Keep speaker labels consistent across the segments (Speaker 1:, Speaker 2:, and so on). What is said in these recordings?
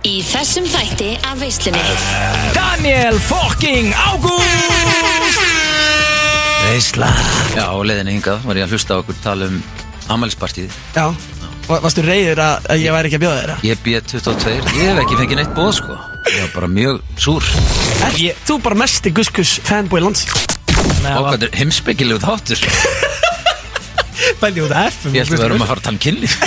Speaker 1: Í þessum þætti af veislunni
Speaker 2: Daniel fucking Ágúst Veisla
Speaker 3: Já, á leiðinni hingað var ég að hlusta á okkur tala um ammælispartíð
Speaker 2: Já, Va- varstu reyður að, að ég væri ekki að bjóða þeirra?
Speaker 3: Ég er B22, ég hef ekki fengið neitt bóð sko Ég var bara mjög súr
Speaker 2: Er, Þú bara mesti guskus fanboy lands
Speaker 3: Og hvað er heimspekilegu þáttur Ég
Speaker 2: Bæði út af F
Speaker 3: held að við erum að fara að tala um kynlíf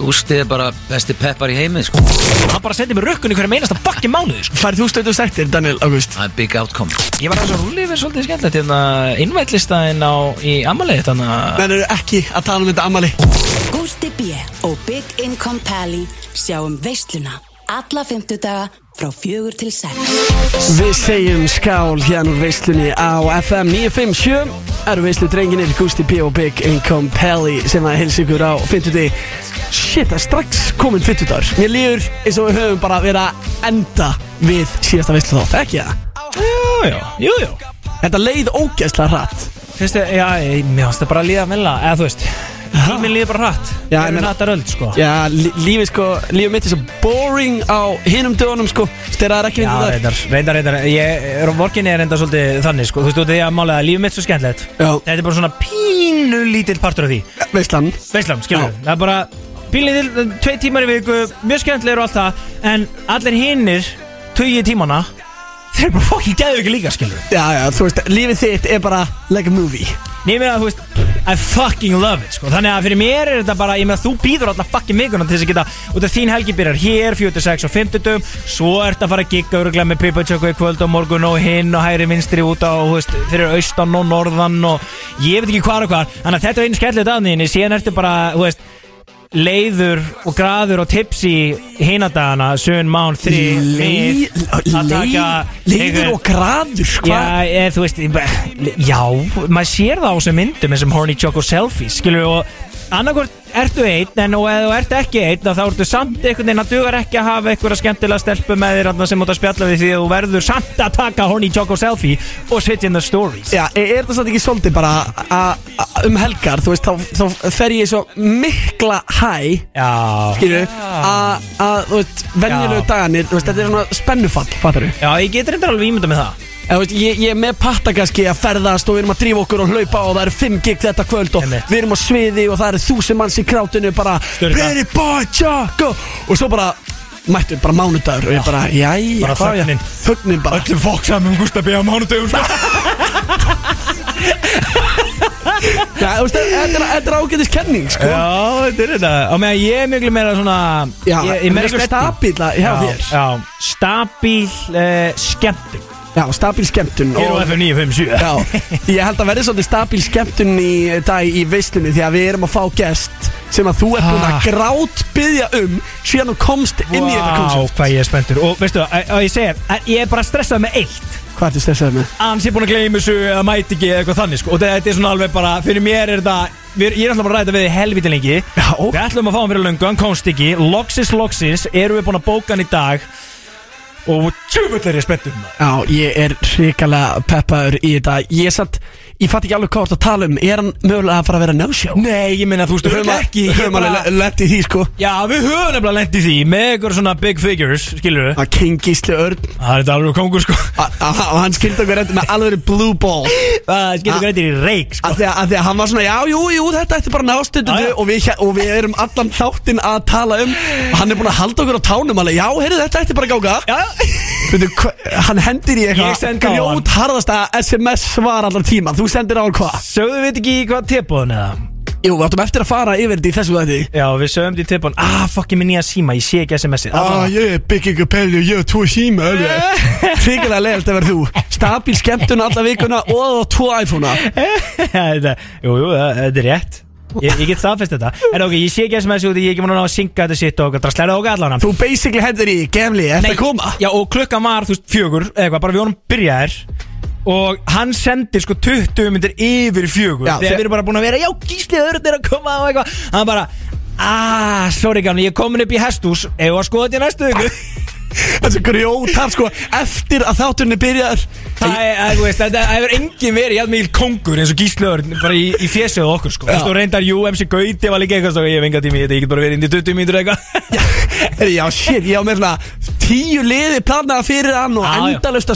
Speaker 3: Gústi er bara besti peppar í heimið sko
Speaker 4: hann bara sendi mér rökkun í hverju meinasta bakki mánuði sko.
Speaker 2: Færið þú stöðu sættir, Daniel Ágúst
Speaker 3: Það er big outcome
Speaker 4: ég var aðeins að rúli yfir svolítið skemmtilegt hérna innvætlistaðin á í hérna. amalegi þannig að
Speaker 2: Menn eru ekki að tala um þetta amali
Speaker 5: Gústi B. og Big Income Pally sjáum veisluna alla fymtudaga frá fjögur til sex.
Speaker 2: Við segjum skál hérna úr veislunni á FM 957 Eru veislu drenginir Gusti B og Big Income Pelli sem að hilsa ykkur á 50 Shit, það er strax komin 50 dagur Mér líður eins og við höfum bara verið að enda við síðasta veislu þátt, ekki það?
Speaker 4: jú, jú, jú, jú.
Speaker 2: Þetta leið ógeðslega hrætt
Speaker 4: finnst þið, já, ég- mér finnst það bara að líða vel að, eða þú veist tíminn líður bara hratt
Speaker 2: Já,
Speaker 4: já,
Speaker 2: ég
Speaker 4: en
Speaker 2: meina-
Speaker 4: hratt er öll sko já,
Speaker 2: Já, lí- lífið sko, lífið mitt er svo boring á hinum dögunum sko Þegar það er ekki vindur
Speaker 4: reyndar, reyndar, reyndar ég, vorkinni er reyndar svolítið þannig sko þú veist, út af því að málega, lífið mitt er svo skemmtilegt
Speaker 2: Já.
Speaker 4: þetta er bara svona pínu lítill partur af því
Speaker 2: dag Veislan
Speaker 4: Veislam, skilur
Speaker 2: Já.
Speaker 4: Það er bara bílið tvei tímar í viku Mjög skemmtilegur og allt það En allir hinnir, tugi tímana Þeir eru bara fokkin gæðu ekki líka, skilur
Speaker 2: Já, já, þú veist, lífið þitt er bara like a movie
Speaker 4: Ég meina, þú veist, I fucking love it, sko Þannig að fyrir mér er þetta bara, ég meina, þú býður allar fucking vikuna Til þess að geta, út af þín helgi byrjar hér 46 og 50, svo ertu að fara að gigga Öruglega með pipatjöku í kvöld og morgun Og hinn og hæri vinstri út á, þú veist Fyrir austan og norðan og Ég veit ekki hvar og hvar, þannig að þetta er einu skemmtilegt aðniðinni Síðan ertu bara, þú veist leiður og graður og tips í hinadagana, sön, mán, þri
Speaker 2: Leið-
Speaker 4: mið, að taka
Speaker 2: leið- Leiður
Speaker 4: einhver-
Speaker 2: og graður, sko. hvað?
Speaker 4: Já, eða, þú veist, ég bara- já, maður sér það á þessum myndum, þessum horny choco selfies, skilur við, og annarkvort ertu einn, en og ef þú ert ekki einn, þá ertu samt einhvern veginn að dugar ekki að hafa einhverja skemmtilega stelpu með þér þarna sem þú ert að spjalla við því að þú verður samt að taka horny choco selfie og sit in the stories.
Speaker 2: Já, er er þetta samt ekki svolítið bara a- a- um helgar, þú veist, þá, þá fer ég í svo mikla hæ,
Speaker 4: Já.
Speaker 2: skilju, að, að, þú veist, venjulegu
Speaker 4: Já.
Speaker 2: dagarnir, þú veist, þetta er svona spennufall, fattar þú?
Speaker 4: Já, ég getur reyndar alveg ímynda með það.
Speaker 2: Eða, þú veist, ég, ég er með pattakaski að ferðast og við erum að drífa okkur og hlaupa og það eru fimm gig þetta kvöld og
Speaker 4: Einmitt.
Speaker 2: við erum á sviði og það eru þúsund manns í krátinu bara
Speaker 4: Sturla.
Speaker 2: Pretty boy, Jocko og svo bara mættu bara mánudagur og ég bara, jæja,
Speaker 4: Bara
Speaker 2: hvað á ég-
Speaker 4: þögnin.
Speaker 2: þögnin bara
Speaker 4: Öllum fólk saman um Gustaf B. á mánudegum, sko.
Speaker 2: Já, þú veist, þetta er- þetta er ágætis kenning, sko
Speaker 4: Já, þetta er þetta Á meðan ég er miklu meira svona
Speaker 2: Já,
Speaker 4: ég, ég
Speaker 2: en
Speaker 4: er meira
Speaker 2: miklu
Speaker 4: spenntur.
Speaker 2: stabíla hjá
Speaker 4: Já,
Speaker 2: þér.
Speaker 4: Já, stabíl uh, skemmtum
Speaker 2: Já, stabil skemmtun
Speaker 4: Hér á
Speaker 2: og-
Speaker 4: FM 957
Speaker 2: Já, ég held að verði svolítið stabil skemmtun í eh, dag í veislunni því að við erum að fá gest sem að þú ert búin að
Speaker 4: Ah.
Speaker 2: grát byggja um síðan þú komst inn í þetta konsert
Speaker 4: hvað ég er spenntur Og veistu það, að- að ég segja að Ég er bara stressað með eitt
Speaker 2: Hvað ertu stressaður með?
Speaker 4: Að hans er búin að gleyma þessu eða mæti ekki eða eitthvað þannig sko. Og þetta er svona alveg bara Fyrir mér er þetta við- Ég er alltaf bara að ræta við þig helviti lengi
Speaker 2: Já.
Speaker 4: Við ætlum að fá hann fyrir löngu, hann komst ekki Loksins, loksins, erum við búin að bóka hann í dag Og tjöfull er ég spenntur maður.
Speaker 2: Já, ég er hrikalega peppaður í þetta Ég satt, ég fatt ekki alveg hvað þú ert að tala um Er hann mögulega að fara að vera no-show?
Speaker 4: Nei, ég minna, þú veist,
Speaker 2: Höfum að-
Speaker 4: ekki ég
Speaker 2: höfum
Speaker 4: bara-
Speaker 2: alveg lett í því sko
Speaker 4: Já, við höfum nefnilega lent í því með ykkur svona big figures, skilur við
Speaker 2: Að King Gísli Örn
Speaker 4: Það er þetta alveg kongur, sko
Speaker 2: að- að- að Hann skildi okkur endur með alveg blue ball
Speaker 4: Það skilur
Speaker 2: Ah.
Speaker 4: ykkur eitthvað í reik, sko
Speaker 2: Af því að, að því að hann var svona, já, jú, jú, þetta ætti bara
Speaker 4: Já,
Speaker 2: nástundu
Speaker 4: já.
Speaker 2: og, við hér- og við erum allan þáttinn að tala um og hann er búin að halda okkur á tánum alveg, já, heyrðu, þetta ætti bara að gáka
Speaker 4: Já,
Speaker 2: Veitu, hva- hann hendir í
Speaker 4: Ég
Speaker 2: eitthvað
Speaker 4: sendi á hann.
Speaker 2: grjót harðasta SMS svar allar tíma, þú sendir á hann hvað?
Speaker 4: sögðum við ekki í hvað tilbúðan eða?
Speaker 2: Jú, við áttum eftir að fara yfir þetta í þessu þetta
Speaker 4: Já, við sögum því tilbúðan Ah, fuck, ég minn ég að síma, ég sé ekki SMS-ið
Speaker 2: Ah, ég er bygging og pelli og ég er tvo síma Tryggilega leiðast að vera þú Stabil skemmtun alla vikuna og tvo iPhone-a
Speaker 4: Þetta- Jú, jú, það- þetta er rétt Ég, ég get staðfest þetta En ok, ég sé ekki SMS-ið út í, ég er ekki mann að ná að synga þetta sitt og okkar Drastlega okkar allan
Speaker 2: Þú basically hendur í, gemli, eftir að koma
Speaker 4: Já, og klukkan var, þú veist, fjögur eða eitthvað, bara við vorum byrjaðir og hann sendir sko 20 myndir yfir fjögur
Speaker 2: Já,
Speaker 4: þegar
Speaker 2: þeir-
Speaker 4: við erum bara búin að vera, já, gíslið örn er að koma og eitthvað, "Ah, hann bara aaa, sorry gæmni, ég er komin upp í hestús, ef að skoða þetta í næstu viku
Speaker 2: Þessi grjótar sko Eftir að þátturinn er byrjaður
Speaker 4: Það er, að, þú veist, það það hefur enginn verið jæfn mikil kongur eins og gíslöður bara í, í fjesið á okkur, sko. Þú veist, og reyndar, jú, MC Gauti var líka eitthvað, svo ég hef enga tími í þetta, ég get bara verið inn í 20 mínútur eða eitthvað.
Speaker 2: Heyrðu, Já, shit, ég á með svona tíu liði planaða fyrir hann og
Speaker 4: Já, já.
Speaker 2: endalösta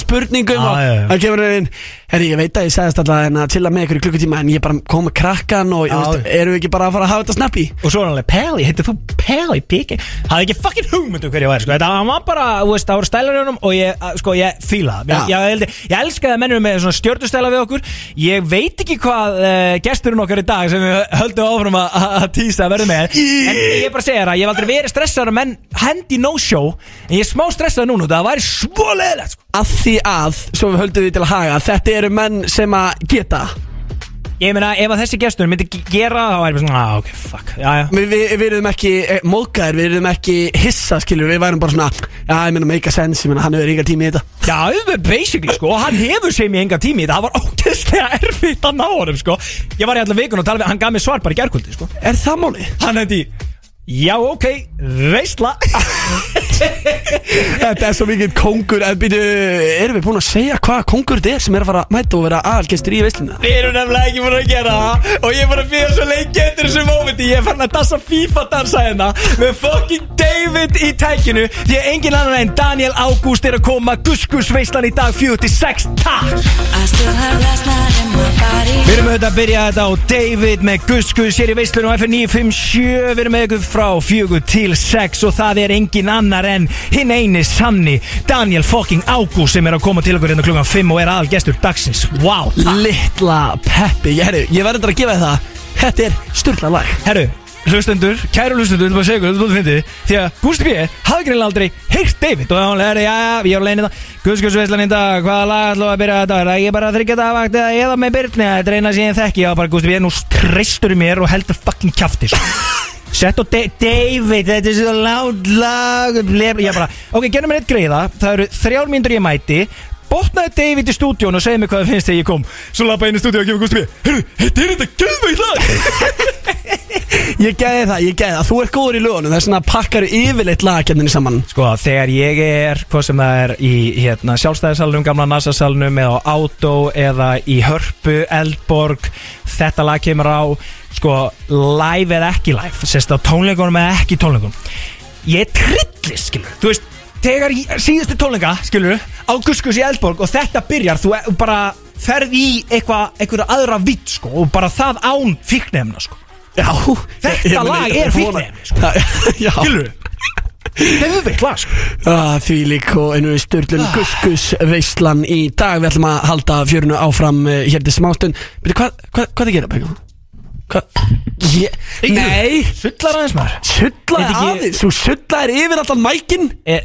Speaker 4: Já,
Speaker 2: spurningum og
Speaker 4: já, já.
Speaker 2: það kemur hann inn Herri, ég veit að ég segðist alltaf en að chilla með ykkur í klukkutíma en ég bara kom með krakkan og
Speaker 4: Já,
Speaker 2: ég veist,
Speaker 4: já.
Speaker 2: erum við ekki bara að fara að hafa þetta snappi?
Speaker 4: og svo er hann alveg, Peli, heitir þú Peli, Piki? Hafði ekki fucking hugmyndu hver ég væri, sko. Þetta, hann var bara, þú veist, það voru stælar í honum og ég, að, sko, ég fíla það. Ég,
Speaker 2: Já.
Speaker 4: ég, held- ég elskaði að mennum með svona stjörnustæla við okkur. Ég veit ekki hvað uh, gesturinn okkar í dag sem við höldum áfram að- að að tísa að verða með. En ég bara segja það, ég hef aldrei verið stressaður að menn hendi no-show, en ég er smá stressaður núna, það væri svo leðilegt, sko.
Speaker 2: Að því að, svo við höldum því til að haga þetta eru menn sem að geta
Speaker 4: Ég meina, ef að þessi gestur myndi g- gera það, þá væri ég bara svona, ah, ok, fuck, já, já.
Speaker 2: Við, við, við erum ekki eh, móðgæðir, við erum ekki hissa, skilur, við værum bara svona Já, ég meina, make a sense, ég meina, hann hefur ríka tími í þetta
Speaker 4: Já, basically sko, og hann hefur sem ég enga tími í þetta, það var ógeðslega erfitt að ná honum sko Ég var í allan vikun og tala við, hann gaf mér svar bara í gærkvöldi sko
Speaker 2: Er það máli?
Speaker 4: Hann hefði, já ok, veistla
Speaker 2: Þetta er svo mikið kongur, en býtu, erum við búin að segja hvað kongur þetta er sem er að fara að mæta og vera aðalgestur í veisluna?
Speaker 4: Við erum nefnilega ekki búin að gera það og ég er bara að fyrir svo lengi eftir þessu mómenti Ég er farin að dansa FIFA dansa hérna með fucking David í tækinu Því að engin annan en Daniel Ágúst er að koma Guskus veistlan í dag 46, takk
Speaker 5: I still have last night in my body
Speaker 4: Við erum auðvitað að byrja þetta á David með Guskus hér í veislunum á FN957 Við erum með ykkur frá fjögur til 6 og það er engin annar en hinn eini sanni Daniel fucking Ágúst sem er að koma til okkur hérna klukkan 5 og er aðal gestur dagsins Wow
Speaker 2: Littla Peppi, ég, herri, ég verður þetta að gefa þér það Þetta er sturla lag
Speaker 4: Herru, hlustendur, kæru hlustendur, þetta er bara að segja ykkur, þetta er bara að fyndi Því að Gústi B. hafði greinlega aldrei heyrt David og hann er, já, já, ég er á leiðin þetta Guskus veislan í dag, hvaða lag ætlum við að byrja þetta? Er það ekki bara að þryggja þetta vakt eða eða með Byrni? Þetta er eina sem ég þekki, já, bara Gústi B. nú treystur í mér og heldur fucking kjafti sko. Sett og David, þetta er svo látt lag ble- Ég bara, ok, gerum mér eitt greiða Það eru þrjár mínútur ég mæti Botnaði David í stúdíón og segði mér hvað það finnst þegar ég kom Svo lappa inn í stúdíón og gefur Gústi B Hörru, þetta er þetta gæðveit lag
Speaker 2: Ég geði það, ég geði það, þú ert góður í lögunum Það er svona að pakkaru yfirleitt lagjandinni saman
Speaker 4: Sko, þegar ég er, hvað sem það er í hérna, sjálfstæðisalunum, gamla NASA-salunum eða á Átó eða í Hörpu, Eldborg, þetta lag kemur á, sko, live eða ekki live, sérst á tónleikunum eða ekki tónleikunum. Ég er trillist, skilur, þú veist, þegar ég, síðustu tónleika, skilur, á Guskus í Eldborg og þetta byrjar, þú er, bara ferð í eitthvað, einhverja aðra vitt, sko, og bara það án fíknefna, sko.
Speaker 2: Já,
Speaker 4: Þetta lag er fíkniefni, sko.
Speaker 2: sko. Já,
Speaker 4: Skilur, hefur veitt lag, sko.
Speaker 2: Ah, því lík og einu sturlun Guskus veislan í dag Við ætlum að halda fjörunu áfram eh, hér til smástund Býtu, hvað, hvað, hvað það gera, Pekka? Hvað? Ég, nei,
Speaker 4: Sullar aðeins maður.
Speaker 2: sullaði
Speaker 4: Veit ekki-
Speaker 2: aðeins Þú sullaðir yfir allan mækin
Speaker 4: E,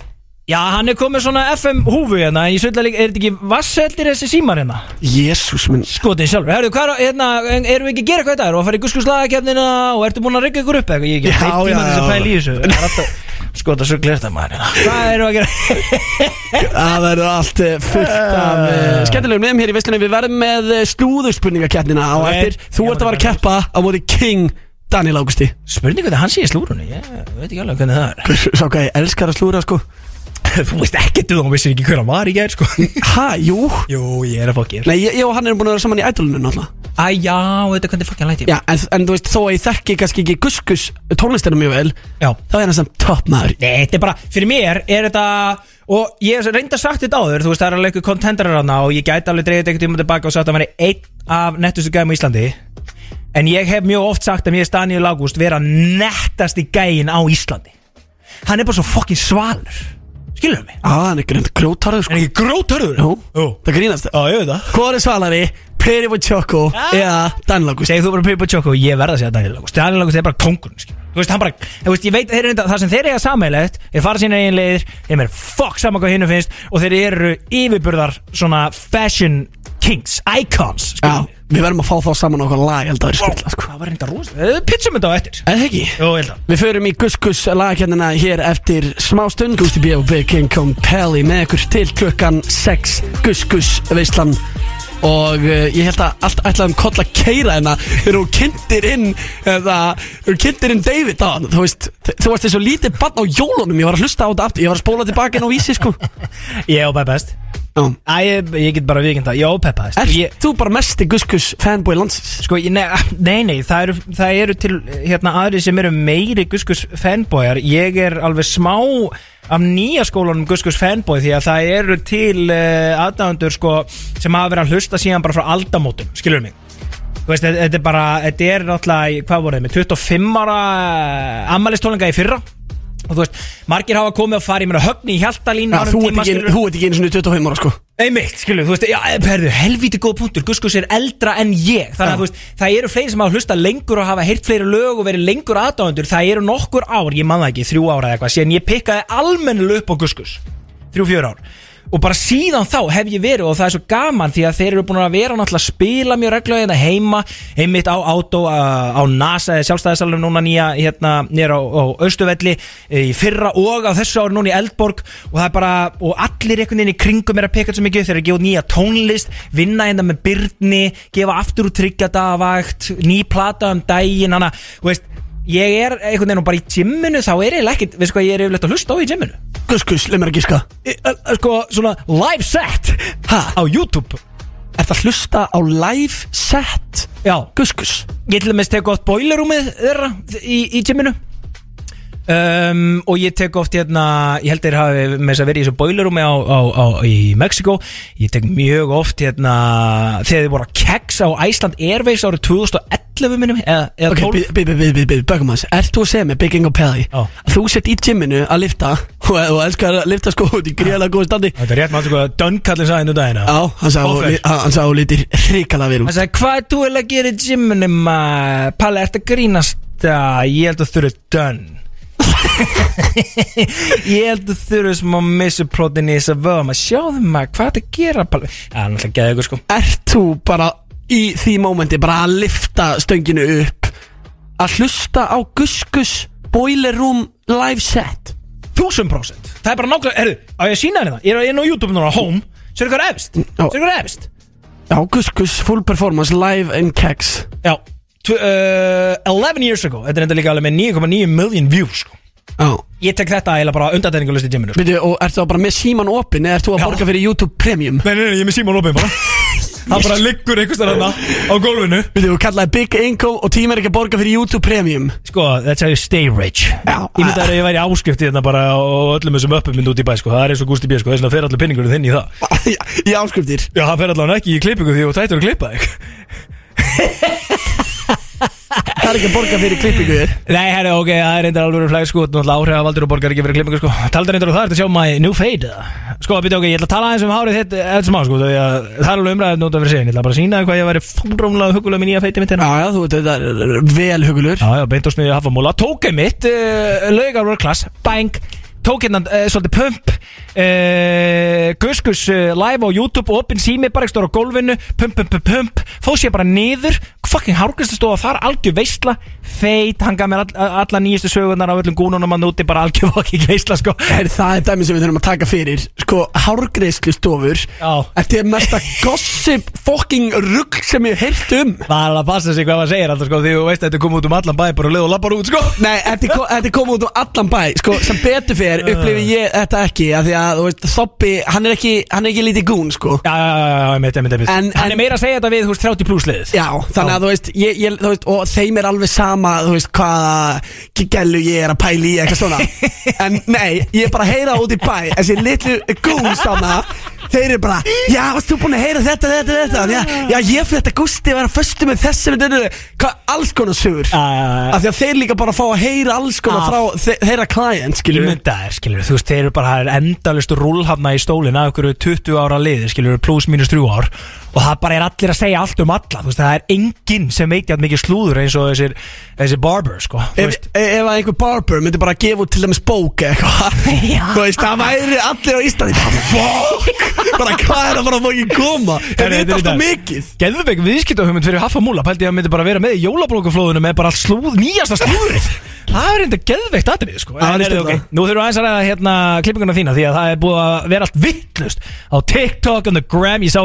Speaker 4: já, hann er komið svona FM húfu hérna Ég svolítið líka, er þetta ekki vasseldir þessi símar hérna?
Speaker 2: Jésús minn
Speaker 4: Skotið sjálfur, herru, hvað er, hérna, en erum við ekki að gera eitthvað í dag? Erum við að fara í guskuslagakefnina og ertu búin að rigga ykkur upp eitthvað? Ég er
Speaker 2: Já,
Speaker 4: ekki að tíma
Speaker 2: já,
Speaker 4: til þess að
Speaker 2: já.
Speaker 4: pæla í þessu Það er alltaf- Skotið svo glert að maður hérna Hvað erum við að gera?
Speaker 2: Það verður allt eh, fullt af uh, skemmtilegum nefnum hér í veistunni Við verðum með eh, slúðurspurningakeppnina á
Speaker 4: Ok.
Speaker 2: eftir Þú
Speaker 4: Ég
Speaker 2: ert
Speaker 4: var
Speaker 2: að fara að keppa á móti King Daniel Águsti
Speaker 4: Spurningu þetta, hann sé í slúrunni, ég veit ekki alveg hvernig það
Speaker 2: Sá hvað ég elskar að slúra sko
Speaker 4: er Þú veist ekki duð, hún vissir ekki hver hann var í gær, sko
Speaker 2: Ha, jú
Speaker 4: Jú, ég er að fokk ég
Speaker 2: Nei, ég, ég og hann erum búin að vera saman í ædolunum náttúrulega
Speaker 4: Æ, já, þetta hvernig fokk hann læti
Speaker 2: Já, en, en þú veist, þó að ég þekki kannski ekki Guskus tónlistina mjög vel
Speaker 4: Já.
Speaker 2: Þá er hann samt topp maður
Speaker 4: Nei, þetta er bara, fyrir mér er þetta og ég hef reynda sagt þetta áður þú veist, það er alveg ykkur kontendarar hana og ég gæti alveg dreigðið eitthvað tíma tilbaka og sagt að hann er einn af nettustu gæðum á Íslandi en ég hef mjög oft sagt að mér er Daniel Ágúst vera nettasti gæðin á Íslandi hann er bara svo fokkin svalur skilur mig,
Speaker 2: Á, Ah, hann er grönt
Speaker 4: hann
Speaker 2: grjótarður sko
Speaker 4: er ekki grótarður
Speaker 2: Jú,
Speaker 4: Jú.
Speaker 2: það grínast
Speaker 4: Já, ég veit það
Speaker 2: Hvor er svalari, Pretty with Choco eða Daniel Águsti
Speaker 4: segir þú bara Pippa Choco ég verða að segja Daniel Lagos Daniel Lagos er bara kóngurinn skilur. þú veist hann bara þú veist, ég veit að þeir eru enda- það sem þeir eiga sammeilegt þeir fara sína eigin leiðir þeim er fokk saman hvað hinnu finnst og þeir eru yfirburðar svona fashion kings icons
Speaker 2: Já,
Speaker 4: skilur.
Speaker 2: við verðum að fá þá saman okkur lag, ég held að það er skvilla sko
Speaker 4: það var reynda rosa pitsum þetta á eftir
Speaker 2: Er það ekki?
Speaker 4: Jó, ég held að
Speaker 2: Við förum í Guskus lagakennina hér eftir smá stund Gusti B og Big King Compelli með ykkur til klukkan 6 Guskus veislan og uh, ég held að allt ætlaði um koll að keira hérna þegar hún kynntir inn eða, hún kynntir inn David á hann þú veist, þ- þú varst eins og lítið barn á jólunum ég var að hlusta á þetta aftur, ég var að spóla tilbaka inn á vísi sko
Speaker 4: Ég ópæði best
Speaker 2: Já.
Speaker 4: Æ, ég, ég get bara viðkynnt það Ég ópæði best
Speaker 2: Ert
Speaker 4: ég,
Speaker 2: þú bara mesti guskus fanboy landsins?
Speaker 4: Sko, ég, nei, nei, nei það, eru, það eru til hérna aðri sem eru meiri Guskus fanboyar Ég er alveg smá af nýja skólanum Guskus fanboy Því að það eru til uh, aðdæfundur sko, sem hafa verið að hlusta síðan bara frá aldamótum Skilur mig Þú veist, þetta þetta er bara, þetta er náttúrulega, í- hvað voru þið með, 25 ára ammælistólinga í fyrra Og þú veist, margir hafa komið að fara, ég meina höfni í hjaltalínu
Speaker 2: Já, þú ert ekki, þú ert ekki einu sinni 25 ára sko
Speaker 4: Einmitt, skilur, þú veist, já, perðu, helvíti góð punktur Guskus er eldra en ég Þannig að þú veist, það eru fleiri sem hafa hlusta lengur og hafa heyrt fleiri lög og verið lengur aðdáðundur Það eru nokkur ár, ég man það ekki, þrjú ára eða eitthvað Síðan ég pikkaði almennilega upp á Guskus Þrjú, fjör ár Og bara síðan þá hef ég verið og það er svo gaman Því að þeir eru búin að vera náttúrulega að spila mjög reglulega hérna heima Einmitt á uh, Átó, á á NASA eða sjálfstæðisalum núna nýja hérna nýra á, á Östuvelli í fyrra og á þessu ári núna í Eldborg og það er bara, og allir einhvern veginn í kringum er að peka svo mikið, þeir eru að gefa út nýja tónlist vinna hérna með Byrni gefa aftur úr tryggjadagavakt ný plata um daginn, hana, þú veist ég er einhvern veginn og bara í gymminu þá er ég ekkert, veist hvað ég er yfirleitt að hlusta á í gymminu
Speaker 2: Guskus, leið mér að gíska
Speaker 4: Í- ö- ö- sko, svona live set
Speaker 2: Ha?
Speaker 4: á YouTube
Speaker 2: Ert að hlusta á live set
Speaker 4: já,
Speaker 2: Guskus
Speaker 4: Ég til að meðst teka oft boilerúmið þeirra í, í gyminu um, og ég tek oft hérna, ég held þeir hafi með þess að verið í þessu boilerúmi á, á, á, í Mexiko ég tek mjög oft hérna þegar þið voru að keksa á Æsland Airways árið 2011 minnum eða, eða
Speaker 2: Ok,
Speaker 4: 12
Speaker 2: byrju, byrju, byrju, byrju, bökum aðeins Ert þú að segja mig, Bygging og Pelli
Speaker 4: Já.
Speaker 2: að Þú sett í gyminu að lifta Og, og elskar að lifta sko út í gríðalega góðu standi
Speaker 4: Þetta er rétt maður hvað Dunn-kallin sagði nú dagina
Speaker 2: Já, hann sagði
Speaker 4: Ófær.
Speaker 2: að hún- hann sagði að hún lítir hrikalega vel
Speaker 4: Hann
Speaker 2: út
Speaker 4: sagði, hvað er þú eiginlega að gera í gyminu maður? Palli, ertu að grínast? Ah, Ég held að þurru dönn Ég held að þurru smá missuprotin í þess að vöða maður Sjáðu maður, hvað er þetta að gera Palli? Það er náttúrulega geðið ykkur sko
Speaker 2: Ert þú bara í því mómenti Bara að lifta stönginu upp Að hlusta á Guskus Boiler Room live set
Speaker 4: 1000% Það er bara nákvæmlega, herru, á ég að sína henni það Ég er inn á YouTube núna, home Sér ykkur efst, sér ykkur efst
Speaker 2: Já, Guskus full performance live and kegs
Speaker 4: Já, tw- uh, 11 years ago Þetta er enda líka alveg með 9,9 million views sko
Speaker 2: Já
Speaker 4: Ég tek þetta eiginlega bara undartæningalust í gyminu sko.
Speaker 2: Byrju, og ert þú bara með síman opinn Eða ert þú að
Speaker 4: Já.
Speaker 2: borga fyrir YouTube Premium
Speaker 4: Nei, nei, nei, ég er með síma lópin bara Það bara liggur einhvers þar þarna á gólfinu
Speaker 2: Byrju, þú kallaði Big Income Og tíma er ekki að borga fyrir YouTube Premium
Speaker 4: Sko, that's how you stay rich
Speaker 2: Já.
Speaker 4: Ég myndi að ég væri áskrift í þarna bara og öllum þessum öppum myndi út í bæ sko. Það er eins og Gústi B sko. þess vegna fer allir pinningur þinn í það
Speaker 2: Já, Í áskriftir
Speaker 4: Já, hann fer allan ekki í klippingu því og tættur að klippa þig
Speaker 2: Það er ekki að borga fyrir klippingu þér
Speaker 4: Nei, herri, ok, það er reyndar alveg flæg sko Náttúrulega áhrifavaldur og borgar ekki fyrir klippingu sko Talda reyndar og það er að sjá my new fade eða? Sko, býta ok, ég ætla að tala aðeins um hárið þitt eftir smá sko því að Það er alveg umræðið nút af fyrir segin Ég ætla bara að sína hvað ég væri fúrumlega hugulega með nýja feiti mitt hérna
Speaker 2: Já, já, þú veit, þetta er vel hugulur
Speaker 4: Já, já, beint og sniðið hafamóla Tók ég mitt, uh, laugar world class, bang Tók hérna uh, svolítið pump uh, Guskus uh, live á YouTube Opin sími, bara ekki stóra á gólfinu Pump, pump, pump, pump Fóð sér bara niður Fucking hárgristu stóða þar, algjör veisla Feit, hann gaf mér all, alla nýjustu sögurnar Á öllum gúnunum að núti, bara algjör fucking veisla sko.
Speaker 2: Er það er dæmi sem við þurfum að taka fyrir Sko, hárgreiðslustofur
Speaker 4: Já.
Speaker 2: Þetta er mesta gossip fucking rugg sem ég hef heyrt um
Speaker 4: Það er alveg að passa sig hvað maður segir alltaf sko, Því þú veist að þetta kom út um allan bæ Bara leið og lappar út sko.
Speaker 2: Nei, þetta er ko- þetta er komið út um allan bæ Sko, sem betur fyrir upplifi ég þetta ekki af Því að, þú veist, Þoppi, hann er ekki, hann er ekki lítið gún, sko
Speaker 4: Já, já, já, já, einmitt, einmitt, einmitt.
Speaker 2: En-
Speaker 4: Hann
Speaker 2: en-
Speaker 4: er meira að segja þetta við, þú veist, 30 pluss liðið
Speaker 2: Já, þannig að þú veist, ég, ég, þú veist og þeim er alveg sama, þú veist, hvaða gælu ég er að pæli í eitthvað svona en nei, ég er bara að heyra út í bæ þessi litlu gúns þarna þeir eru bara, já, varst þú búin að heyra þetta, þetta, þetta, já, já ég fyrir þetta gústi var að föstu með þessi, þetta, þetta, þetta, hvað alls konar sugur,
Speaker 4: Já, já, já, já.
Speaker 2: af því að þeir líka bara fá að heyra alls konar
Speaker 4: Ah.
Speaker 2: frá þe þeirra klæðin, skiljum við
Speaker 4: ímynda þér, skilur, þú veist, þeir eru bara það er endalustu rúlhafna í stólinn að ykkur 20 ára liði, skilur, pluss mínus 3 ár og það bara er allir að segja allt um alla þú veist, það er enginn sem veit jætt mikið slúður eins og þessir, þessir barber, sko þú
Speaker 2: Ef,
Speaker 4: veist,
Speaker 2: ef ef að einhver barber myndi bara að gefa út til dæmis bók eða eitthvað
Speaker 4: Já.
Speaker 2: Þú veist, það væri allir á Íslandi bara, Fuck, bara hvað er að bara fókin koma Þeir veit alltaf mikið
Speaker 4: Geðvebeg viðskiptahumund fyrir Hafamúla Pældi ég að myndi bara vera með í jólablókaflóðunum með bara allt slúð, nýjasta slúðrið Það er enda geðveikt aðrið sko
Speaker 2: það er
Speaker 4: heyrðu,
Speaker 2: stöðla.
Speaker 4: ok, Nú þurfum við aðeins að ræða hérna klippinguna þína Því að það er búið að vera allt vittlust Á TikTok, on the gram Ég sá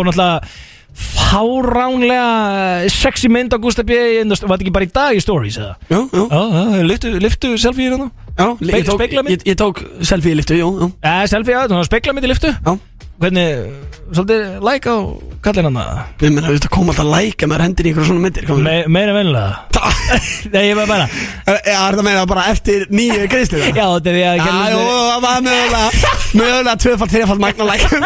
Speaker 4: náttúrulega fáránlega sexy mynd á Gustaf B. í- Var þetta ekki bara í dag í stories eða?
Speaker 2: Jú, jú,
Speaker 4: Já, já, lyftu, lyftu selfie hérna
Speaker 2: já Ég tók,
Speaker 4: spegla
Speaker 2: ég,
Speaker 4: mynd?
Speaker 2: ég tók selfie í liftu, jú, jú
Speaker 4: Eh, selfie, já, svona spegla mynd í lyftu
Speaker 2: Já,
Speaker 4: Hvernig, svolítið like á kallinn hann það?
Speaker 2: við meina, við þetta kom alltaf að læka maður hendir í einhverjum svona myndir komum við.
Speaker 4: Me, Meira vennilega Nei, ég var bara
Speaker 2: Það er Eh, það meina bara eftir nýju greiðslu
Speaker 4: Já, þetta er því að
Speaker 2: Já, jú, það var mögulega Mögulega tvöfald, þrefald magna lækum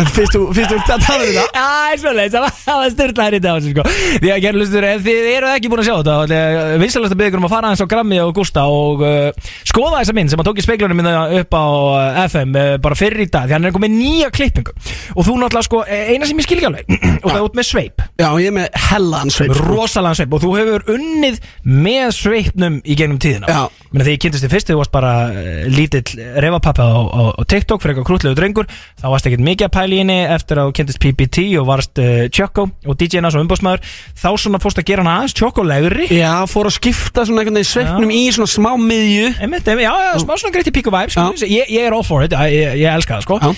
Speaker 2: En Fyrst þú, fyrst þú, það tafður um þetta
Speaker 4: Já, eins og leið, það var- það var styrlaðir í dag sko. Því að gerðu lustur, ef þið eru ekki búin að sjá þetta þá er Vinsalast að byggja ykkur um að fara aðeins á Grammi og Gústa og uh, skoða þessa mynd sem að tók í speiklunum minna upp á uh, FM uh, bara fyrir í dag, því hann er komið nýja klippingu og þú náttúrulega sko, eh, eina sem ég skil ekki alveg og það er út með sveip,
Speaker 2: Já, ég er með hellan sveip
Speaker 4: rosalega sveip og þú hefur unnið með sveipnum í gegnum tíðina
Speaker 2: Já.
Speaker 4: Minna, Þegar ég kynntist þér fyrst, þú varst bara uh, lítill refapappa á, á, á TikTok fyrir eitthvað krútlegu drengur, þá varst ekkert mikið að pæla í henni eftir að þú kynntist PPT og varst uh, Choco og DJ-na og umbásmaður þá svona fórst að gera hann aðeins Choco-legri
Speaker 2: Já, fór að skipta svona einhvern veginn sveipnum í svona smá miðju
Speaker 4: Einmitt, einmitt, já, já, smá svona greiti píku væp
Speaker 2: Já.
Speaker 4: ég, ég er all for it, ég, ég, ég elska það sko
Speaker 2: Já.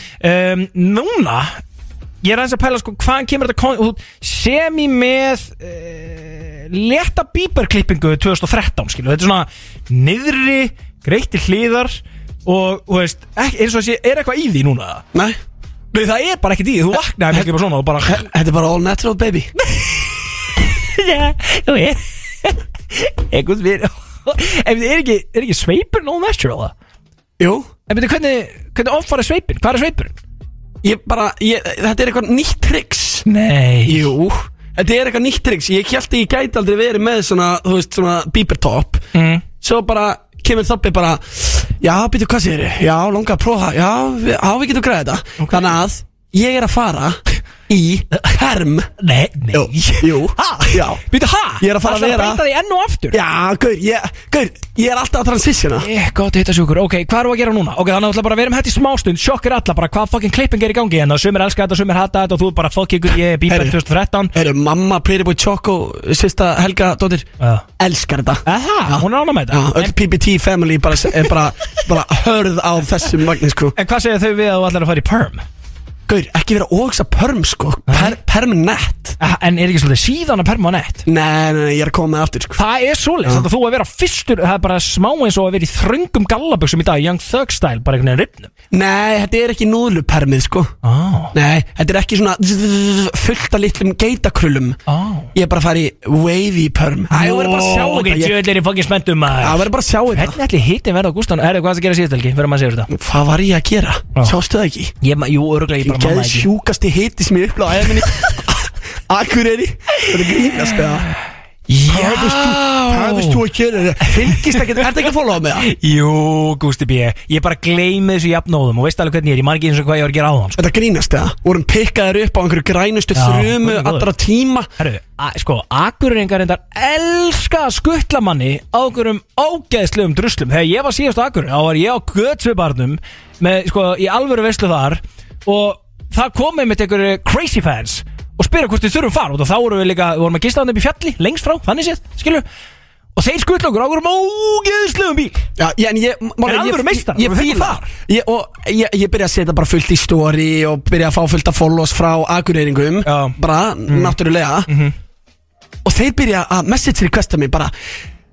Speaker 4: um, Núna ég er aðeins að pæla sko hvaðan kemur þetta kon- þú sem í með uh, leta bíberklippingu 2013 skilu, þetta er svona niðri, greitti hliðar og, þú veist, ekki, eins og þessi er eitthvað í því núna
Speaker 2: Nei,
Speaker 4: Nei, það er bara ekkert í því, þú vaknaði mikið bara svona og bara
Speaker 2: þetta er bara all natural baby
Speaker 4: Já, þú veist Ekkert við En er ekki, er ekki sveipur nóg natural það?
Speaker 2: Jú,
Speaker 4: En betur hvernig, hvernig offar er sveipin? Hvað er sveipurinn?
Speaker 2: ég bara, ég, þetta er eitthvað nýtt triks
Speaker 4: Nei
Speaker 2: Jú Þetta er eitthvað nýtt triks Ég held að ég gæti aldrei verið með svona, þú veist, svona bíbertopp
Speaker 4: mm.
Speaker 2: Svo bara kemur þoppi bara Já, býtu hvað sér Já, langa að prófa Já, við, á, við getum græðið þetta Þannig að ég er að fara í herm
Speaker 4: Nei, nei
Speaker 2: jú ha? Já
Speaker 4: Býtu, ha?
Speaker 2: Ég er að fara að
Speaker 4: Ætlarðu
Speaker 2: vera-
Speaker 4: breyta því enn og aftur
Speaker 2: Já, gaur, ég, gaur, ég er alltaf að transitiona
Speaker 4: Ég, gott heita sjúkur Ok, hvað erum við að gera núna? Ok, þannig að bara að vera með þetta í smástund Sjokkir alla bara hvað fucking klipping er í gangi En það sumir elska þetta, sumir hata þetta Og þú er bara fuck ykkur, ég er bíber
Speaker 2: Herri.
Speaker 4: 2013
Speaker 2: Eru mamma, Pretty Boy Choco, sista Helga, dóttir
Speaker 4: Já.
Speaker 2: Elskar þetta
Speaker 4: Uh, Aha, hún er ána með
Speaker 2: Já,
Speaker 4: þetta
Speaker 2: öll PPT family bara, er bara, bara hörð á þessum magnin sko
Speaker 4: En hvað segir þau við að þú ætlar að fara í perm?
Speaker 2: Gaur, ekki vera ógsa perm sko per, Permanent
Speaker 4: Aha, En er ekki svolítið síðan að perma á nett?
Speaker 2: Nei, nei, nei, ég er að koma með aftur sko
Speaker 4: Það er svoleiðis, þetta þú að vera fyrstur Það er bara smá eins og að vera í þröngum gallaböksum í dag Young Thug style, bara einhvern veginn ripnum
Speaker 2: Nei, þetta er ekki núðlupermið sko
Speaker 4: Á,
Speaker 2: Nei, þetta er ekki svona fullt af litlum geitakröllum
Speaker 4: á
Speaker 2: Ég er bara að fara í wavy perm Æ, ég verður bara að sjá
Speaker 4: Ok,
Speaker 2: þetta ég-
Speaker 4: djöðl er ég fangin spenntum
Speaker 2: Já,
Speaker 4: maður
Speaker 2: verður bara að sjá þetta
Speaker 4: Hvernig ætli hittin verða á Gústán? Er það hvað það gera síðast helgi? Verðum að segja þetta
Speaker 2: Hvað var ég að gera?
Speaker 4: Já.
Speaker 2: Sjástu það ekki?
Speaker 4: Ég, ma- jú, öruglega, ég
Speaker 2: Ég
Speaker 4: bara
Speaker 2: geði
Speaker 4: mamma ekki
Speaker 2: sjúkasti hiti sem ég uppláði að minni Akureyri Þetta er grínast eða Hvað veist þú- Hvað veist þú að gera þetta? Fylgist ekki, ertu ekki að followa með það?
Speaker 4: Jú, Gústi B Ég bara gleymi þessu jafnóðum Og veist alveg hvernig ég er Ég man ekki eins og hvað ég var að gera á þann
Speaker 2: Þetta grínast eða? Vorum pikkaðir upp á einhverju grænustu
Speaker 4: Já,
Speaker 2: þrjumu
Speaker 4: guð minn góður.
Speaker 2: allra tíma
Speaker 4: Herru, a- sko, akureyringar reyndar elska að skuttla manni á okkurum ágæðslegum druslum Þegar ég var síðast á akurinn, þá var ég á götsvibarnum með, sko, í alvöru veislu þar og það komið mitt einhverju crazy fans og spyrir hvort við þurfum fara út og þá vorum við líka, við vorum að gista hann upp í fjalli lengst frá, þannig séð, skilur og þeir skuttla okkur á okkurum ágæðslegum bíl
Speaker 2: Já, ég, en ég, máli,
Speaker 4: En alvöru meistarar,
Speaker 2: ég, ég
Speaker 4: við fengum
Speaker 2: fíla
Speaker 4: þar.
Speaker 2: ég, Og ég, ég byrja að setja bara fullt í story Og byrja að fá fullt af follows frá akureyringum
Speaker 4: Já. Mhm.
Speaker 2: Bara, náttúrulega Og þeir byrja að message requesta mig bara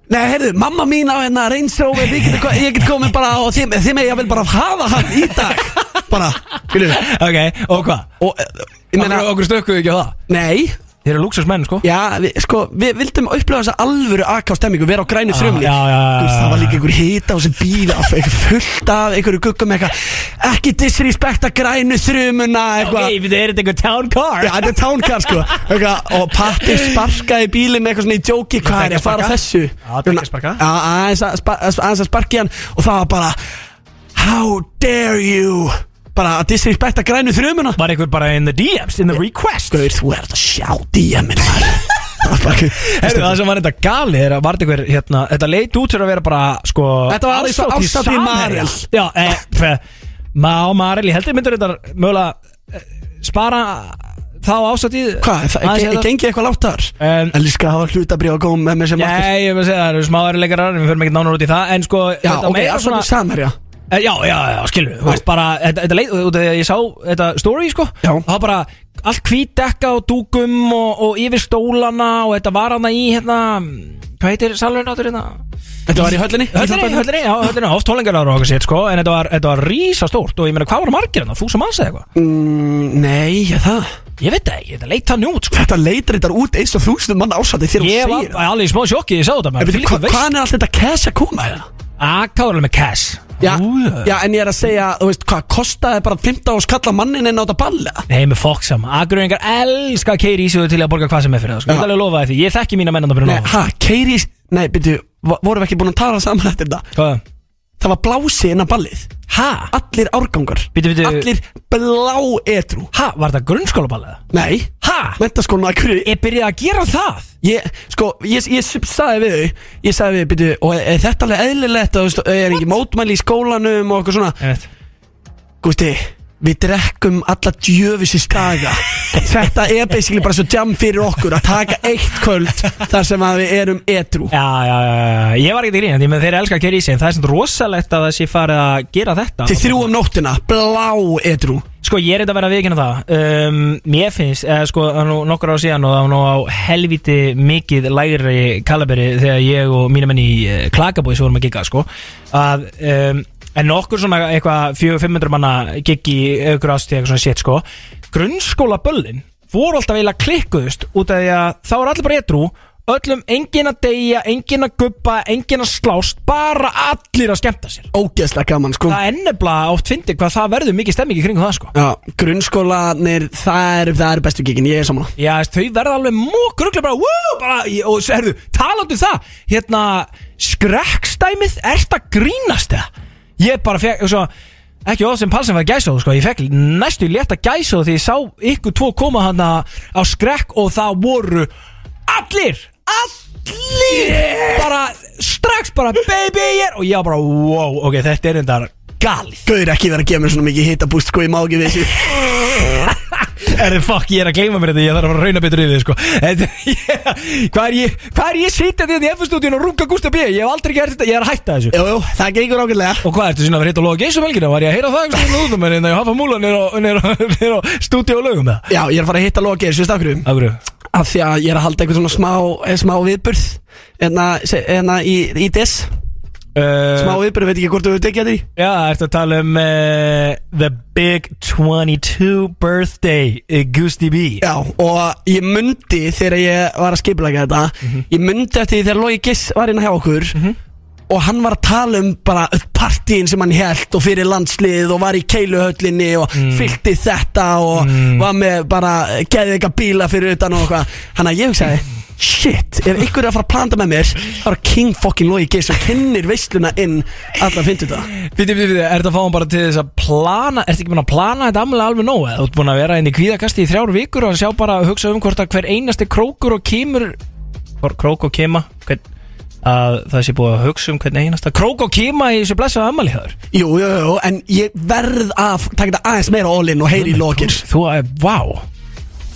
Speaker 2: Nei, heyrðu, mamma mín á hérna Range Rover Ég get, ég get komið bara og þeim, þeim ég vil bara hafa hann í dag Bara, skilju
Speaker 4: Ok, og hvað?
Speaker 2: Og, eh, ég meina,
Speaker 4: Okkur, okkur stökkuðu ekki á það
Speaker 2: nei
Speaker 4: Þeir eru lúksusmenn, sko
Speaker 2: Já, við, sko, við vildum upplifa þessa alvöru AK stemmingu, vera á grænu þrjumli
Speaker 4: Ah, já, já, já,
Speaker 2: Þú veist,
Speaker 4: já,
Speaker 2: Það var
Speaker 4: já.
Speaker 2: líka einhver hita á þessum bíl af einhver fullt af einhverju guggum eitthvað Ekki disrespekta grænu þrjumuna eitthvað
Speaker 4: Ok, þetta er þetta einhver town car
Speaker 2: Já, þetta er tánkar sko eitthvað, Og pappi sparkaði bílinn eitthvað svona í djóki Hvað er ég að fara á þessu?
Speaker 4: Já, tækjasparka.
Speaker 2: Já, aðeins að spa- aðeins að sparki hann Og það var bara How dare you Bara að disrespekta grænu þrjumuna
Speaker 4: Var einhver bara in the DMs, in the request
Speaker 2: Gaur, þú ert að sjá DM-in
Speaker 4: Heru,
Speaker 2: Þetta
Speaker 4: það sem var þetta gali er að var þetta einhver hérna, þetta leit út fyrir að vera bara sko
Speaker 2: Þetta var eins og
Speaker 4: ástátí
Speaker 2: ástátí
Speaker 4: samherja.
Speaker 2: Marel.
Speaker 4: Já, e, fe, má Marel, ég held ég myndur þetta mögulega eh, spara þá ástáttíð
Speaker 2: Hvað, það
Speaker 4: Aðeins
Speaker 2: er
Speaker 4: hérna.
Speaker 2: gengið eitthvað látt þar?
Speaker 4: Em,
Speaker 2: Elskar að hafa hlutabrið og góð með mér sem markast
Speaker 4: Nei, ég vil segja það eru smáðurleikarar, við förum ekkert nánar út í það En sko,
Speaker 2: Já,
Speaker 4: þetta
Speaker 2: ok,
Speaker 4: meira
Speaker 2: afsvöldið samherja
Speaker 4: Eh, Já, já, já, skilur, þú veist bara Þetta, þetta leið, út af því að ég sá þetta story, sko
Speaker 2: Já.
Speaker 4: Það var bara allt hvítdekka og dúkum og, og yfir stólana og þetta var hana í, hérna Hvað heitir salurinn áttur hérna?
Speaker 2: Þetta var í höllinni?
Speaker 4: Höllinni,
Speaker 2: Íþróttahöllinni?
Speaker 4: höllinni, já, höllinni, oft tólengarar og okkur sitt, sko En þetta var, þetta var rísastórt og ég meina, hvað var margir hérna? Þú sem aðsæði eitthvað?
Speaker 2: Mm, nei, já, það
Speaker 4: Ég veit það ekki, þetta leitt hann út, sko
Speaker 2: Þetta leitar þetta út eins og þúsundum manna ásætti þegar
Speaker 4: Ég
Speaker 2: hún
Speaker 4: var
Speaker 2: segir það.
Speaker 4: bara alveg í smá sjokki, ég sá þetta
Speaker 2: En
Speaker 4: maður.
Speaker 2: veitu,
Speaker 4: Þvílíkur
Speaker 2: hva-
Speaker 4: veist-
Speaker 2: Hvaðan er allt þetta cash að koma hérna?
Speaker 4: Akka var alveg með cash
Speaker 2: Já,
Speaker 4: Ú,
Speaker 2: já, en ég er að segja, þú veist, hvað kostaði bara 15 og skalla mannin inn á þetta balla?
Speaker 4: Nei, með fokk saman. Akureyringar elska að keiri í sig til að borga hvað sem er fyrir það. Sko. Ég
Speaker 2: Já.
Speaker 4: ætla alveg að lofa þér því. Ég þekki mína mennandar
Speaker 2: Nei,
Speaker 4: byrjun á.
Speaker 2: ha, Keiri, nei, byrju, vo- vorum við ekki búin að tala saman eftir þetta?
Speaker 4: Hvað?
Speaker 2: Það var blási inn á ballið,
Speaker 4: Sko, Ha?
Speaker 2: allir árgangar,
Speaker 4: Bíddu, bíddu.
Speaker 2: allir blá etrú.
Speaker 4: Ha? Var þetta grunnskólaballið?
Speaker 2: Nei,
Speaker 4: Ha?
Speaker 2: mentaskólan að hverju,
Speaker 4: Ég byrjaði að gera það?
Speaker 2: ég, sko, ég, ég sagði við þau, ég sagði við, byrju, og er, er þetta alveg eðlilegt, að, þú veist, er ekki mótmæli í skólanum og okkur svona?
Speaker 4: Ég veit.
Speaker 2: Gústi, við drekkum alla djöfis í staga Þetta er basically bara svo jam fyrir okkur að taka eitt kvöld þar sem að við erum edru
Speaker 4: Já, já, já, já. Ég var ekki til grínandi, menn þeir elska að keira í sig. En það er svona rosalegt að þessi farið að gera þetta.
Speaker 2: Til þrjú um nóttina, blá edru
Speaker 4: Sko, ég er eitthvað að vera að viðkynna það um, Mér finnst, eða sko, það er nú nokkur á síðan og það var nú á helviti mikið lægri kalaberi þegar ég og mína menn í eh, Klakabói sem vorum að gigga, sko að, um, en nokkur svona eitthvað 400-500 manna giggi aukur ástíð eitthvað svona shit, sko Grunnskóla böllin voru alltaf eiginlega klikkuðust út af því að þá er allir bara edru öllum engin að deyja, engin að guppa engin að slást, bara allir að skemmta sér
Speaker 2: Ógeðslega gaman, sko
Speaker 4: Það ennefla oft fyndi hvað það verður mikið stemming í kringu það, sko
Speaker 2: Já, grunnskólanir, það eru það er bestu gikin, ég er saman
Speaker 4: Já, þess, þau verða alveg mók röglega bara, wow, bara í- og svo, herðu, talandu það hérna, skrekkstæmið ert að grínast það ég bara fekk, og svo ekki of sem palsin var gæsóð, sko, ég fekk næstu létta gæsóð því ég sá ykkur tvo koma hana á skrekk og það voru allir allir, bara strax bara, baby, ég er og ég var bara, wow, ok, þetta er endar galið,
Speaker 2: Gauður ekki verið að gefa mér svona mikið hitabúst, sko, ég má ekki við þessu
Speaker 4: er þið fuck, ég er að gleyma mér þetta ég þarf að fara að rauna betur yfir þið sko Þetta- ég- hvað er ég, hvað er ég sýttið þetta í F-stúdíun og runga Gústa B ég hef aldrei gert þetta, ég er að hætta þessu
Speaker 2: Jú, jú, það gengur ákveðlega
Speaker 4: og hvað ertu sinna að vera hérna hitt og loga geisum um helgina var ég að heyra það einhvers veginn út um en ég hafa múla nýr á stúdíu og lögum það
Speaker 2: Já, ég er að fara að hitta loka þessu stakkurum
Speaker 4: af hverju,
Speaker 2: Af því að ég er að halda eitthvað svona smá, eh, smá viðburð Enna, enna í, í des
Speaker 4: uh,
Speaker 2: Smá viðburð, veit ekki hvort þú hefur tekið þetta í
Speaker 4: já, ertu að tala um uh, the big 22 birthday uh, Gusti B
Speaker 2: Já, og ég myndi þegar ég var að skiplega þetta Ég myndi eftir því þegar Logi Giss var inn hjá okkur Og hann var að tala um bara öll partíin sem hann held og fyrir landslið og var í keiluhöllinni og fyllti þetta og var með bara geðið eitthvað bíla fyrir utan og eitthvað Þannig að ég hugsaði, shit, ef ykkur er að fara að planta með mér þá er King fucking Logi Giss og kennir veisluna inn allan fyndu þetta
Speaker 4: Býti, býti, býti, ertu að fá hann bara til þess að plana Ertu ekki búin að plana þetta amlega alveg nóg eða Þú ert búin að vera inn í kvíðakasti í þrjár vikur og sjá bara að hugsa um hvort að hver einasti krókur og kýmur Hvor krók og kýma hvern, að það sé búið að hugsa um hvern einasta krók og kýma í þessu blessaða ammali hér
Speaker 2: Jú, jú, jú, en ég verð að taka þetta aðeins meira all-in og heyri í Logi
Speaker 4: Þú að, vá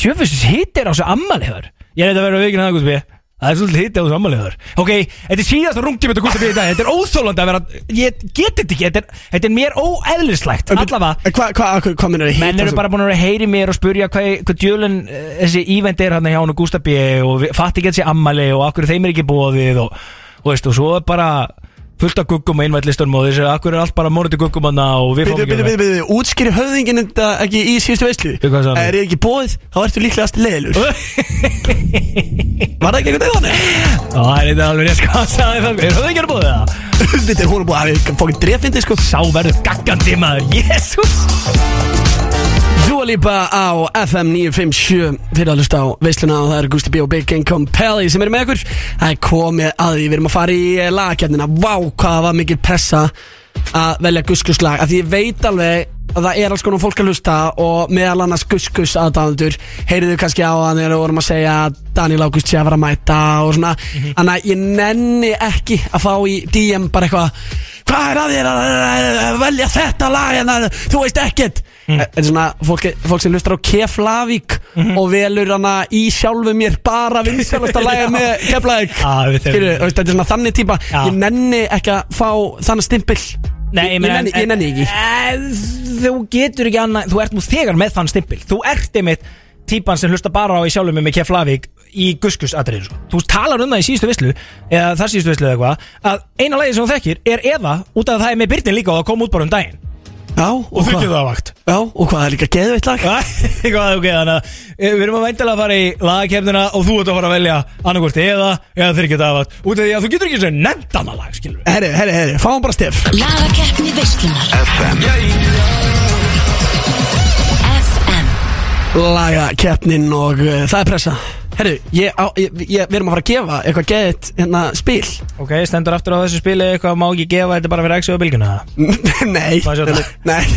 Speaker 4: Tjöfus hittir á þessu ammali hér Ég er þetta að vera vikinn að það, Guðsby Það er svolítið hitti á þessu ammali hér Ok, þetta er síðasta rungtíma þetta Guðsby í dag Þetta er óþólandi að vera Ég get þetta ekki, þetta er, þetta er mér óeðlislægt Allavega
Speaker 2: En Hvað hva, hva, hva minnur þið?
Speaker 4: Menn eru bara búin að vera að heyri mér og spurja hvað, hvað djölun þessi ívend er hann hjá hann og Gústabi og við- fatti ekki þessi ammali og akkur þeim er ekki bóðið og, og veist og svo er bara fullt af guggum og innvætlistunum og þessi akkur er allt bara morandi guggum hann og við
Speaker 2: Bíðu,
Speaker 4: fáum
Speaker 2: bíðu,
Speaker 4: ekki
Speaker 2: bíðu, bíðu, útskýri höfðingin þetta ekki í síðustu veislu
Speaker 4: Við hvað sagði hann?
Speaker 2: Er ég ekki bóðið, þá ertu líklegast leðilur Var það ekki eitthvað þannig?
Speaker 4: Á, Það er þetta alveg rétt sko hann sagði það Er það ekki að bóðið það?
Speaker 2: Þetta er hún er búin að hafa fókin drefindi sko
Speaker 4: Sá verður gaggandi maður, jésús
Speaker 2: Þú að lípa á FM 957 fyrir að hlusta á veisluna og það er Gusti B og Big Game Compelli sem eru með okkur Það er komið að því, við erum að fara í lagakjarnina Vá, hvað það var mikil pressa að velja guskus lag Af því ég veit alveg að það er alls konar fólk að hlusta og meðal annars guskus aðdándur heyriðu kannski á hann þegar við vorum að segja að Daniel August sé að vera að mæta og svona Þannig að ég nenni ekki að fá í DM bara eitthvað Hvað er að þér að- að að velja þetta lag en að- þú veist ekkert
Speaker 4: Mm.
Speaker 2: En svona fólk, fólk sem hlustar á Kef Lavík
Speaker 4: Mhm.
Speaker 2: og velur hana í sjálfu mér bara vinsælasta laga með Kef Lavík
Speaker 4: Já, við þeim-
Speaker 2: Þetta er svona þannig típa
Speaker 4: Já.
Speaker 2: Ég nenni ekki að fá þannig stimpil
Speaker 4: Nei,
Speaker 2: Ég- ég nenni- ég nenni ekki.
Speaker 4: ekki Þú getur ekki annað, þú ert nú þegar með þann stimpil Þú ert einmitt típan sem hlusta bara á í sjálfum með Keflavík í guskusatriðin sko. Þú talar um það í síðustu vislu eða þar síðustu vislu eða eitthvað að eina lagi sem þú þekkir er eða út af að það er með Byrnin líka og það kom út bara um daginn
Speaker 2: Já, og,
Speaker 4: og þú
Speaker 2: hvað?
Speaker 4: getur það vakt
Speaker 2: Já, og hvað er líka geðveitt lag?
Speaker 4: Hvað, ok, þannig að eh, við erum að væntalega að fara í lagakefnina og þú ert að fara að velja annarkvort eða eða þeir ekki það vakt út af því að þú getur ekki þessu nefndana lag, skilur
Speaker 2: Herri, herri, herri, fáum bara stef
Speaker 5: Lagakeppni veislunar FM
Speaker 2: Laga keppnin og uh, það er pressa Herru, ég, á, ég, ég, við erum að fara að gefa eitthvað geðveitt hérna spil
Speaker 4: Ok, stendur aftur á þessu spili eitthvað má ekki gefa þetta bara fyrir exu og bylgjuna
Speaker 2: Nei,
Speaker 4: Má ég sjá
Speaker 2: nei,
Speaker 4: þetta?
Speaker 2: nei.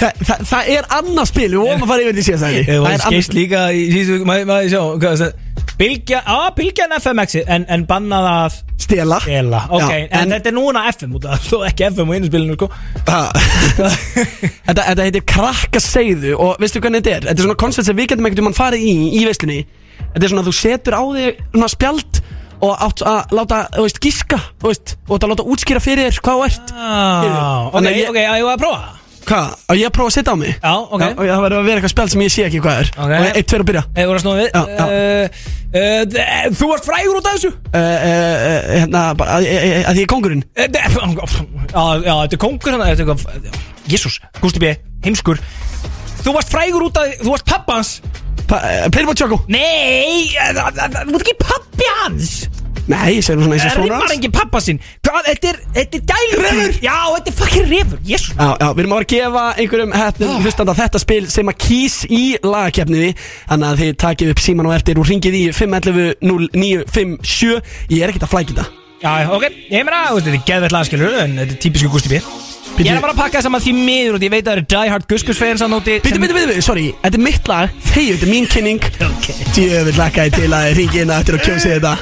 Speaker 2: Þa, það, það er annað spil, við vorum að fara yfir því síðast að
Speaker 4: Það
Speaker 2: Það
Speaker 4: var
Speaker 2: er annað
Speaker 4: skeist líka í síðustu Maður ma, sjá, hvað það Bylgja, á, bylgjan FM exi en, en bannað að
Speaker 2: stela
Speaker 4: stela Ok,
Speaker 2: Já,
Speaker 4: en, þetta er núna FM út af Þú ekki FM og einu spilinu sko
Speaker 2: Ha. þetta, þetta heitir krakkaseiðu og veistu hvernig þetta er? Þetta er svona koncept sem við getum ekkert um hann farið í í veislunni Þetta er svona að þú setur á þig svona spjald og átt að láta, þú veist, gíska þú veist, og átt að láta útskýra fyrir þér hvað þú ert
Speaker 4: ah, Ok,
Speaker 2: Þannig að ég-
Speaker 4: ok, að ég var að prófa það?
Speaker 2: Hvað? Á ég að prófa að setja á mig?
Speaker 4: Já, ok
Speaker 2: Já, og það verður að vera eitthvað spjald sem ég sé ekki hvað er
Speaker 4: Ok.
Speaker 2: Og eitt fyrir að byrja uh,
Speaker 4: Ég voru að snúa við
Speaker 2: Já, já.
Speaker 4: uh, uh, Þú varst frægur út af þessu
Speaker 2: uh, uh, Hérna, bara, að, að, að því ég er kongurinn
Speaker 4: Eh, de- Já, já, þetta er kongur hann Þetta er eitthvað Jésús, Gústi B, heimskur Þú varst frægur út af Þú varst pappans
Speaker 2: Pa- eh, Playboy Choco
Speaker 4: Nei, eh, það- það- það- þú ert ekki pappi hans
Speaker 2: Nei, ég segir svona eins og
Speaker 4: Það
Speaker 2: svona
Speaker 4: rimar
Speaker 2: Já,
Speaker 4: ekki pappa sinn Hvað, þetta er, þetta er dælur Refur Já, þetta er fucking refur Jésus
Speaker 2: já, við erum að vera að gefa einhverjum hefnum
Speaker 4: Ah.
Speaker 2: oh. hlustanda þetta spil sem að kýs í lagakefniði Þannig að þið takið upp síman og eftir og ringið í 511-0957 Ég er ekkert að flækja þetta
Speaker 4: Já, ok, ég meina, þú veist, þetta er geðvett lagskilur En þetta er típisku Gusti B Ég er bara að pakka saman því miður út Ég veit að það eru Die Hard Guskus fans að nóti
Speaker 2: Bitti, bitti, bitti, sorry, þetta er mitt lag, þegar þetta er mín kynning
Speaker 4: Ok.
Speaker 2: Djöfull lakkaði til að ringi inn aftur og kjósi þetta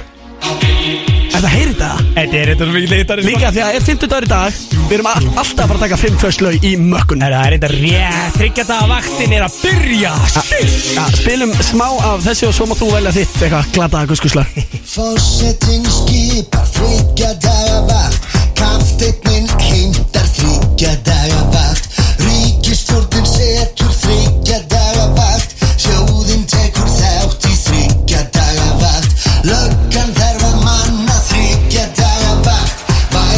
Speaker 2: Þetta heyri þetta
Speaker 4: Þetta er þetta mikið leitari
Speaker 2: Líka því að er 50 dagur í dag Við erum all- alltaf að fara að taka 5 föslau í mökkun
Speaker 4: Það er þetta rétt Tryggja það að vaktin er að byrja Shit.
Speaker 2: ja, Spilum smá af þessu og svo má þú velja þitt Eitthvað glataða guskuslag
Speaker 6: Fórsetin skipar þryggja daga vakt Kafteitnin heimtar þryggja daga vakt Ríkistjórnin setur þryggja daga vakt Sjóðin tekur þátt í þryggja daga vakt Löggan þarf að manna þryggja daga vakt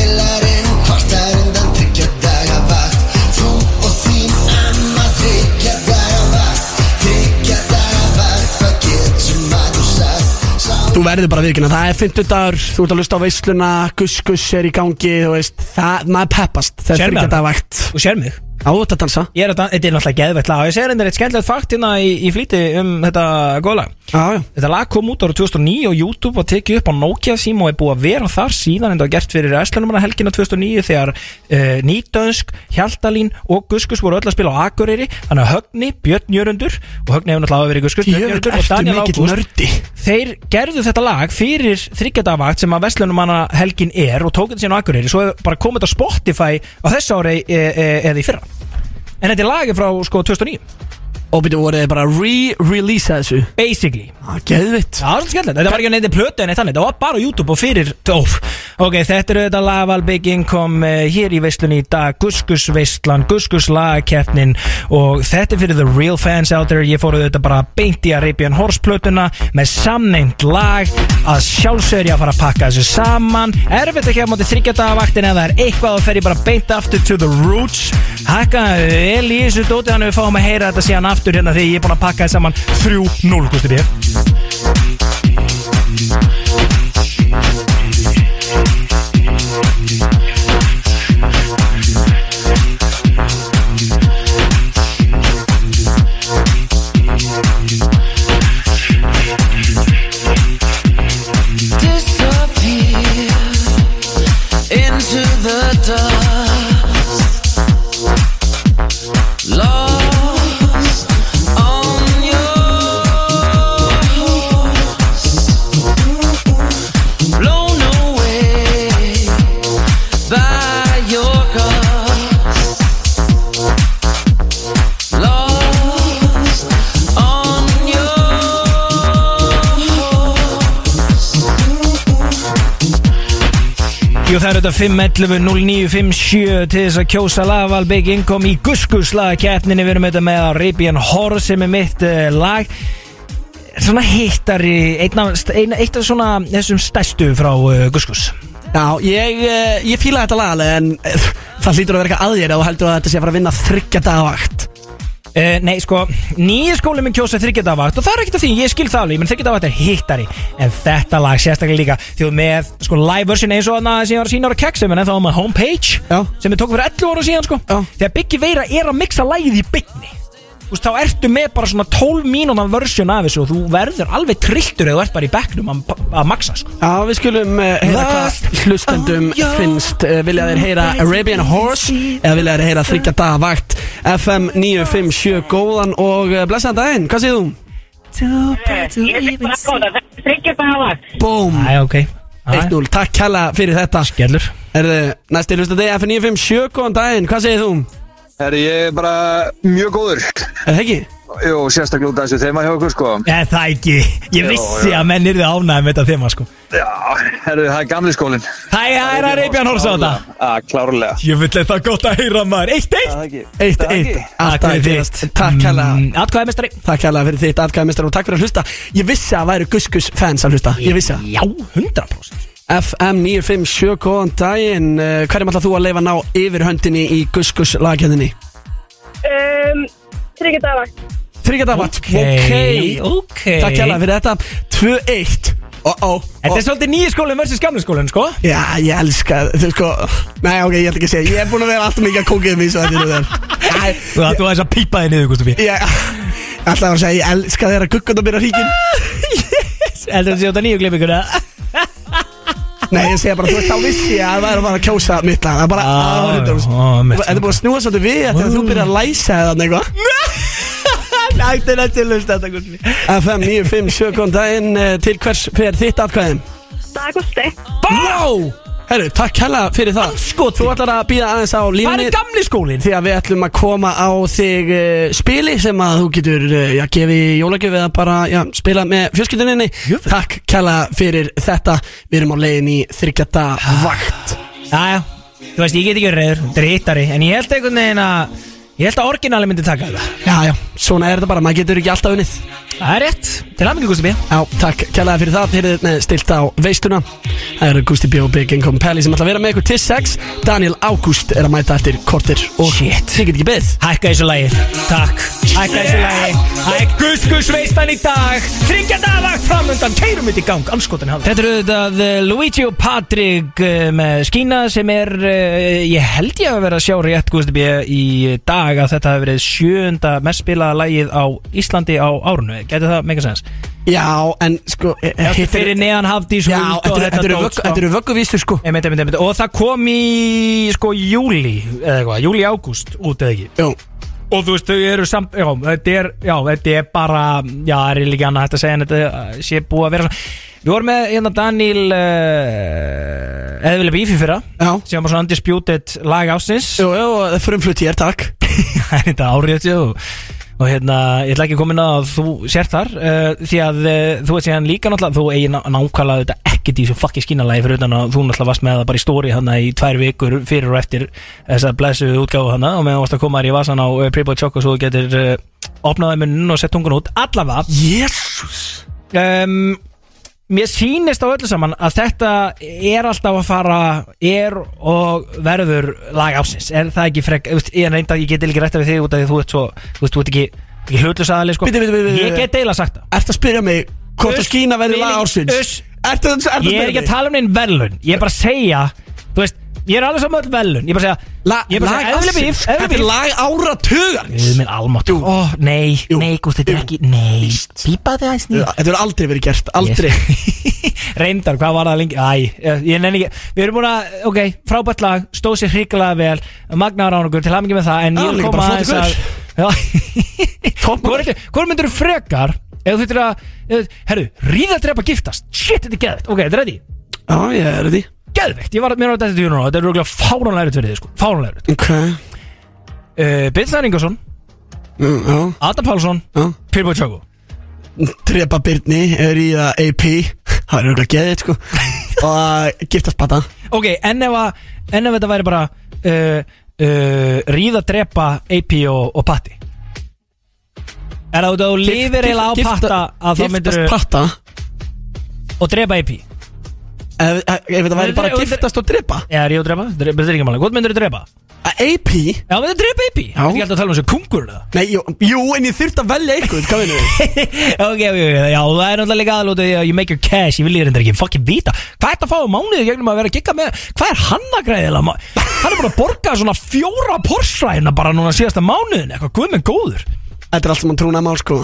Speaker 6: Vælarinn kvartar undan þryggja daga vakt Þú og þín amma þryggja daga vakt Þryggja daga vakt, hvað getur maður sagt? Sá
Speaker 2: Þú verður bara virkina, það er 50 dagur Þú ert að lusta á veisluna, guskus er í gangi Þú veist, það, maður peppast Það er
Speaker 4: Sérðu
Speaker 2: 30
Speaker 4: hana?
Speaker 2: daga vakt
Speaker 4: Þú sér mig
Speaker 2: Á þetta að dansa
Speaker 4: Ég er að, dan- þetta er náttúrulega geðvett lag Og ég segir þetta er eitt skemmtilegt fakt hérna í, í flýti um þetta góð lag
Speaker 2: Já, já
Speaker 4: Þetta lag kom út ára 2009 og YouTube var tekið upp á Nokia síma og er búið að vera þar síðan en það var gert fyrir æslanumanna helgina 2009 þegar uh, Nýdönsk, Hjaltalín og Guskus voru öll að spila á Akureyri þannig að Högni, Björn Jörundur og Högni hefur náttúrulega verið í Guskus, Björn
Speaker 2: Jöfull
Speaker 4: Jörundur og
Speaker 2: ertu
Speaker 4: Daniel
Speaker 2: mikill
Speaker 4: Ágúst
Speaker 2: nördi
Speaker 4: Þeir gerðu þetta lag fyrir þryggjadavakt sem að Vestlunumanna helgin er og tók þetta síðan á Akureyri svo hefur bara komið þetta á Spotify á þessu ári e, e, eða í fyrra En þetta er lagið frá sko 2009
Speaker 2: Og byrju voruð þið bara að re-releasa þessu
Speaker 4: Basically
Speaker 2: Já, geðvitt
Speaker 4: Já, það var svolítið skemmtilegt, þetta var ekki að neyndi plötu en eitt þannig, þetta var bara á YouTube og fyrir tóf Ok, þetta eru þetta lagvalbygging kom uh, hér í veislunni í dag Guskusveislan, Guskuslagkeppnin og þetta er fyrir the real fans out there Ég fóruð þetta bara beint í Arabian Horse plötuna með samneint lag að sjálfsögur ég að fara að pakka þessu saman Erfitt ekki að móti þryggjadagavaktin eða það er eitthvað þá fer ég bara beint aftur to the roots Hakka vel í þessu dóti þannig við fáum að heyra þetta síðan aftur hérna þegar ég er búin að pakka þessu saman 3-0, Gusti B.
Speaker 7: disappear into the dust, lost on your
Speaker 4: auðvitað 511 0957 til þess að kjósa lagval Big Income í Guskus lagaketninni við erum auðvitað með Arabian Horror sem er mitt uh, lag svona hittari einn af, einn, eitt af svona þessum stærstu frá uh, Guskus
Speaker 2: Já, ég, eh, ég fíla þetta lagalega en eh, það hlýtur að vera eitthvað að þér og heldur að þetta sé að fara að vinna þryggja dagavakt
Speaker 4: Uh, nei, sko, nýju skóli minn kjósa þryggjadavakt og það er ekkert að því, ég skil það alveg, menn þryggjadavakt er hittari en þetta lag sérstaklega líka því að með, sko, live version eins og þarna sem ég var að sína ára keksum en þá var maður homepage
Speaker 2: Já.
Speaker 4: sem við tókum fyrir 11 ára síðan, sko
Speaker 2: Já.
Speaker 4: þegar Biggi Veira er að mixa lagið í byggni Þú veist, þá ertu með bara svona 12 mínúna version af þessu og þú verður alveg trilltur eða þú ert bara í bekknum að, að maxa, sko
Speaker 2: Já, við skulum uh, heyra
Speaker 4: Last-
Speaker 2: hvað hlustendum
Speaker 4: Oh, yeah.
Speaker 2: finnst uh, Vilja þeir heyra Arabian Horse eða vilja þeir heyra þryggja dagavakt FM 957 góðan og uh, blessaðan daginn, hvað segir þú?
Speaker 8: Ég sé bara góða, það er þryggja daga vakt.
Speaker 2: Búm,
Speaker 4: Æ, ok, Æ,
Speaker 2: 1-0, takk kæla fyrir þetta
Speaker 4: gerður
Speaker 2: Er þið næsti hlustandi FM 957 góðan daginn, hvað segir þú?
Speaker 9: Herri, ég er bara mjög góður.
Speaker 2: Er það ekki?
Speaker 9: Jú, sérstaklega út af þessu þeima hjá okkur, sko.
Speaker 4: Eða Eh, það ekki, ég vissi að menn yrði ánægð með þetta þema, sko
Speaker 9: Já, herri, það er gamli skólinn.
Speaker 4: Hæ, hæ, hæ, Reybjörn Horsa á þetta
Speaker 9: Já, klárlega.
Speaker 4: Ég vil þetta gott að heyra maður Eitt, eitt Mm,
Speaker 9: Það ekki.
Speaker 2: Eitt,
Speaker 9: Það
Speaker 2: eitt,
Speaker 9: ekki.
Speaker 2: alltaf að gerast Takk kæla
Speaker 4: Atkvæði mestari
Speaker 2: Takk hérlega fyrir þitt atkæðmestrar og takk fyrir að hlusta Ég vissi að það væru Guskus fans að hlusta Ég vissi það
Speaker 4: Já, 100%
Speaker 2: FM 957, góðan daginn Eh, Hverjum ætlað þú að leifa ná yfir höndinni í Guskus lagkjöndinni?
Speaker 8: Um, þryggja daga vakt.
Speaker 2: Þryggjadavart
Speaker 4: Ok, ok
Speaker 2: Takk hérlega fyrir þetta 2-1 Oh oh
Speaker 4: Þetta er svolítið nýja skólinn versus gamla skólinn, sko
Speaker 2: Já, ég elska Þú sko Nei, ok, ég ætla ekki að segja Ég er búin að vera allt mikið að kókið mér Svo þetta er það Æ,
Speaker 4: Þú ættu aðeins að pípa þig niður, Gustaf
Speaker 2: ég Alltaf að segja Ég elska þeirra guggund að byrja ríkin
Speaker 4: Heldur þetta sé út af nýju glipinguna
Speaker 2: Nei, ég segja bara Þú veist, þá vissi ég að það er að fara að kjósa mitt lag Það er bara
Speaker 4: Á,
Speaker 2: ah,
Speaker 4: á, mitt
Speaker 2: Þetta er búin að snúa svolítið við Þetta er að þú byrja að læsa eða eitthvað
Speaker 4: Þetta er nættið lust þetta, Gustaf
Speaker 2: FM 957, góðan daginn eh, Til hvers fer þitt atkvæðin?
Speaker 8: Dagusti.
Speaker 2: Wow! Herru, takk hella fyrir það Sko, þú ætlar að býða aðeins á
Speaker 4: Hvað
Speaker 2: línunni
Speaker 4: er gamli skólinn?
Speaker 2: Því að við ætlum að koma á þig uh, spili sem að þú getur uh, já, gefið í jólagjöf eða bara já, spila með fjölskylduninni
Speaker 4: Jöfull.
Speaker 2: Takk kella fyrir þetta Við erum á leiðin í þryggjata vakt
Speaker 4: Jæja, þú veist, ég get ekki verið reyður Þetta er hittari En ég held einhvern veginn að Ég held að orginali myndi taka þetta
Speaker 2: Já, já, svona er þetta bara, maður getur ekki alltaf unnið
Speaker 4: Það er rétt Til aðmyggju, Gustaf
Speaker 2: Já, takk kella fyrir það Þeir eru með stilt á veistuna Það eru Gusti Bjó, Big Income Pally sem ætla að vera með ykkur til 6 Daniel Ágúst er að mæta eftir kortir og
Speaker 4: Shit.
Speaker 2: Ég get ekki beðið
Speaker 4: Hækka þessu lagi, takk Hækka þessu lagi Hækka gus gus veistan í dag Tryggja dagvakt framundan, keirum við í gang Anskotin hafði Þetta eru auðvitað eh, Luigi og Patrick eh, með skína sem er eh, Ég held ég að vera að sjá rétt Gusti B í dag að þetta hafi verið sjönda mest spilaða lagið á Íslandi á árunu Gæti það mega sens
Speaker 2: Já, en sko eh, eh,
Speaker 4: Þetta fyrir neðan Hafdís
Speaker 2: Já,
Speaker 4: Huld og
Speaker 2: þetta eru- þetta eru
Speaker 4: dót,
Speaker 2: vöggu-
Speaker 4: sko.
Speaker 2: þetta eru vögguvísur sko
Speaker 4: Einmitt, einmitt, einmitt. Og það kom í sko júli eða eitthvað, júli ágúst út eða ekki
Speaker 2: Jú,
Speaker 4: Og þú veist, þau eru samt, já, þetta er, já, þetta er bara, já, það er líka annað hægt að segja en þetta uh, sé búið að vera svona Við vorum með, hérna, Daniel, uh, eða vilja bífi fyrra,
Speaker 2: já
Speaker 4: sem var svona undisputed lag ásins
Speaker 2: Jú, jú, frumflutt hér, takk
Speaker 4: Það er þetta árið þetta og, og hérna, ég ætla ekki að koma inn á að þú sér þar uh, Því að uh, þú veist, hérna líka náttúrulega, þú eigi ná- nákvæmlega þetta ekkert í þessu fucking skínalagi Fyrir utan að þú náttúrulega varst með það bara í stóri hana í tvær vikur fyrir og eftir þessa blessuðu útgáfu hana Og meðan varst að koma þér í vasan á uh, Prebo Choco svo þú getur uh, opnaði munnin og sett tungun út Allavega
Speaker 2: Jésús
Speaker 4: um, Mér sýnist á öllu saman að þetta er alltaf að fara er og verður lag ásins er það ekki frek, þú veist, ég reynda ég get ekki rætta við þig út af því að þú ert svo þú veist, þú ert ekki, ekki hlutlösaðaleg sko.
Speaker 2: Bíddu, bíddu, bíddu, bíddu.
Speaker 4: ég get deila sagt það
Speaker 2: Ertu að spyrja mig hvort
Speaker 4: Uss,
Speaker 2: að skína verði
Speaker 4: Billy,
Speaker 2: lag ársins?
Speaker 4: uss.
Speaker 2: Ertu ertu að
Speaker 4: ég er
Speaker 2: spyrja
Speaker 4: ekki að
Speaker 2: mig?
Speaker 4: tala um neinn velun ég er bara að segja, þú veist ég er alveg saman öll velun, ég er bara að segja
Speaker 2: La,
Speaker 4: ég er bara að
Speaker 2: lag
Speaker 4: segja, eðli
Speaker 2: ársins?
Speaker 4: bíf, eðli
Speaker 2: Þetta er
Speaker 4: bíf
Speaker 2: lag áratugar
Speaker 4: Guð minn almátt,
Speaker 2: Jú.
Speaker 4: ó nei,
Speaker 2: Jú.
Speaker 4: nei, gúst, þetta er
Speaker 2: Jú.
Speaker 4: ekki, nei, pípaði aðeins nýtt
Speaker 2: Þetta verður aldrei verið gert, aldrei
Speaker 4: Reyndar, hvað var það lengi? Æ, ég- ég nenni ekki Við erum búin að, ok, frábært lag Stóð sér hrikalega vel Magnaður án okkur, til hamingi með það En
Speaker 2: Já,
Speaker 4: ég vil
Speaker 2: Ah, líka
Speaker 4: koma aðeins að
Speaker 2: bara flottur
Speaker 4: Hvor ertu- hvor myndirðu frekar Ef þú þurftir að ef- Herru, ríða að drepa giftast Shit, þetta er geðvegt Ok, þetta er ready
Speaker 2: Já, ég er því
Speaker 4: Geðvegt, ég var mér á þetta til júna Þetta er rúglega fáránlærið fyrir þið sko Fáránlærið
Speaker 2: Ok,
Speaker 4: uh, Byrðsar Ingarsson,
Speaker 2: Mm, já,
Speaker 4: Adam Pálsson,
Speaker 2: já
Speaker 4: Pirbo Tjóko
Speaker 2: Trepa Byrni, Ríða AP Það er auðvitað geðið, sko Og giftast bata
Speaker 4: Ok, en ef, að, en ef þetta væri bara uh, uh, Ríða, drepa, AP og, og patti Er það út að þú lifir eiginlega á patta að þá myndir
Speaker 2: Giftast patta
Speaker 4: og drepa AP
Speaker 2: Ef ef þetta væri
Speaker 4: Nei,
Speaker 2: bara
Speaker 4: nei,
Speaker 2: giftast og drepa
Speaker 4: Já, er ég að drepa? Drepa, þetta er ekki máli, hvað myndir þú drepa?
Speaker 2: Að AP?
Speaker 4: Já, myndir þú drepa AP?
Speaker 2: Já.
Speaker 4: Ég held að tala um þessu kungur eða?
Speaker 2: Nei, jú, jú, en ég þurft að velja einhvern, hvað veinu við?
Speaker 4: ok, ok, ok, já, það er náttúrulega líka aðlótið því að you make your cash, ég vil ég reynda ekki fucking vita Hvað er þetta að fá um mánuðið gegnum að vera að gigga með Hvað er hann að græðilega? ma- Hann er búin að borga svona fjóra porsræna bara núna síðasta mánuðin Eitthvað guð minn góður
Speaker 2: Þetta er allt sem mann trúna mál, sko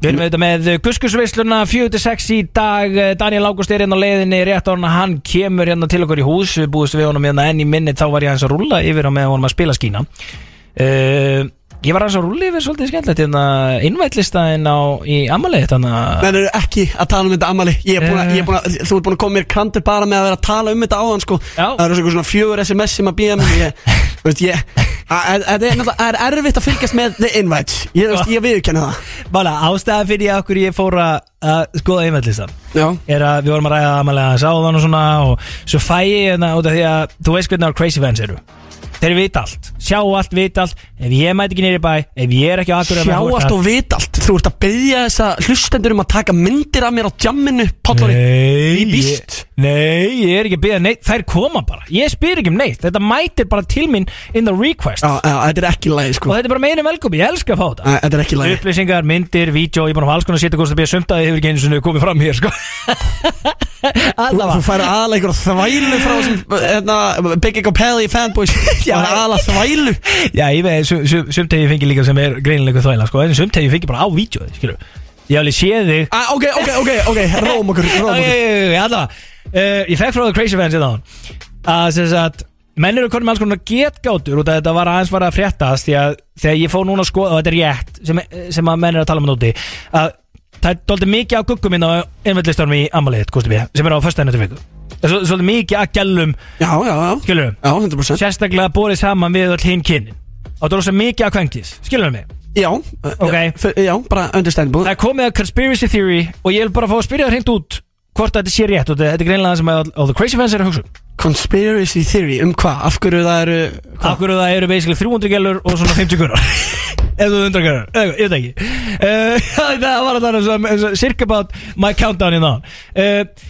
Speaker 4: Við erum auðvitað með Guskusveisluna 4-6 í dag Daniel Ágúst er hérna á leiðinni rétt á hann Hann kemur hérna til okkur í hús Við búist við honum hérna enn í minni Þá var ég hans að rúlla yfir á með honum að spila skína uh, Ég var hans að rúlla yfir svolítið skemmtilegt hérna innvætlistaðin á í amalið þannig að
Speaker 2: Nei, það eru ekki að tala um þetta amali ég er
Speaker 4: Eh.
Speaker 2: búin að, ég er búin að, Þú ert búin að koma mér kantur bara með að vera að tala um þetta áðan sko.
Speaker 4: Já.
Speaker 2: Það eru svona fjögur SMS sem að býja mér ég, þú veist, ég, að, að, að, að, Það er erfitt að fylgjast með The Invites Ég, þú veist, ég viðurkenna það
Speaker 4: Mála, ástæðan fyrir ég okkur ég fór að, að skoða einvætlistan
Speaker 2: Já.
Speaker 4: er að við vorum að ræða amalega að sáðan og svona og svo fæ ég hérna út af því að þú veist hvernig að crazy fans eru þeir vita allt, sjá allt, vita allt ef ég mæti ekki nýri bæ, ef ég er ekki á akkur
Speaker 2: Sjá allt og vit allt Þú ert að byggja þessa hlustendur um að taka myndir af mér á jamminu Pállari
Speaker 4: Nei,
Speaker 2: Í víst.
Speaker 4: ég- nei, ég er ekki að byrja neitt Þær koma bara, ég spyr ekki um neitt Þetta mætir bara til mín in the request
Speaker 2: Já, já, þetta er ekki lægi
Speaker 4: Og
Speaker 2: sko Æ,
Speaker 4: þetta er bara meina velkomi, ég elska að fá þetta
Speaker 2: Þetta er ekki lægi
Speaker 4: upplýsingar, myndir, vídeo, ég er búin að fá alls konar sétta hvort það býja sumt að þið hefur ekki einu sinni komið fram hér sko.
Speaker 2: Þú
Speaker 4: Allavega
Speaker 2: færi aðalega einhverja þvælu frá þessum hérna, Big Ego Pelli fanboys Já, aðalega þvælu
Speaker 4: Já, ég veið, sum- sum- sumt hef ég fengið líka sem er greinilega þvæla sko, en sumt hef ég fengið bara á vídeo skilur, ég hef alveg séð þig
Speaker 2: Ah, Ok, ok, ok, ok, róm okkur, róm
Speaker 4: Já,
Speaker 2: okkur
Speaker 4: já, já, já, allavega uh, Ég fekk frá The Crazy Fans í þaðan að sem sagt menn eru konum með alls konar getgátur út af þetta var aðeins var að fréttast því að þegar ég fór núna að skoða og þetta er rétt sem, sem að menn eru að tala um þetta úti að það er dóldi mikið á guggum minn á einveldlistanum í ammaliðið, Gusti B sem er á föstæðinu til viku það er svolítið mikið að gælum,
Speaker 2: Já, já, já
Speaker 4: skilurum
Speaker 2: Já, 100%
Speaker 4: sérstaklega borið saman við öll hinn kynin og það er rosa mikið að kvengis, skilurum mig
Speaker 2: Já,
Speaker 4: Ok.
Speaker 2: já, f- já, bara
Speaker 4: það
Speaker 2: understandable
Speaker 4: er komið að conspiracy theory og ég vil bara fá að spyrja það hreint út hvort þetta sé rétt og þetta þetta er greinlega það sem að all the crazy fans eru að hugsa um.
Speaker 2: Conspiracy theory, um hvað? Af hverju það eru
Speaker 4: af hverju það eru basically 300 gælur og svona 50 gunnar ef þú 100 gunnar, ég veit ekki uh, það var að tala um svona- um svona circa about my countdown in það uh,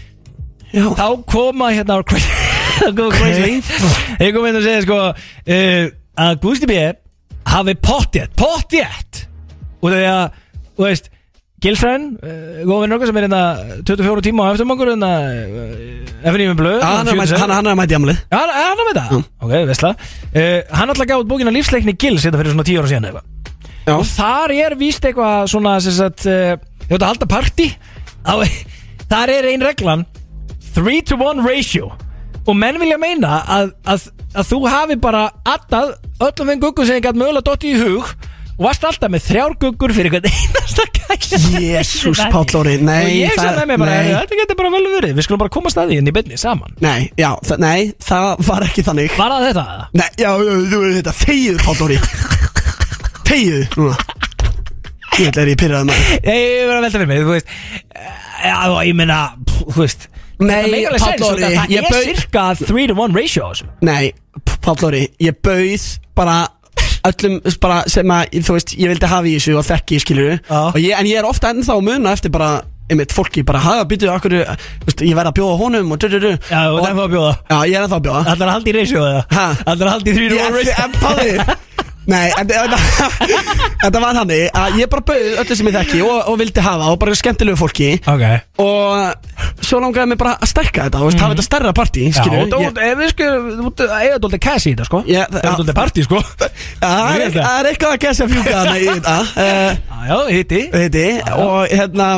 Speaker 2: Já,
Speaker 4: þá koma hérna á crazy þá koma crazy ég kom inn og segja sko uh, að Gusti B hafi pottjett, pottjett og því að, þú veist Gilfræn, uh, góð vinnur okkar sem er hérna 24 tíma á eftir mangur hérna uh, FNÍM Blöð
Speaker 2: Já, Ah, hann er að mæta-
Speaker 4: 47.
Speaker 2: hann- hann er að mæta jamlið
Speaker 4: Já, hann- hann er með það?
Speaker 2: Mm.
Speaker 4: Ok, veistla uh, Hann alltaf gaf út bókina Lífsleikni Gils Þetta fyrir svona tíu ára síðan eða eitthvað
Speaker 2: Já,
Speaker 4: Og þar er víst eitthvað svona sem sagt, uh, Ég veit að halda partí á- Þar er ein reglan 3 to 1 ratio Og menn vilja meina að, að, að þú hafi bara Attað öllum þeim guggum sem þið gætt mögulega dotti í hug Og varst alltaf með þrjár guggur fyrir hvern einasta gæja
Speaker 2: Jésús,
Speaker 4: Þetta er-
Speaker 2: Páll Óri, nei,
Speaker 4: Og ég sem
Speaker 2: það-
Speaker 4: með mér bara,
Speaker 2: nei.
Speaker 4: "Heyrðu, þetta getur bara vel verið Við skulum bara koma staðið inn í beinni saman
Speaker 2: nei, já, þa- nei, það var ekki þannig
Speaker 4: Var það þetta? eða?
Speaker 2: Nei, já, já, þú veist þetta, þegiðu Pállóri Þegiðu, núna Ég ætla er ég pyrraði maður
Speaker 4: Nei, ég var að velta fyrir mig, þú veist Já, ég meina, pff, þú veist Það
Speaker 2: Nei,
Speaker 4: meikar alveg sens,
Speaker 2: Pállóri,
Speaker 4: það
Speaker 2: ég
Speaker 4: er
Speaker 2: bauð
Speaker 4: cirka 3 to 1 ratio á þessu.
Speaker 2: Nei, Pállóri, ég bauð bara öllum bara sem að, þú veist, ég vildi hafa í þessu og þekki, skilur
Speaker 4: Já.
Speaker 2: og ég, en ég er ofta ennþá að muna eftir bara einmitt fólki, bara hafa byttu okkur, þú veist, ég verð að bjóða honum og dörru, dörru
Speaker 4: Já, þú ert ennþá að bjóða
Speaker 2: Já, ég er ennþá að bjóða
Speaker 4: Allar að halda í ratio eða
Speaker 2: Ha?
Speaker 4: Allar að halda í 3 to 1
Speaker 2: Ég-
Speaker 4: ratio
Speaker 2: En Palli Nei, en en- þetta var þannig að ég bara bauð öllu sem ég þekki og, og vildi hafa og bara skemmtilegu fólki
Speaker 4: Ok
Speaker 2: og svo langaði mig bara að stækka þetta og mm. hafa þetta stærra partí
Speaker 4: Mhm. Já,
Speaker 2: skilurðu.
Speaker 4: og þú ert- ef við skulum, þú ert að eiga dóldi cash í þetta sko
Speaker 2: Já,
Speaker 4: Það er
Speaker 2: já.
Speaker 4: dóldi party sko
Speaker 2: Já, Það er- það er eitthvað að gæsa fjúka þarna í þetta eh,
Speaker 4: Já, já, hitti
Speaker 2: heiti, og hérna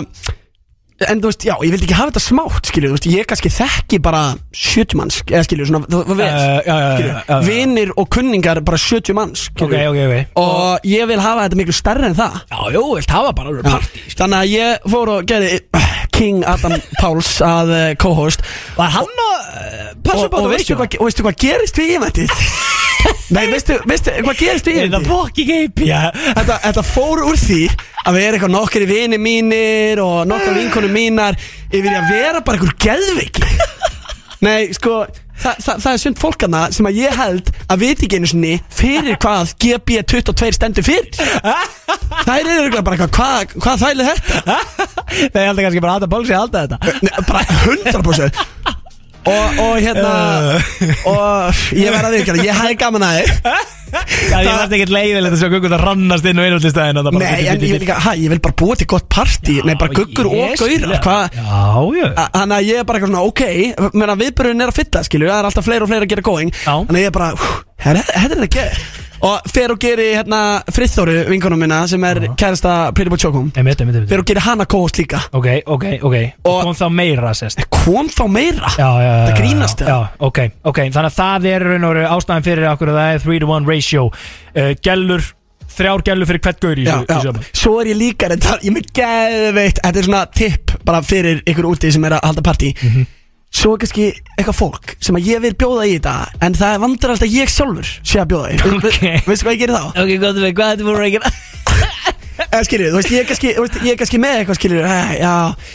Speaker 2: En þú veist, já, ég vildi ekki hafa þetta smátt, skilju, þú veist, ég kannski þekki bara 70 manns, eða skilju, svona, þú þú veist,
Speaker 4: Eh, já, já, já,
Speaker 2: skilurðu,
Speaker 4: já, já.
Speaker 2: vinir og kunningar bara 70 manns,
Speaker 4: Ok,
Speaker 2: skilju,
Speaker 4: ok, ok
Speaker 2: og ég vil hafa þetta miklu stærri en það.
Speaker 4: Já, jú, vilt hafa bara alveg party sko.
Speaker 2: Þannig að ég fór og gerði eh, King Adam Páls að eh, co-host
Speaker 4: Var hann að eh, passa
Speaker 2: og,
Speaker 4: upp á
Speaker 2: og,
Speaker 4: þetta
Speaker 2: veistu,
Speaker 4: ratio?
Speaker 2: hvað, og veistu hvað gerist við ímættið? Nei, veistu, veistu hvað gerist við
Speaker 4: Er það
Speaker 2: ímættið?
Speaker 4: fucking AP, já
Speaker 2: Þetta, þetta fór úr því að við erum eitthvað nokkri vini mínir og nokkra vinkonum mínar yfir í að vera bara einhver geðveiki Nei, sko, þa, þa, það er sumt fólkana sem að ég held að viti ekki einu sinni fyrir hvað GB22 stendur fyrir Þær eru örugglega bara eitthvað, hvað, hvað þæli er þetta?
Speaker 4: Það er alltaf kannski bara að það bólsi að halda þetta
Speaker 2: Nei, bara 100% Og, og hérna
Speaker 4: Uh.
Speaker 2: Og ég verð að viðkjara Ég hafði gaman að þið
Speaker 4: Það er alltaf ekkert leiðilegt að sjá guggur það rannast inn og inn út í staðin
Speaker 2: Nei, en ég vil líka, hæ, ég vil bara búa til gott partí Nei, bara guggur og gaurar Hvað Ah.
Speaker 4: Já, já
Speaker 2: A- Þannig að ég er bara eitthvað svona, ok Meðan viðbörðin er að fylla, skilju Það er alltaf fleira og fleira að gera going
Speaker 4: Já.
Speaker 2: Þannig að ég er bara, hú, þetta þetta er það að gera Og fer og geri hérna Friðþóru vinkonum minna Sem er kærasta Pretty Boy Chokum
Speaker 4: Einmitt, einmitt, einmitt
Speaker 2: Fer og geri hana kóast líka
Speaker 4: Ok, ok, ok
Speaker 2: Og-
Speaker 4: Og kom þá meira, sérst
Speaker 2: Kom þá meira
Speaker 4: Já, já, já
Speaker 2: Það grínast
Speaker 4: já,
Speaker 2: það
Speaker 4: já, ok, ok, þannig að það er raun og veru ástæðan fyrir okkur að það er 3 to 1 ratio uh, Gellur, þrjár gellur fyrir hvert gaur í
Speaker 2: Já,
Speaker 4: þessu- í
Speaker 2: já,
Speaker 4: þessu efni.
Speaker 2: svo er ég líka reyndar, ég er með geðveitt Þetta er svona tipp bara fyrir ykkur úti sem er að halda partí Svo er kannski eitthvað fólk sem að ég vil bjóða í þetta En það vandur alltaf ég sjálfur sé að bjóða í
Speaker 4: Ok.
Speaker 2: Veistu hvað ég gerir þá?
Speaker 4: Ok, gott með, hvað er þetta búin að gera?
Speaker 2: Eða skilur, þú veist, ég er kannski, þú veist, ég er kannski með eitthvað skilur eh, Já,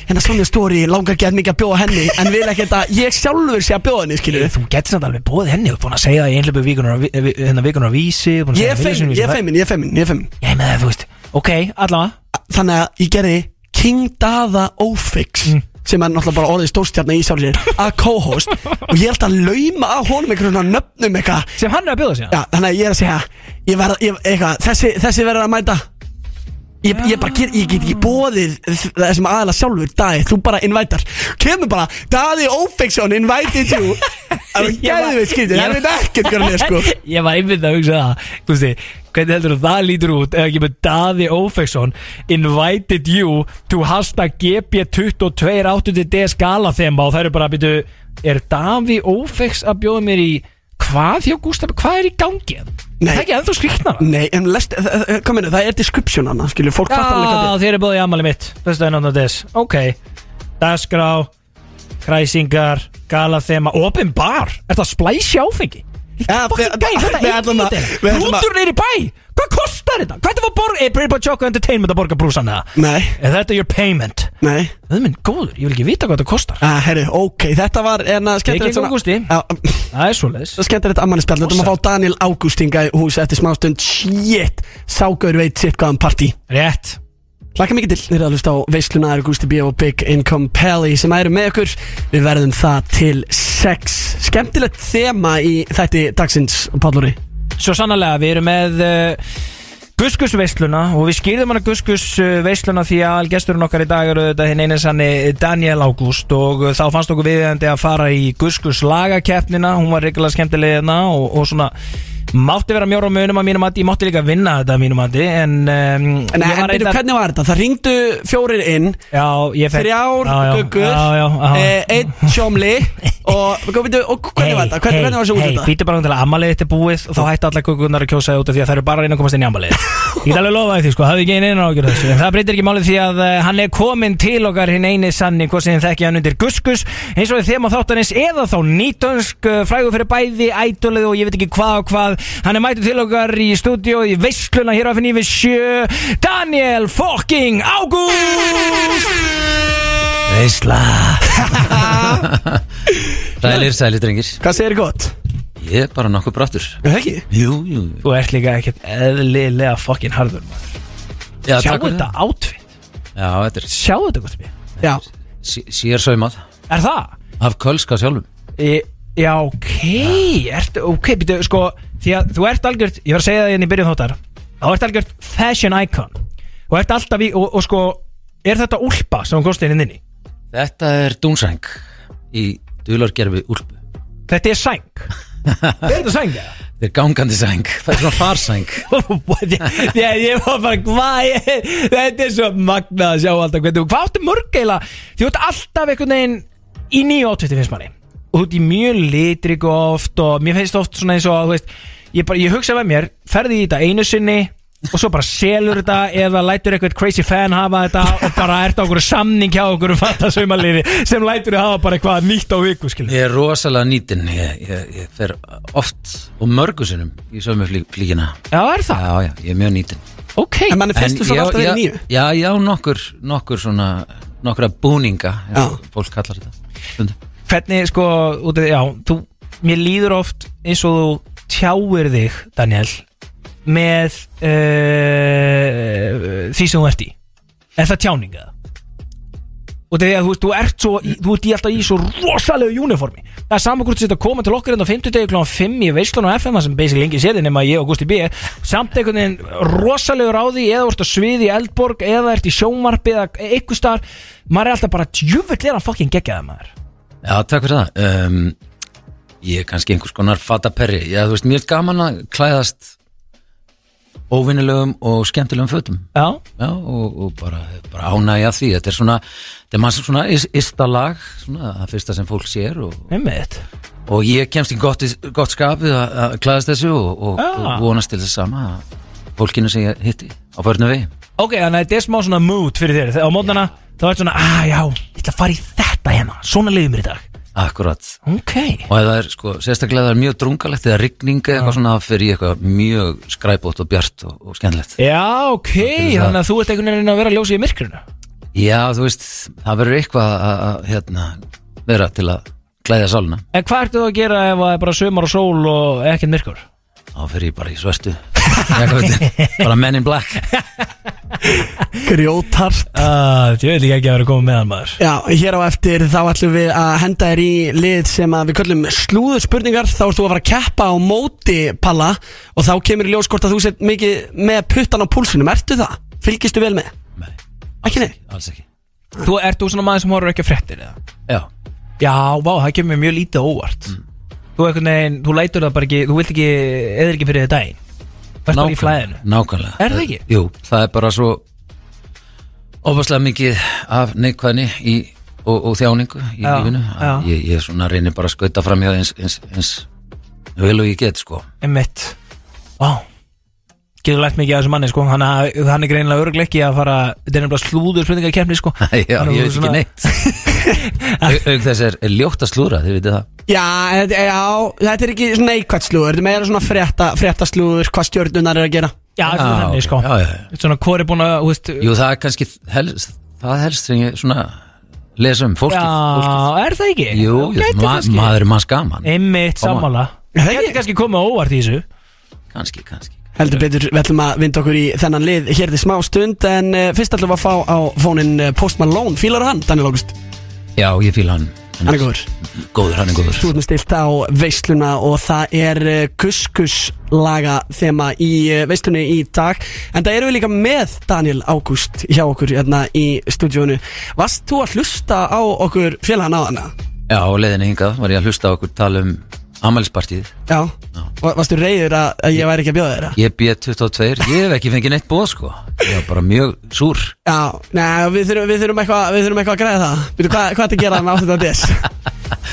Speaker 2: hérna Sonja Stóri langar gett mikið að bjóða henni En vil ekkert að ég sjálfur sé að bjóða henni, skilur
Speaker 4: Þú getur samt alveg bóð henni, þú er búin að segja það í einhleipu vikunar á vi- vi- hérna vikunar á vísi búin að
Speaker 2: Ég
Speaker 4: segja það í Vísinum
Speaker 2: er feimin, ég er
Speaker 4: vísi.
Speaker 2: feimin, ég er feimin, ég er feimin
Speaker 4: Ég með það, þú veist, ok, allavega
Speaker 2: Þannig að ég gerði King Dada Ofix
Speaker 4: Mm.
Speaker 2: sem er náttúrulega bara orðið stórstjarni í sjálfur sér að co-host og ég held að lauma að honum einhvern svona nöfnum eitthvað
Speaker 4: Sem hann er að bjóða sig
Speaker 2: Já, þannig að ég er að segja ég verð, ég, eitthvað, þessi, þessi verður að mæta Ég, ég bara get, ég get ekki bóðið þessum aðla sjálfur, Daði, þú bara invætar Kemur bara, Daði Ofixson invited you Það er
Speaker 4: Ég var-
Speaker 2: gæðið við
Speaker 4: ég
Speaker 2: skrítið, það
Speaker 4: var-
Speaker 2: veit ekkert hvað hann er sko
Speaker 4: Ég var einmitt að hugsa það Guðsti, hvernig heldur þú það lítur út ef ekki með Daði Ófeksson invited you to hashtag GB228D skala þeim og það eru bara að byrju er Davi Ófeks að bjóða mér í hvað hjá Gústaf, hvað er í gangi?
Speaker 2: Nei.
Speaker 4: Það er ekki ennþá skriknara
Speaker 2: Nei, en lest, þ- þ- eh, hvað meina, það er description hana, skilju, fólk fattar alveg hvað þetta er
Speaker 4: Já, þér er bóðið í ammali mitt Bestu enn ándan þess Ok Dagskrá Kræsingar Galathema Open bar Er það splæsi áfengi?
Speaker 2: Ja,
Speaker 4: Fucking
Speaker 2: við-
Speaker 4: gæ, þetta
Speaker 2: við
Speaker 4: er
Speaker 2: ætlum að- við
Speaker 4: ílítið
Speaker 2: ætlum að-
Speaker 4: Rútur neyri bæ Hvað kostar þetta? Hvað er það að borga Er Brady Boy Choco Entertainment að borga brúsan það?
Speaker 2: Nei,
Speaker 4: Er þetta your payment?
Speaker 2: nei
Speaker 4: Það er minn góður Ég vil ekki vita hvað þetta kostar
Speaker 2: ah, Herru, ok, þetta var enna skemmtilegt
Speaker 4: Tekin Ágústi.
Speaker 2: Já, um,
Speaker 4: Það er svoleiðis
Speaker 2: Skemmtilegt ammannispjall Þetta maður
Speaker 4: Rosa.
Speaker 2: fá Daniel Ágúst hingað í hús eftir smástund Shit, ságaur veit sitt hvaðan partí
Speaker 4: Rétt
Speaker 2: Laka mikið til, þið er að hlusta á veisluna er Gusti B og Big Income Pally sem eru með okkur Við verðum það til 6 Skemmtilegt þema í þætti dagsins, Pállóri
Speaker 4: Svo sannarlega, við erum með uh, Guskus veisluna og við skýrðum hana Guskus uh, veisluna því að algesturinn okkar í dag eru þetta hinn einu sanni Daniel Ágúst og uh, þá fannst okkur viðjandi að fara í Guskus lagakeppnina, hún var reglulega skemmtileg hérna og, og svona mátti vera mjóra á munum að mínum mati, ég mátti líka vinna þetta að mínum mati en, um,
Speaker 2: En
Speaker 4: ég var
Speaker 2: en byrju,
Speaker 4: reyndar-
Speaker 2: hvernig var þetta? Það ringdu fjórir inn
Speaker 4: Já, ég fekk
Speaker 2: Þrjár
Speaker 4: Já, já,
Speaker 2: guggur
Speaker 4: Já, já, já
Speaker 2: eh, Einn sjómli Og, og, byrju, og hvernig var þetta? Hvernig, hvernig var þessu
Speaker 4: hey,
Speaker 2: útlita?
Speaker 4: hey, býtu bara um til að ammaliðið þetta er búið og þá hætti allar kukunar að kjósa þig út af því að það eru bara að reyna að komast inn í ammaliðið Ég get alveg lofaði því sko, hafði ekki einu ágjörð þessu en það breytir ekki málið því að uh, hann er komin til okkar hinn eini sanni, hvort sem þið þekki hann undir Guskus eins og við þeim á þáttanins eða þá nýtönsk uh, frægur fyrir bæði ædolið og ég veit ekki hvað og hvað hann er mættur til okkar í stúdíó í veisluna hér á FNÍ við sjö Daniel fucking Ágúst
Speaker 3: Veisla Sælir, sælir drengir
Speaker 2: Hvað segir þið gott?
Speaker 3: Ég er bara nokkuð brattur
Speaker 2: Er það ekki?
Speaker 3: Jú, jú
Speaker 4: Þú ert líka ekkert eðlilega fucking harður maður.
Speaker 3: Já,
Speaker 4: Sjáu
Speaker 3: takk fyrir
Speaker 4: þetta
Speaker 3: það.
Speaker 4: átfið
Speaker 3: Já, þetta er
Speaker 4: Sjáu þetta gott mér
Speaker 2: Já
Speaker 3: sí- sér saumað
Speaker 4: Er það?
Speaker 3: Af kölska sjálfum
Speaker 4: E, já, ok ert, Ok, býtu, sko Því að þú ert algjört, ég var að segja það hérna í byrjun þáttar Þá ert algjört fashion icon Og ert alltaf í, og, og sko Er þetta úlpa sem hún kosti henni inni?
Speaker 3: Þetta er dúnsæng Í dulargerfi úlpu
Speaker 4: Þetta er sæng Er þetta sæng? eða?
Speaker 3: Þetta er gangandi sæng Það er svona farsæng
Speaker 4: ég, ég, ég var bara, hvað ég- Þetta er svo magnað að sjá alltaf hvernig, þú- Hvað áttu mörg eila Þú ert alltaf einhvern veginn í nýju átveiti finnst manni Og þú ert í mjög litrig oft Og mér finnst oft svona eins og þú veist, ég, bara, ég hugsa með mér, ferði í þetta einu sinni Og svo bara selur þetta Eða lætur eitthvað crazy fan hafa þetta Og bara ert á okkur samning hjá okkur Um þetta sem lætur þið hafa bara eitthvað Nýtt á viku skilur
Speaker 3: Ég er rosalega nýtin Ég, ég, ég fer oft og mörgusunum Í sömu flí, flíkina
Speaker 4: Já, er það?
Speaker 3: Já, já, ég er mjög nýtin
Speaker 4: Ok
Speaker 2: En manni finnst þú
Speaker 3: ég
Speaker 2: svo
Speaker 3: á-
Speaker 2: alltaf
Speaker 3: ég
Speaker 2: verið
Speaker 3: á-
Speaker 2: nýju
Speaker 3: Já, ég á nokkur, nokkur svona Nokkra búninga
Speaker 2: Já.
Speaker 3: eins og Fólk kallar þetta Stundum.
Speaker 4: Hvernig sko, út af, já, þú mér líður oft eins og þú tjáir þig, Daniel með uh, því sem þú ert í er það tjáning eða? og þegar þú veist, þú ert svo þú ert í alltaf í svo rosalegu uniformi það er saman hvort þú setja að koma til okkar hérna á 50 degi kl. 5 í veislun og FM þar sem basic lengi séði nema ég og Gusti B samt einhvern veginn rosalegu ráði eða þú ert að sviði í Eldborg eða ert í sjómarpi eða eitthvað starf maður er alltaf bara djúvill er hann fucking geggjaða maður
Speaker 3: Já, takk fyrir það um, Ég er kannski einhvers konar fataperri Já, þú veist, mér er gaman að klæðast óvinnilegum og skemmtilegum fötum
Speaker 4: já,
Speaker 3: Já, og, og bara, bara ánægja því Þetta er svona, þetta er maður svona is, ysta lag, svona, það fyrsta sem fólk sér og,
Speaker 4: einmitt
Speaker 3: og ég kemst í gott, gott skapið að að klæðast þessu og, og,
Speaker 4: Já.
Speaker 3: og vonast til þess sama að fólkinu sem ég hitti á börnu við
Speaker 4: Ok, þannig að þetta er smá svona mood fyrir þér Þegar á mótnana, þá er svona, að já, ég ætla að fara í þetta hérna Svona leiðum mér í dag
Speaker 3: Akkurat
Speaker 4: Ok
Speaker 3: og ef það er sko, sérstaklega ef það er mjög drungalegt eða rigning eða eitthvað svona, það fer í eitthvað mjög skræbót og bjart og, og skemmtilegt
Speaker 4: Já, ok,
Speaker 3: það.
Speaker 4: þannig að þú ert einhvern veginn að vera að ljósa í myrkrinu
Speaker 3: Já, þú veist, það verður eitthvað að, að hérna, vera til að klæðja sáluna,
Speaker 4: En hvað ertu þá að gera ef það er bara sömar og sól og ekkert myrkur?
Speaker 3: þá fer ég bara í svörtu Jakobutin, bara men in black
Speaker 2: Grjótart
Speaker 4: Uh, ég veit ekki að vera að koma með hann maður
Speaker 2: Já, hér á eftir þá ætlum við að henda þér í lið sem að við köllum slúðurspurningar þá ert þú að fara að keppa á móti palla og þá kemur í ljós hvort að þú sett mikið með puttan á púlsinum, ertu það? Fylgistu vel með?
Speaker 3: Nei,
Speaker 2: Ekki neitt?
Speaker 3: alls ekki
Speaker 4: Þú ert þú svona maður sem horfur ekki að fréttir eða?
Speaker 3: Já,
Speaker 4: Já, vá, það kemur mér mjög lítið á óvart Þú einhvern veginn, þú lætur það bara ekki, þú vilt ekki, eður ekki fyrir þér daginn Verst bara í flæðinu
Speaker 3: nákvæmlega
Speaker 4: Er það ekki?
Speaker 3: Jú, það er bara svo ofaslega mikið af neikvæðni í, og, og þjáningu í
Speaker 4: Já,
Speaker 3: lífinu að
Speaker 4: já.
Speaker 3: ég, ég svona reynir bara að skauta fram hjá eins, eins, eins vel og ég get sko
Speaker 4: Emmett Vá Getur lært mikið af þessu manni sko Hann, hann er greinilega örgleik ekki að fara Þetta er nefnilega slúður spurningar kemni sko
Speaker 3: Já, ég
Speaker 4: Þannig að þú
Speaker 3: veit ekki
Speaker 4: svona-
Speaker 3: neitt Au- Auk þess er, er ljótt að slúra, þið veitir það
Speaker 2: Já, þetta- já, þetta er ekki svona neikvægt slúður, þetta er meira svona frétta, frétta slúður, hvað stjórnunar er að gera
Speaker 4: Já, þetta er þannig
Speaker 3: ok,
Speaker 4: sko
Speaker 3: já, já, já.
Speaker 4: Svona hvor er búin að, þú veist
Speaker 3: Jú, það er kannski helst, það helst sem ég svona lesa um fólkið,
Speaker 4: Já,
Speaker 3: fólkið.
Speaker 4: er það ekki?
Speaker 3: Jú,
Speaker 4: Þú
Speaker 3: ég,
Speaker 4: gætir
Speaker 3: ma
Speaker 4: kannski-
Speaker 3: maður er manns gaman
Speaker 4: Einmitt
Speaker 3: Koma.
Speaker 4: sammála Það getur kannski komið á óvart í þessu
Speaker 3: Kannski, kannski
Speaker 2: Heldur betur, við ætlum að vinda okkur í þennan lið hér til smá stund en uh, fyrst ætlum við að fá á fónin uh, Postman Lone, fílar hann, Daniel August,
Speaker 3: Já, ég fíl hann
Speaker 2: hann er góður
Speaker 3: Góður, hann er góður
Speaker 2: Þú ert með stilt á veisluna og það er kuskus laga þema í eh, veislunni í dag En það eru við líka með Daniel Ágúst hjá okkur hérna í stúdíónu Varst þú að hlusta á okkur félagana á hana?
Speaker 3: Já, á leiðinni hingað var ég að hlusta á okkur tala um ammælispartíð
Speaker 2: Já, Va- varstu reyður að, að ég væri ekki að bjóða þeirra?
Speaker 3: Ég býð 22, ég hef ekki fengið neitt bóð sko Ég var bara mjög súr
Speaker 2: Já, neða, við þurfum, við þurfum eitthvað við þurfum eitthvað að græða það Býtu, hvað, hvað ertu að gera með 18. des?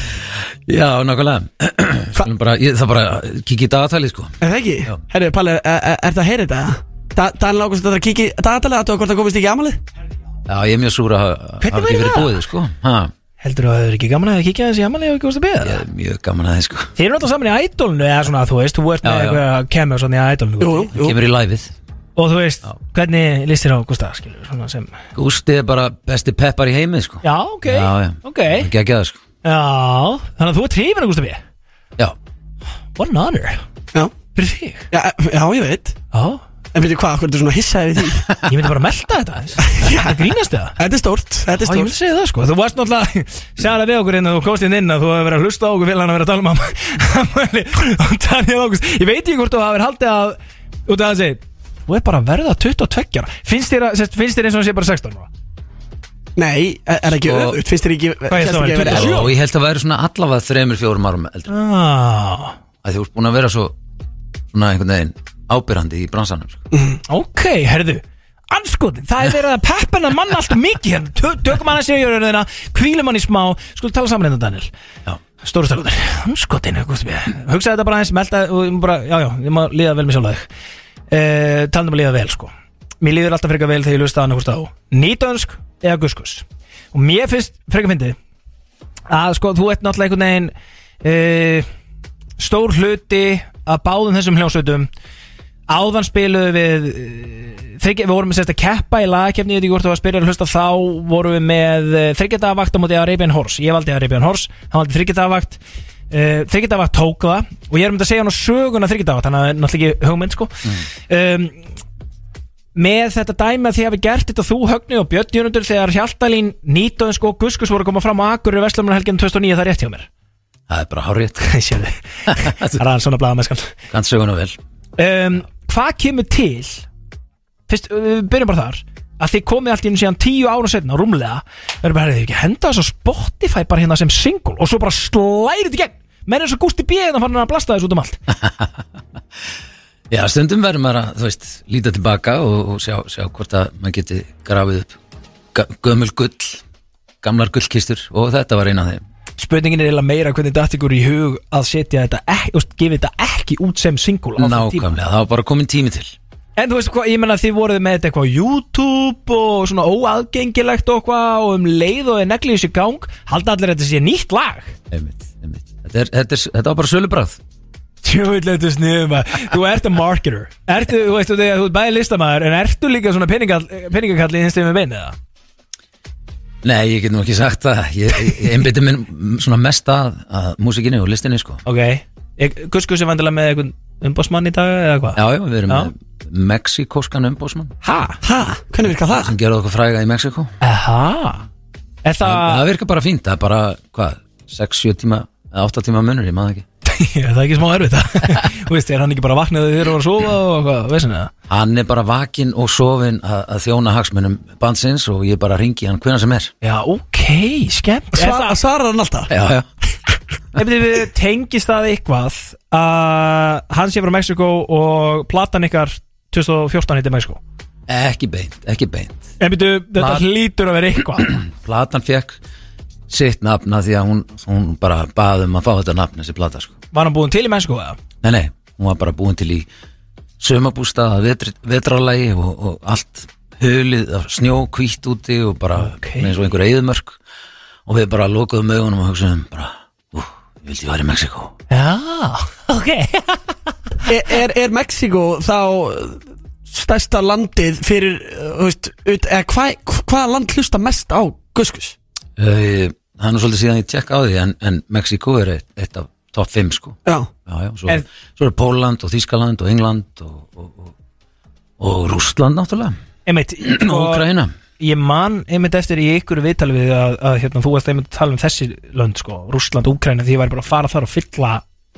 Speaker 3: Já, nákvæmlega Skulum bara, ég, Það bara kikið í dagatæli sko
Speaker 2: Er það ekki?
Speaker 3: Já.
Speaker 2: Herru, Palli, er, er, er það að heyra þetta? Da, Daniel Ágúst þetta er að kíkja í dagatalið að þú hvort það komist ekki í amalið?
Speaker 3: Já, ég er mjög súr að hafa
Speaker 4: Hvernig
Speaker 3: ekki
Speaker 4: væri
Speaker 3: verið
Speaker 4: það?
Speaker 3: bóðið sko ha,
Speaker 4: Heldur þú að það er ekki gaman að kíkja þessi jamali og ekki úrst að beða
Speaker 3: Ég
Speaker 4: það?
Speaker 3: er mjög gaman að það sko
Speaker 4: Þeir eru alltaf saman í ædolnu eða svona þú veist, þú ert með
Speaker 3: Já, já.
Speaker 4: eitthvað kemur svona í ædolnu
Speaker 2: Jú, jú,
Speaker 3: Kemur í læfið
Speaker 4: og þú veist, hvernig listir á Gústa, skilur, svona sem
Speaker 3: Gústi er bara besti peppar í heimið sko
Speaker 4: Já, ok,
Speaker 3: já, já.
Speaker 4: ok
Speaker 3: Það er geggjað, sko
Speaker 4: Já, þannig að þú ert hrifin að Gústa B
Speaker 3: Já,
Speaker 4: What an honor
Speaker 2: já,
Speaker 4: Fyrir þig
Speaker 2: já, já, ég veit
Speaker 4: Já,
Speaker 2: En veitu hvað, hvað er þetta svona hissaði við því?
Speaker 4: ég myndi bara að melta þetta aðeins. Það grínast það
Speaker 2: Þetta er stórt, þetta er
Speaker 4: Já, ég myndi
Speaker 2: stórt
Speaker 4: segja það sko Þú varst náttúrulega Sæða það við okkur inn að þú komst inn inn að þú hefur verið að hlusta á okkur viljan að vera að tala um ammæli og Daniel Ágúst Ég veit ekki hvort þú hafið haldið að út af það að segja Þú er bara að verða 22 ára Finnst þér, að- sérst, finnst þér eins og hann sé bara 16 ára?
Speaker 2: Nei, er er ekki
Speaker 3: Sko-
Speaker 2: öfugt, finnst þér ekki
Speaker 4: Hvað er
Speaker 2: finnst þér
Speaker 4: það,
Speaker 2: ekki að vera-
Speaker 4: 27?
Speaker 3: já og ég held að væri svona allavega þremur, fjórum árum eldri
Speaker 4: Ah,
Speaker 3: að Þú ert búin að vera svo svona einhvern veginn ábyrrandi í bransanum sko.
Speaker 4: ok, herðu Anskotin, það er verið að peppana mann allt of mikið hérna Tö- Tökum hann að segja jörðina, kvílum hann í smá Skul tala saman hérna Daniel
Speaker 3: Já.
Speaker 4: Stóru stökunar, anskotin Hugsaði þetta bara aðeins, melta og ég bara, Já, já, ég má líða vel með sjálf að þig uh, Talnum að líða vel, sko Mér líður alltaf frekar vel þegar ég lusta hann hvort á Nýtönsk eða guskus Og mér finnst frekar fyndið að sko, þú ert náttúrulega einhvern veginn uh, stór hluti að báðum þessum hljómsveitum áðan spiluðu við þryggja, við vorum sérst að keppa í lagakefni ég veit ekki hvort þú var að spyrja að hlusta þá eh, vorum við með þryggjadagavakt á móti Arabian Horse ég valdi Arabian Horse, hann valdi þryggjadagavakt uh, þryggjadag tók það og ég er um þetta að segja hann á söguna þryggjadag þannig að það er náttúrulega ekki hugmynd sko um, með þetta dæmi að þið hafi gert þetta þú högnu og Björn Jörnundur þegar Hjaltalín Nýtóðins og Guskus voru að koma fram á Akurri Vestlumarhelginu 2009 það er rétt hjá mér
Speaker 3: Það er bara hárétt
Speaker 4: Sérðu. það er aðeins svona blaðamennskan
Speaker 3: Kant söguna vel
Speaker 4: um, Hvað kemur til Fyrst, uh, við byrjum bara þar að þið komið allt í einu síðan tíu ára setna rúmlega, verður bara, "Heyrðu, þið ekki að henda þess á Spotify bara hérna sem single og svo bara slærið þetta í gegn, menn er svo gústi bíðið að fann hann að blasta þessu út um allt
Speaker 3: Já, stundum verður maður að, þú veist, líta tilbaka og, og sjá, sjá hvort að maður geti grafið upp ga- gömul gull, gamlar gullkistur og þetta var eina af þeim
Speaker 4: spurningin er eiginlega meira hvernig datt ykkur í hug að setja þetta ekki, þú veist, gefið þetta ekki út sem single á þeim tíma.
Speaker 3: Nákvæmlega, það var bara komin tími til
Speaker 4: En þú veist hvað, ég menna þið voruð með þetta eitthvað á YouTube og svona óaðgengilegt og hvað og um leið og þið neglið þessu í gang halda allir að þetta sé nýtt lag
Speaker 3: einmitt, einmitt. Þetta, er, þetta, er, þetta var bara sölubráð
Speaker 4: Tjóðlega þetta sniðum að þú ert að marketer ertu, þú veist, þú veist, þú ert bæði listamæður en ertu líka svona peningakall, peningakall í hins tegum við bein eða?
Speaker 3: Nei, ég get nú ekki sagt það Ég, ég einbytti minn svona mest að, að músikinni og listinni, sko
Speaker 4: Ok, E, Guskus er vandilega með einhvern umbásmann í dag eða hvað?
Speaker 3: Já, já, við erum
Speaker 4: Já.
Speaker 3: með mexikóskan umbósmann
Speaker 4: Ha?
Speaker 2: Ha, hvernig virkar það?
Speaker 3: sem gerði okkur fræga í Mexiko
Speaker 4: Aha Er
Speaker 3: Það
Speaker 4: það,
Speaker 3: virkar bara fínt, það er bara, hvað, 6-7 tíma eða 8 tíma munur, ég maður ekki
Speaker 4: er það ekki smá erfitt það? Þú veist, er hann ekki bara vaknaðið þegar þú voru að sofa og hvað, veistu það?
Speaker 3: Hann er bara vakinn og sofinn að, að þjóna hagsmunum bandsins og ég bara ringi hann hvenær sem er
Speaker 4: Já, ok, skemmt
Speaker 2: Svar, svarar hann alltaf?
Speaker 3: Já, já
Speaker 4: Ef þið tengist það eitthvað að hann sé frá Mexiko og platan ykkar 2014 heitir Mexiko
Speaker 3: Ekki beint, ekki beint
Speaker 4: En byrju, þetta
Speaker 3: Plat-
Speaker 4: hlýtur að vera eitthvað
Speaker 3: Platan fekk sitt nafna því að hún, hún bara baði um að fá þetta nafn þessi plata sko
Speaker 4: Var hann búinn til í Mexiko eða?
Speaker 3: Nei, nei, hún var bara búin til í sömabústað að vetri, vetralægi og, og allt hulið af snjó hvítt úti og bara
Speaker 4: Ok.
Speaker 3: eins og einhver eyðumörk og við bara lokuðum augunum og hugsaðum bara, ú, ég vildi ég var í Mexiko
Speaker 4: Já, ok
Speaker 2: Er, er, er Mexiko þá stærsta landið fyrir uh, þú veist, ut, eða, hva, hvaða land hlusta mest á Guskus?
Speaker 3: Uh, það er nú svolítið síðan ég tjekka á því en, en Mexiko er eitt, eitt af top 5 sko
Speaker 2: Já,
Speaker 3: já, já, svo,
Speaker 4: En-
Speaker 3: svo er Póland og Þískaland og England og, og, og, og Rússland náttúrulega
Speaker 4: Einmitt,
Speaker 3: og
Speaker 4: sko,
Speaker 3: Ukraina
Speaker 4: ég man einmitt eftir í ykkur viðtali við að, að hérna, þú varst einmitt að tala um þessi lönd sko, Rússland, Úkraina, því ég væri bara að fara þar og fylla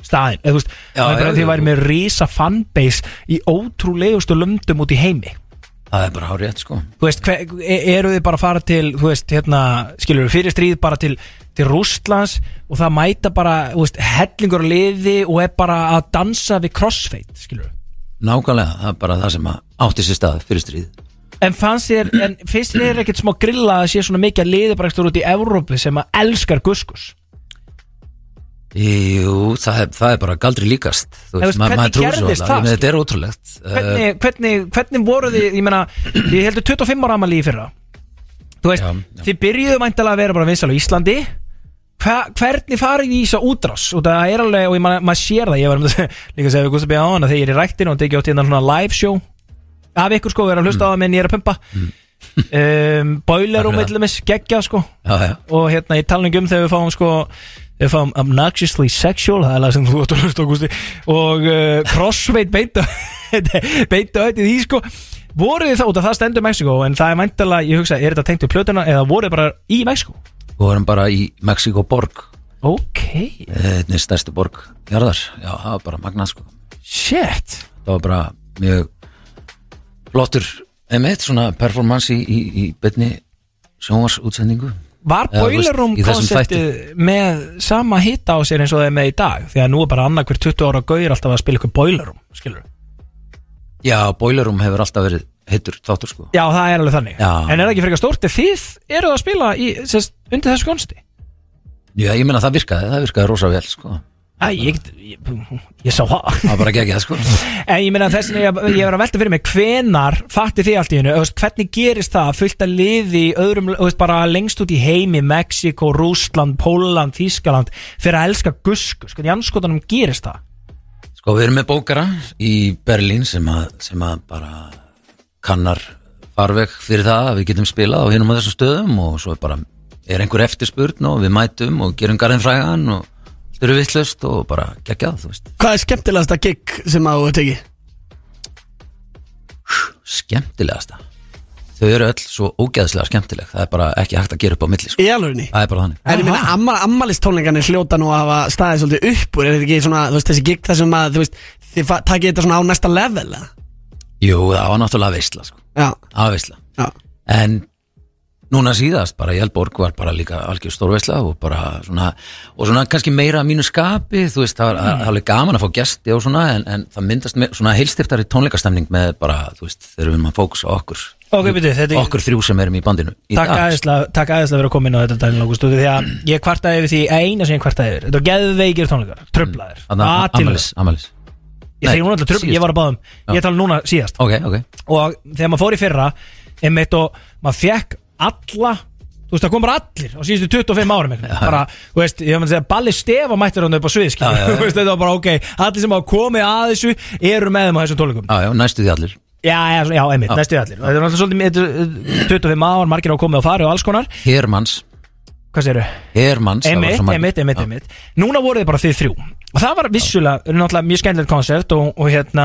Speaker 4: staðin, eða þú veist
Speaker 3: Já,
Speaker 4: það er bara
Speaker 3: já,
Speaker 4: að því ég
Speaker 3: já.
Speaker 4: væri með risa fanbase í ótrúlegustu löndum út í heimi
Speaker 3: það er bara hár rétt sko
Speaker 4: þú veist, hver, e- eru þið bara að fara til þú veist, hérna, skilur við fyrir stríð bara til, til Rústlands og það mæta bara, þú veist, hellingur á liði og er bara að dansa við crossfit, skilur við
Speaker 3: nákvæmlega, það er bara það sem að átti sér stað fyrir stríð
Speaker 4: En fannst þér, en finnst þér ekkert smá grilla að sé svona mikið að liði bara ekstur út í Evrópu sem að elskar guskus
Speaker 3: Jú, það er, það er bara galdri líkast þú
Speaker 4: En veist,
Speaker 3: ma-
Speaker 4: hvernig
Speaker 3: maður trúir svo
Speaker 4: gerðist
Speaker 3: varla.
Speaker 4: það,
Speaker 3: Ég
Speaker 4: skil?
Speaker 3: meina, þetta er ótrúlegt uh,
Speaker 4: hvernig, hvernig, hvernig voru þið, ég meina ég heldur 25 ára amal í fyrra þú veist,
Speaker 3: Eh, Já, já.
Speaker 4: þið byrjuðu mæntalega að vera bara vinsal á Íslandi Hva, hvernig farið í þessa útrás og það er alveg, og ég maður maður sér það ég var um þetta, líka að segja við Gustaf B. Áhann að þegar ég er í ræktinu og tekið átt hérna svona live show af ykkur sko, við erum að hlusta á það meðan ég er að pumpa um, boiler og
Speaker 3: Takk fyrir
Speaker 4: meðlumis, geggja sko
Speaker 3: já, já.
Speaker 4: og hérna ég tala ekki um þegar við fáum sko við fáum obnoxiously sexual það er lag sem þú átt að hlusta á Gústi og uh, crossfade beita beita öll í því sko voruð þið þá, út af það stendur Mexiko en það er mæntalega, ég hugsa, er þetta tengt við plötuna eða voruð þið bara í Mexiko
Speaker 3: við vorum bara í Mexiko borg
Speaker 4: ok,
Speaker 3: einnig stærstu borg jarðar já, það var bara magnað sko
Speaker 4: shit
Speaker 3: það var bara mjög flottur emitt svona performance í, í, í betni sjónvarsútsendingu
Speaker 4: var
Speaker 3: Eða, þú veist,
Speaker 4: boilerum
Speaker 3: í þessum
Speaker 4: konceptið með sama hitta á sér eins og það er með í dag því að nú er bara annað hver 20 ára gauðir alltaf að spila ykkur boilerum, skilur
Speaker 3: já, Boilerum hefur alltaf verið heitur þáttur sko
Speaker 4: já, það er alveg þannig,
Speaker 3: Já.
Speaker 4: en er það ekki frekar stórt Ef þið eruð að spila í, sérst, undir þessu konsti
Speaker 3: já, ég meina það virkaði, það virkaði rosa vel sko það
Speaker 4: Æ, ég, get- ég, ég sá það
Speaker 3: var bara geggjað sko
Speaker 4: En ég meina þess að ég, ég var að velta fyrir mig Hvenar fatti þið allt í hennu Hvernig gerist það fullt að liði í öðrum, þú veist, bara lengst út í heimi Mexiko, Rúsland, Póland, Þískaland Fyrir að elska gusku Sko, Hvernig anskotanum gerist það
Speaker 3: sko, við erum með bókara í Berlín sem að, sem að bara kannar farveg fyrir það að við getum spilað á hinum á þessum stöðum og svo er bara, er einhver eftirspurn og við mætum og gerum garðin frægan og Þau eru vittlust og bara geggjað, þú veist
Speaker 2: Hvað er skemmtilegasta gig sem að þú hefur tekið?
Speaker 3: Skemmtilegasta Þau eru öll svo ógeðslega skemmtileg Það er bara ekki hægt að gera upp á milli, sko
Speaker 2: Í alvörinni?
Speaker 3: Það er bara þannig
Speaker 2: En ég meina, amma, ammalistónleikarnir hljóta nú að hafa staðið svolítið upp úr Er þetta ekki svona, þú veist, þessi gig þar sem að, þú veist, þið fa- takið þetta svona á næsta level, eða?
Speaker 3: Jú, það var náttúrulega veistla, sko
Speaker 2: Já,
Speaker 3: Það var veistla
Speaker 2: já,
Speaker 3: en núna síðast bara Jálborg var bara líka algjör stórveisla og bara svona og svona kannski meira að mínu skapi þú veist það var mm. alveg gaman að fá gesti og svona en, en það myndast með, svona heilstiftari tónleikastemning með bara þú veist þegar við erum að fókusa á okkur
Speaker 4: Ok, byrju, þetta er
Speaker 3: okkur þrjú sem erum í bandinu í ah,
Speaker 4: Takk aðeinslega, takk aðeinslega fyrir að koma inn á þetta Daniel August út af Því að ég kvartaði yfir því eina sem ég kvartaði yfir Þetta var geðveikir tónleikar, tröflaðir
Speaker 3: Þarna, Amalis, Amalis
Speaker 4: Ég
Speaker 3: Nei,
Speaker 4: þegar núna alltaf tröfl,
Speaker 3: síðast.
Speaker 4: ég var að báðum
Speaker 3: Já.
Speaker 4: Ég tala núna síðast
Speaker 3: ok, ok,
Speaker 4: Og þegar maður fór í fyrra Einmitt og maður fekk alla Þú veist, það kom bara allir á síðustu 25 árum einhvern veginn. bara, þú veist, ég maður að segja, Balli Stefa mættir hann upp á sviðski
Speaker 3: Já, já, já.
Speaker 4: þetta var bara, ok, allir sem hafa komið að þessu eru með þeim á þessum tólingum
Speaker 3: Ah, já, já, næstu því allir
Speaker 4: já, já, já, einmitt,
Speaker 3: Já.
Speaker 4: næstu allir þetta er náttúrulega svolítið eh, þetta er 25 ár, margir á komið og farið og alls konar
Speaker 3: Hermanns,
Speaker 4: hvað segirðu?
Speaker 3: Hermanns það var
Speaker 4: Einmitt,
Speaker 3: svo margir.
Speaker 4: einmitt, einmitt,
Speaker 3: Já.
Speaker 4: einmitt Núna voru þið bara þið þrjú Og það var vissulega, náttúrulega mjög skemmtilegt konsert og, og hérna,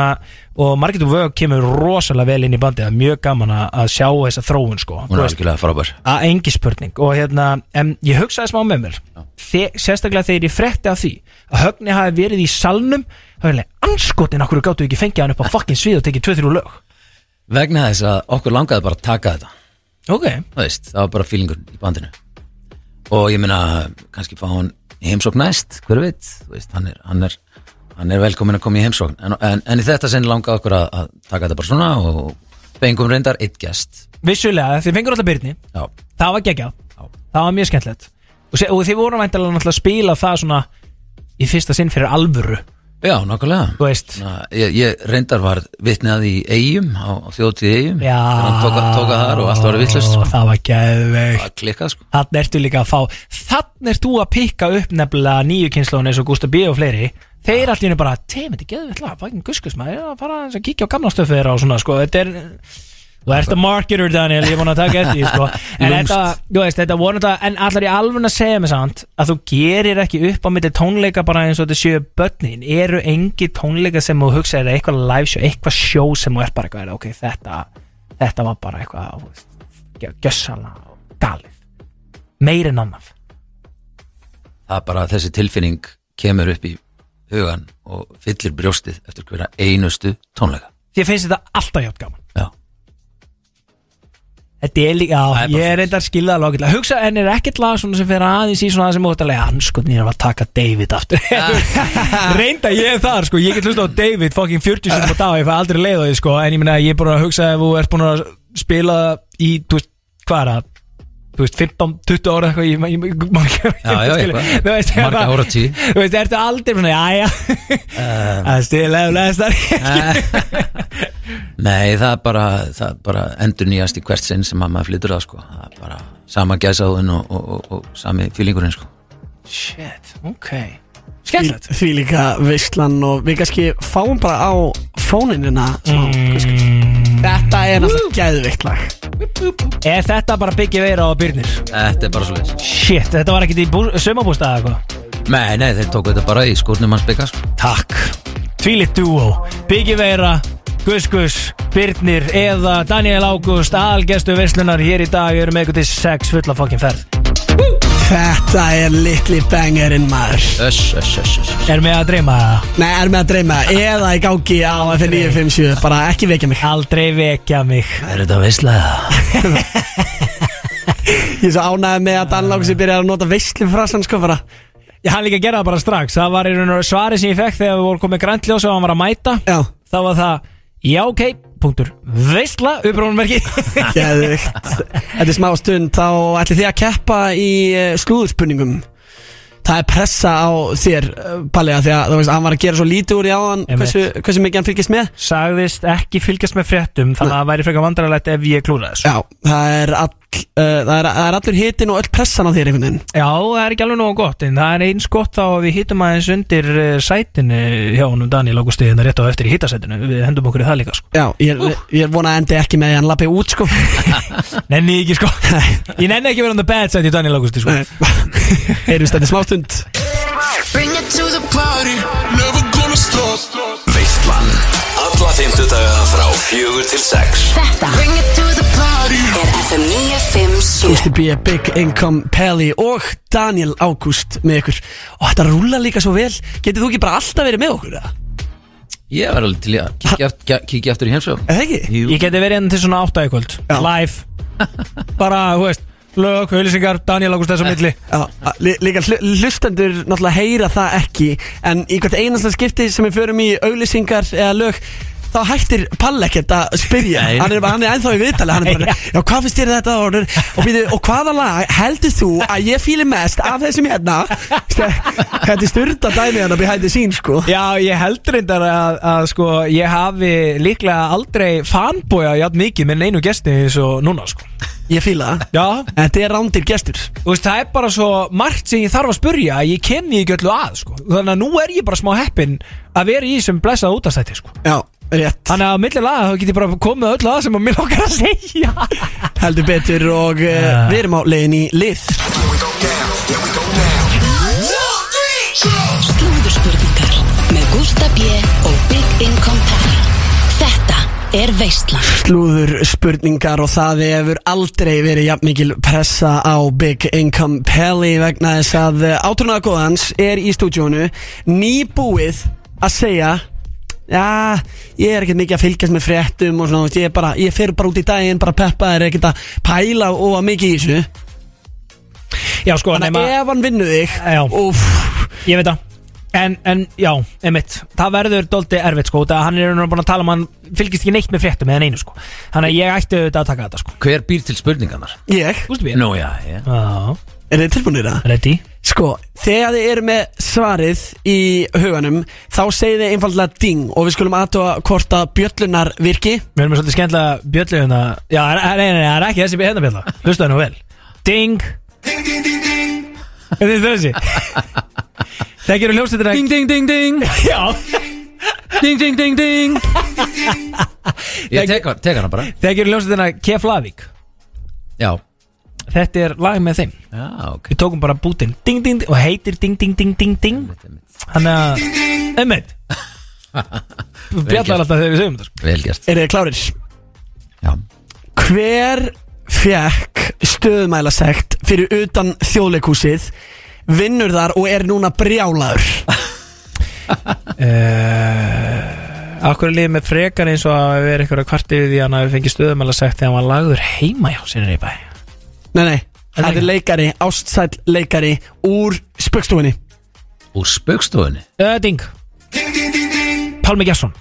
Speaker 4: og Margit og Vög kemur rosalega vel inn í bandið Það er mjög gaman að að sjá þessa þróun sko
Speaker 3: hún
Speaker 4: Þú
Speaker 3: er
Speaker 4: veist,
Speaker 3: algjörlega frábær
Speaker 4: Að engi spurning Og hérna, en ég hugsaði smá með mér Þe, Sérstaklega þegar ég frétti af því Að Högni hafi verið í salnum Högni, anskotin, okkur gáttu ekki fengið hann upp á fucking svið og tekið 2-3 lög
Speaker 3: vegna þess að okkur langaði bara að taka þetta
Speaker 4: Ok,
Speaker 3: Þú veist, það var bara fílingur í bandinu og ég meina kannski fá hann í heimsókn næst, hver veit Þú veist, hann, er, hann, er, hann er velkomin að koma í heimsókn en, en, en í þetta sinn langaði okkur að, að taka þetta bara svona og fengum reyndar eitt gest
Speaker 4: vissulega, þið fengur alltaf byrni
Speaker 3: já,
Speaker 4: Það var geggjað
Speaker 3: Já.
Speaker 4: Það var mjög skemmtilegt Og, se- og þið voru væntalega náttúrulega að spila það svona Í fyrsta sinn fyrir alvöru
Speaker 3: já nokkulega
Speaker 4: Þú veist
Speaker 3: ég, ég reyndar var vitnað í eigum á, á þjóðtíð eigum
Speaker 4: Já
Speaker 3: hann tóka, tóka þar og allt var vitlust sko.
Speaker 4: Það var geðveikt
Speaker 3: að klikka sko
Speaker 4: Þannig ertu líka að fá Þannig ert þú að pikka upp nefnilega nýju kynslóðun eins og Gústa B og fleiri Þeir allir eru bara Teim, þetta er geðveikt lag Fækin guskus maður Ég er að fara aðeins að kíkja á gamla stöfið þeirra og svona sko Þetta er Þú ert að marketer Daniel, ég er búin að taka eftir því sko. En
Speaker 3: Lúmst.
Speaker 4: þetta, þú veist, þetta voru þetta En allar ég alveg að segja mig samt Að þú gerir ekki upp á milli tónleika bara eins og þetta séu börnin Eru engi tónleika sem þú hugsa Er eitthvað live show, eitthvað show sem þú er bara eitthvað Ok, þetta, þetta var bara eitthvað þú veist, Gjössala og galið Meir en annaf
Speaker 3: það er bara þessi tilfinning kemur upp í hugan og fyllir brjóstið eftir hverja einustu tónleika
Speaker 4: Því að finnst þetta alltaf hjátt gaman
Speaker 3: já,
Speaker 4: Þetta er líka,
Speaker 3: Það
Speaker 4: já,
Speaker 3: er
Speaker 4: ég
Speaker 3: bara
Speaker 4: er
Speaker 3: svoleiðis.
Speaker 4: reyndar skilðað lókilega Hugsa, en er ekkert lag svona sem fer aðeins í svona sem óttalega Hann sko, nýra var að taka David aftur
Speaker 3: Ah.
Speaker 4: Reynda ég er þar, sko, ég get hlusta á David fucking 40 sem á dag Ég fæ aldrei leið á því, sko En ég meina, ég er búin að hugsa ef þú ert búin að spila í, þú veist, hvað er það? Þú veist, 15, 20 ára eitthvað, ég, ég, ég man ekki
Speaker 3: já, já,
Speaker 4: skilur. Þú veist,
Speaker 3: eitthvað marga
Speaker 4: hérna-
Speaker 3: ára tíð
Speaker 4: Þú veist, ertu aldrei svona, jæja
Speaker 3: Ah.
Speaker 4: Það stila ef lestar
Speaker 3: Nei, það er bara, það er bara endur nýjast í hvert sinn sem að maður flytur það sko. það er bara sama gæsaðun og, og, og, og sami fílingurinn sko.
Speaker 4: Shit, ok
Speaker 2: því,
Speaker 4: Skemmtilegt
Speaker 2: því líka veistlan og við kannski fáum bara á fóninina Þetta er náttúrulega geðveikt lag
Speaker 4: Er þetta bara byggja veira á byrnir?
Speaker 3: Þetta er bara svo leis
Speaker 4: Shit, þetta var ekkert í sömabústaða eitthvað
Speaker 3: Nei, nei, þeir tóku þetta bara í skórnum hans bygga sko.
Speaker 4: Takk Tvílitt dúo Byggja veira Gus Gus Byrnir eða Daniel Ágúst Algestu verslunar hér í dag eru með eitthvað til sex fulla fokkin ferð
Speaker 2: Þetta er litli bangerinn maður
Speaker 3: Öss, öss, öss, öss
Speaker 4: Er með að dreyma það?
Speaker 2: Nei, er með að dreyma eða í gangi á FN957 bara ekki vekja mig
Speaker 4: Aldrei vekja mig
Speaker 3: Er þetta veislega?
Speaker 2: Ég er svo ánægði með að Danlák sem byrjar að nota veistlufrasan sko bara
Speaker 4: Ég hann líka að gera það bara strax Það var í raun og veru svari sem ég fekk þegar við vorum komið græntljósa og hann var að mæta
Speaker 2: Já,
Speaker 4: Þá var það Já, ok, punktur Veistla, upprónummerki
Speaker 2: geðvikt Þetta er smá stund þá ætli þið að keppa í eh, slúðurspunningum Það er pressa á þér, eh, Palli, að því að þú veist, hann var að gera svo lítið úr í áðan
Speaker 4: Einmitt.
Speaker 2: hversu, hversu mikið hann fylgist með
Speaker 4: Sagðist ekki fylgjast með fréttum Þannig að það væri frekar vandrarlegt ef ég klúraði þessu
Speaker 2: Já, það er, all, uh, það er, það er allur hitinn og öll pressan á þér einhvern veginn
Speaker 4: Já, það er ekki alveg nógu gott en það er eins gott þá að við hittum aðeins undir eh, sætinu hjá honum Daniel Águsti hérna rétt á eftir í hittasætinu við hendum okkur í það líka sko
Speaker 2: Já, ég, er- ég er vona að endi ekki með því að hann lappi út sko
Speaker 4: Nenni ég ekki sko Ég nenni ekki að vera on the bad side í Daniel Águsti sko
Speaker 2: Nei. Heyrjumst þetta er smástund
Speaker 1: Bring it
Speaker 7: to the party, never gonna stop.
Speaker 10: Veistlan Alla fymtudaga frá fjögur til sex
Speaker 5: Þetta
Speaker 7: Bring it to the party.
Speaker 5: er FM 957
Speaker 2: Gústi B, Big Income, Pelli og Daniel Ágúst með ykkur og þetta rúla líka svo vel getur þú ekki bara alltaf verið með okkur eða?
Speaker 3: Ég var alveg til í að kíkja aft- kíkja- kíkja aftur í heimsókn
Speaker 2: Er það ekki?
Speaker 3: Jú.
Speaker 4: Ég geti verið enn til svona átta í kvöld
Speaker 2: Já.
Speaker 4: Live Bara, þú veist, lög, auðlýsingar, Daniel Ágúst þess á milli
Speaker 2: Já, að- lí- líka hlu- hlustendur náttúrulega heyra það ekki en í hvert einasta skipti sem við förum í auglýsingar eða lög þá hættir Pall ekkert að spyrja
Speaker 3: Nei.
Speaker 2: hann er, bara- hann er ennþá í viðtali hann er bara, já hvað finnst þér þetta orður og, býtu, og hvaða lag heldur þú að ég fíli mest af þessum hérna þetta er styrta dæmi hann að behind the scenes sko
Speaker 4: Já, ég held reyndar að, að sko, ég hafi líklega aldrei fanbója játn mikið með neinu gesti eins og núna sko.
Speaker 2: ég fíla það
Speaker 4: Já,
Speaker 2: Þetta er rándir gestur
Speaker 4: þú veist, það er bara svo margt sem ég þarf að spurja að ég kem því ekki öllu að sko. Þannig að nú er ég bara smá heppin að vera í sem blessað útastætti sko.
Speaker 2: Já, rétt
Speaker 4: Þannig að á milli laga þá get ég bara komið öllu að sem að mér lókar að segja
Speaker 2: Heldur betur og uh, við erum á leiðin í lið
Speaker 5: Slúðurspurningar með Gústa B og Big Income Pally Þetta er Veistlan
Speaker 2: Slúður spurningar og það hefur aldrei verið jafn mikil pressa á Big Income Pelli vegna þess að eh, átrúnaða góðans er í stúdjónu nýbúið að segja Já, ég er ekkert mikið að fylgjast með fréttum og svona, þú veist, ég, er bara, ég fer bara út í daginn, bara peppa, er ekkert að pæla og að mikið í þessu
Speaker 4: Já, sko,
Speaker 2: Þannig
Speaker 4: nema
Speaker 2: að ef hann vinnur þig,
Speaker 4: Já.
Speaker 2: úff,
Speaker 4: Ég veit það En, en já, emitt, það verður doldi erfitt sko, það hann er raun og veru búin að tala um að hann fylgist ekki neitt með fréttum eða neinu sko Þannig að ég ætti auðvitað að taka þetta sko
Speaker 3: Hver býr til spurningarnar?
Speaker 2: ég,
Speaker 4: Þú veist við?
Speaker 3: Nú, já, já
Speaker 4: Já,
Speaker 2: er þið tilbúinir það?
Speaker 4: ready?
Speaker 2: Sko, þegar þið eru með svarið í huganum þá segið þið einfallega ding og við skulum aðtóa hvort að bjöllunar virki
Speaker 4: Við erum með svolítið skemmtilega bjöllu hérna Já, er- er- nei, nei, nei, það er ekki þessi hérna bjölla Hlustaðu nú vel Ding Þetta er þessi Það gerur hljómsveitir að
Speaker 3: ding, ding, ding
Speaker 4: Já,
Speaker 3: Ding, ding, ding, ding Ég tek, tek hana bara
Speaker 4: það gerur hljómsveitir að Keflavík
Speaker 3: Já,
Speaker 4: Þetta er lag með þeim
Speaker 3: já, ok
Speaker 4: Við tókum bara bútin Ding, ding, ding Og heitir ding, ding, ding, ding, ding Þannig að Emmett Bjallar alltaf þegar við segjum þetta sko.
Speaker 3: Vel gert
Speaker 2: Er þið klárir?
Speaker 3: Já
Speaker 2: Hver fekk stöðumælasekt fyrir utan þjóðleikúsið vinnur þar og er núna brjálaður
Speaker 3: Eh,
Speaker 4: Akkur er liðið með frekar eins og að vera ykkur að kvarti við því að hann hafi fengið stöðum alveg sagt þegar hann var lagður heima hjá sinni í bæ
Speaker 2: Nei, nei,
Speaker 4: Er það
Speaker 2: þetta er
Speaker 4: ekki?
Speaker 2: leikari, ástsæll leikari úr spöggstofinni
Speaker 3: Úr spaukstofunni
Speaker 4: uh, Ding Pálmi Gjarsson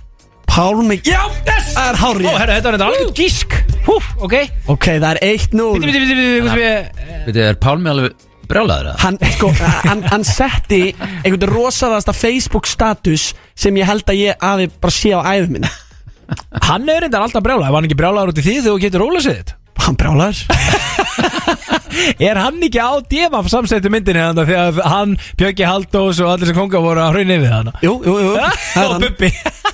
Speaker 2: Pálmi Já, yes! Það er hárið
Speaker 4: Ó, herra, þetta var þetta alveg gísk Hú, ok
Speaker 2: Ok, það er 1-0
Speaker 4: Bíti, bíti, bíti, bíti, hvað sem ég
Speaker 3: Veitir, er Pálmi alveg brjálaður að?
Speaker 2: hann, sko, hann, hann setti einhvern rosaðasta Facebook status sem ég held að ég aði bara sé á æðum minna
Speaker 4: Hann er reyndar alltaf brjála Ef hann ekki brjálaður út í því þegar þú getur róla sér þitt
Speaker 2: hann brálaður
Speaker 4: Er hann ekki á djema samsættu myndinni þarna Þegar hann, Björki Haldós og allir sem konga voru að hraunni við hann
Speaker 2: jú, jú, jú, það er
Speaker 4: Og
Speaker 2: hann
Speaker 4: Bubbi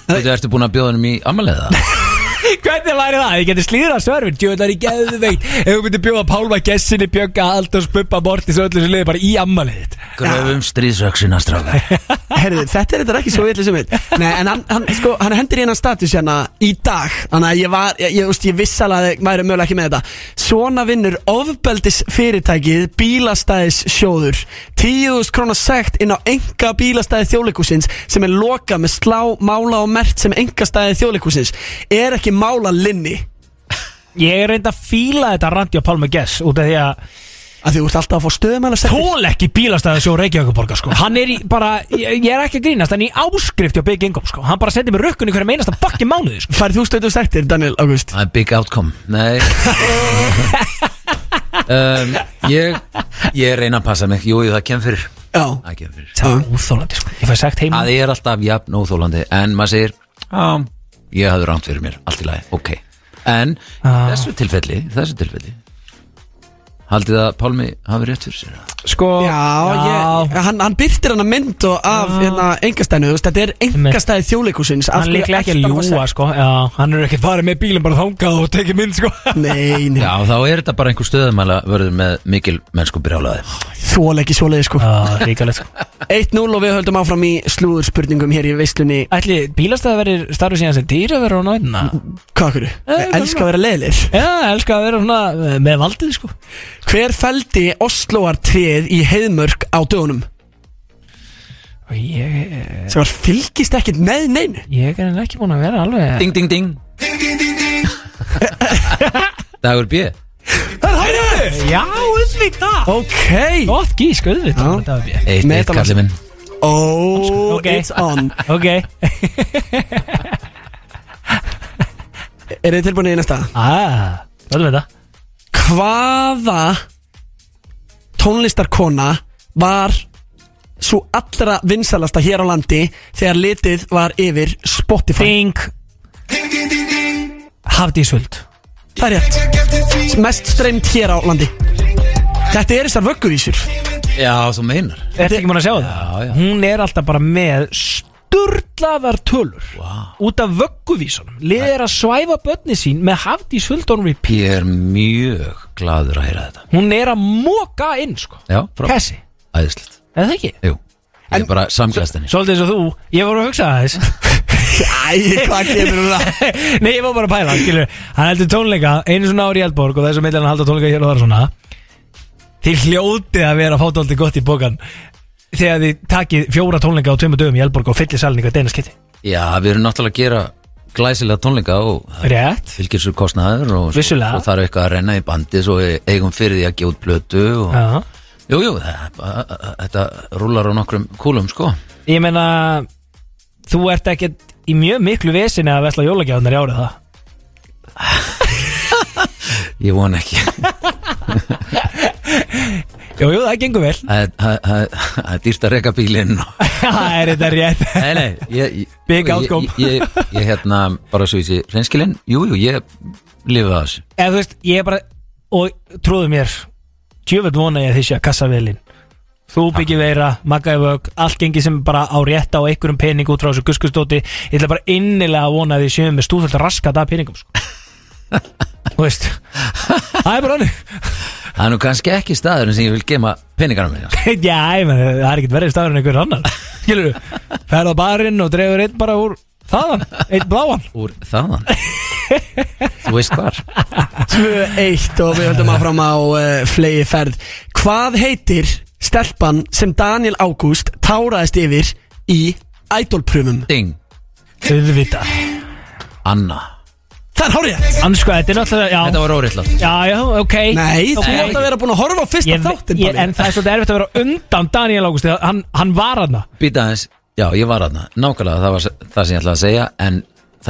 Speaker 3: Veitir, ertu búin að bjóða hennum í ammaliða?
Speaker 4: Hvernig læri það? Ég geti slíðrað sverfin Djóðlar í geðveikt Ef þú myndir bjóða Pálma Gessinni, Björka, Aldós, Bubba, Mortis og öllu sem liði bara í ammaliðið
Speaker 3: Gröfum stríðsöksina strákar
Speaker 2: Herðu, þetta er þetta ekki svo vitlega sem við Nei, en hann, hann, sko, hann hendir í hennan status hérna í dag Þannig að ég var, ég, ég, úst, ég viss alveg að þið væri mögulega ekki með þetta Svona vinnur ofbeldis fyrirtækið bílastæðis sjóður 10.000 krónar sekt inn á enga bílastæði þjóðleikusins sem er lokað með slá, mála og mert sem enga stæði þjóðleikusins er ekki mála linni
Speaker 4: Ég er reynd að fíla þetta randi á Pálma Gess út af því að
Speaker 2: að því þú ert alltaf að fá stöðum að segja
Speaker 4: tól ekki bílastæði sjó Reykjavíkuborga sko. hann er í bara, ég, ég er ekki að grínast hann er í áskrift hjá Big Income sko. hann bara sendir mér rökkun í hverjum einasta bakki mánuði sko.
Speaker 2: Færðu þú stöðu sektir, Daniel August?
Speaker 3: Það er big outcome Nei um, ég, ég reyna að passa mig Jú, jú, það kem fyrir
Speaker 2: Já,
Speaker 3: Það kem fyrir
Speaker 4: það
Speaker 2: Mm.
Speaker 4: er úþólandi sko. ég fæ sagt heim
Speaker 3: Það er alltaf jafn óþólandi En maður segir Já, ég hafði rámt fyrir mér Allt í lagi, ok En
Speaker 4: Já.
Speaker 3: þessu tilfelli Þessu tilfelli Haldið að Pálmi hafi rétt fyrir sér
Speaker 4: sko,
Speaker 2: já, Ég, hann, hann byrtir hann að mynd og af hérna, engastæðinu, þú veist, þetta er engastæði þjóðleikusins
Speaker 4: hann líklega ekki að ljúa sko. já, hann er ekki farið með bílum bara þangað og tekið mynd sko.
Speaker 2: Nei, nei,
Speaker 3: Já, þá er þetta bara einhver stöðumæla Vörður með mikil mennsku brjálaði
Speaker 2: þól ekki svoleiði sko
Speaker 4: Já, ríkalegt sko
Speaker 2: 1-0 og við höldum áfram í slúðurspurningum hér í veislunni
Speaker 4: Ætli, bílastæði verið starfið síðan sem dýraverður á nætina
Speaker 2: Hvað okkur? Ég elska að vera leiðilegir
Speaker 4: Já, elska að vera svona eh, með valdið sko
Speaker 2: Hver fældi Osloar tréð í heiðmörk á dögunum?
Speaker 4: Og ég, eh,
Speaker 2: Sem var fylgist ekkert með neinu
Speaker 4: ég er ekki búin að vera alveg
Speaker 3: Ding, ding, ding Dagur B
Speaker 4: Já, auðvitað
Speaker 2: Ok
Speaker 4: Gott gísk,
Speaker 2: Já.
Speaker 4: auðvitað Þetta var bíð.
Speaker 3: Eitt, eitt
Speaker 2: Metalast.
Speaker 3: kallið minn
Speaker 2: Oh,
Speaker 4: Ok.
Speaker 2: it's on
Speaker 4: Ok,
Speaker 2: Er þið tilbúinni í næsta?
Speaker 3: Ah,
Speaker 4: aaa, auðvitað
Speaker 2: Hvaða tónlistarkona var svo allra vinsalasta hér á landi þegar litið var yfir Spotify?
Speaker 4: Ding Hafdísvöld
Speaker 2: Það er rétt Mest streymt hér á landi Þetta er þessar vögguvísur
Speaker 3: Já, þú meinar
Speaker 4: Ertu ekki mann að sjá það?
Speaker 3: Já, já.
Speaker 4: Hún er alltaf bara með sturlaðar tölur wow. Út af vögguvísunum Liðið er að svæfa börni sín með Hafdísvöld on repeat
Speaker 3: Ég er mjög gladur að heyra þetta
Speaker 4: Hún er að moka inn sko
Speaker 3: Já, frá
Speaker 4: Kessi,
Speaker 3: Æðislegt
Speaker 4: er það ekki?
Speaker 3: Jú Ég er bara samkvæðast henni
Speaker 4: Svolítið eins og þú, ég voru að hugsa aðeins
Speaker 2: Æ, hvað kemur um það?
Speaker 4: Nei, ég var bara að pæla, skilur Hann heldur tónleika, einu svona ári í Eldborg og þessu millir hann halda tónleika hér og þar svona Þið hljótið að vera að fá dálítið gott í bókan Þegar þið takið fjóra tónleika á tveimur dögum í Eldborg og fyllir salninga deina skytti
Speaker 3: Já, við erum náttúrulega að gera glæsilega tónleika og það
Speaker 4: Rétt
Speaker 3: fylgir svo kostnaður og,
Speaker 4: Vissulega.
Speaker 3: og það er eitthvað að renna í bandi svo við eigum fyrir því að gefa út blötu og
Speaker 4: Já.
Speaker 3: jú, jú, það, er bara- þetta rúlar á nokkrum kúlum sko
Speaker 4: Ég meina, þú ert ekkert í mjög miklu vesinni að vesla jólagjafnar í árið það
Speaker 3: ég von ekki
Speaker 4: Jú, jú, það gengur vel
Speaker 3: það er- það- það- það er dýrt að reka bílinn og...
Speaker 4: Það er þetta rétt
Speaker 3: nei, nei, ég, ég,
Speaker 4: Big
Speaker 3: ég-
Speaker 4: outcome.
Speaker 3: ég, ég, ég hérna bara svo í þessi reynskilinn, jú, jú, ég lifa þessu
Speaker 4: Eða þú veist, ég er bara Og trúðu mér Tjöfell vona ég að þið sé að kassa velin Þú byggir veira, maggaði vög Allt gengi sem bara á rétta á einhverjum pening út frá þessu guskustóti Ég ætla bara innilega að vona að þið séum með stúðfælt raskat af peningum sko. Þú veist Það er bara hannig
Speaker 3: það er nú kannski ekki staðurinn sem ég vil gema peningarna minna
Speaker 4: Já, ég menn, það er ekkert verið staður en einhver annar Skilur þú, ferð á barinn og drefur einn bara úr þaðan Einn bláan
Speaker 3: úr þaðan þú veist hvar
Speaker 2: 2-1 og við höldum áfram á uh, flegi ferð Hvað heitir stelpan sem Daniel Ágúst táraðist yfir í ædolprumum?
Speaker 3: ding,
Speaker 4: Auðvita
Speaker 3: Anna
Speaker 2: Það er hárið
Speaker 4: Ansku, þetta er náttúrulega, já
Speaker 3: þetta var óriðlagt
Speaker 4: Já, já, ok
Speaker 2: Nei, þú
Speaker 4: Ok.
Speaker 2: átt að vera búin að horfa á fyrsta
Speaker 4: ég,
Speaker 2: þáttinn
Speaker 4: ég, En það er svolítið erfitt að vera undan Daniel Ágústi Hann, hann var hann
Speaker 3: Býta aðeins, já ég var aðna Nákvæmlega það var s- það sem ég ætlaði að segja En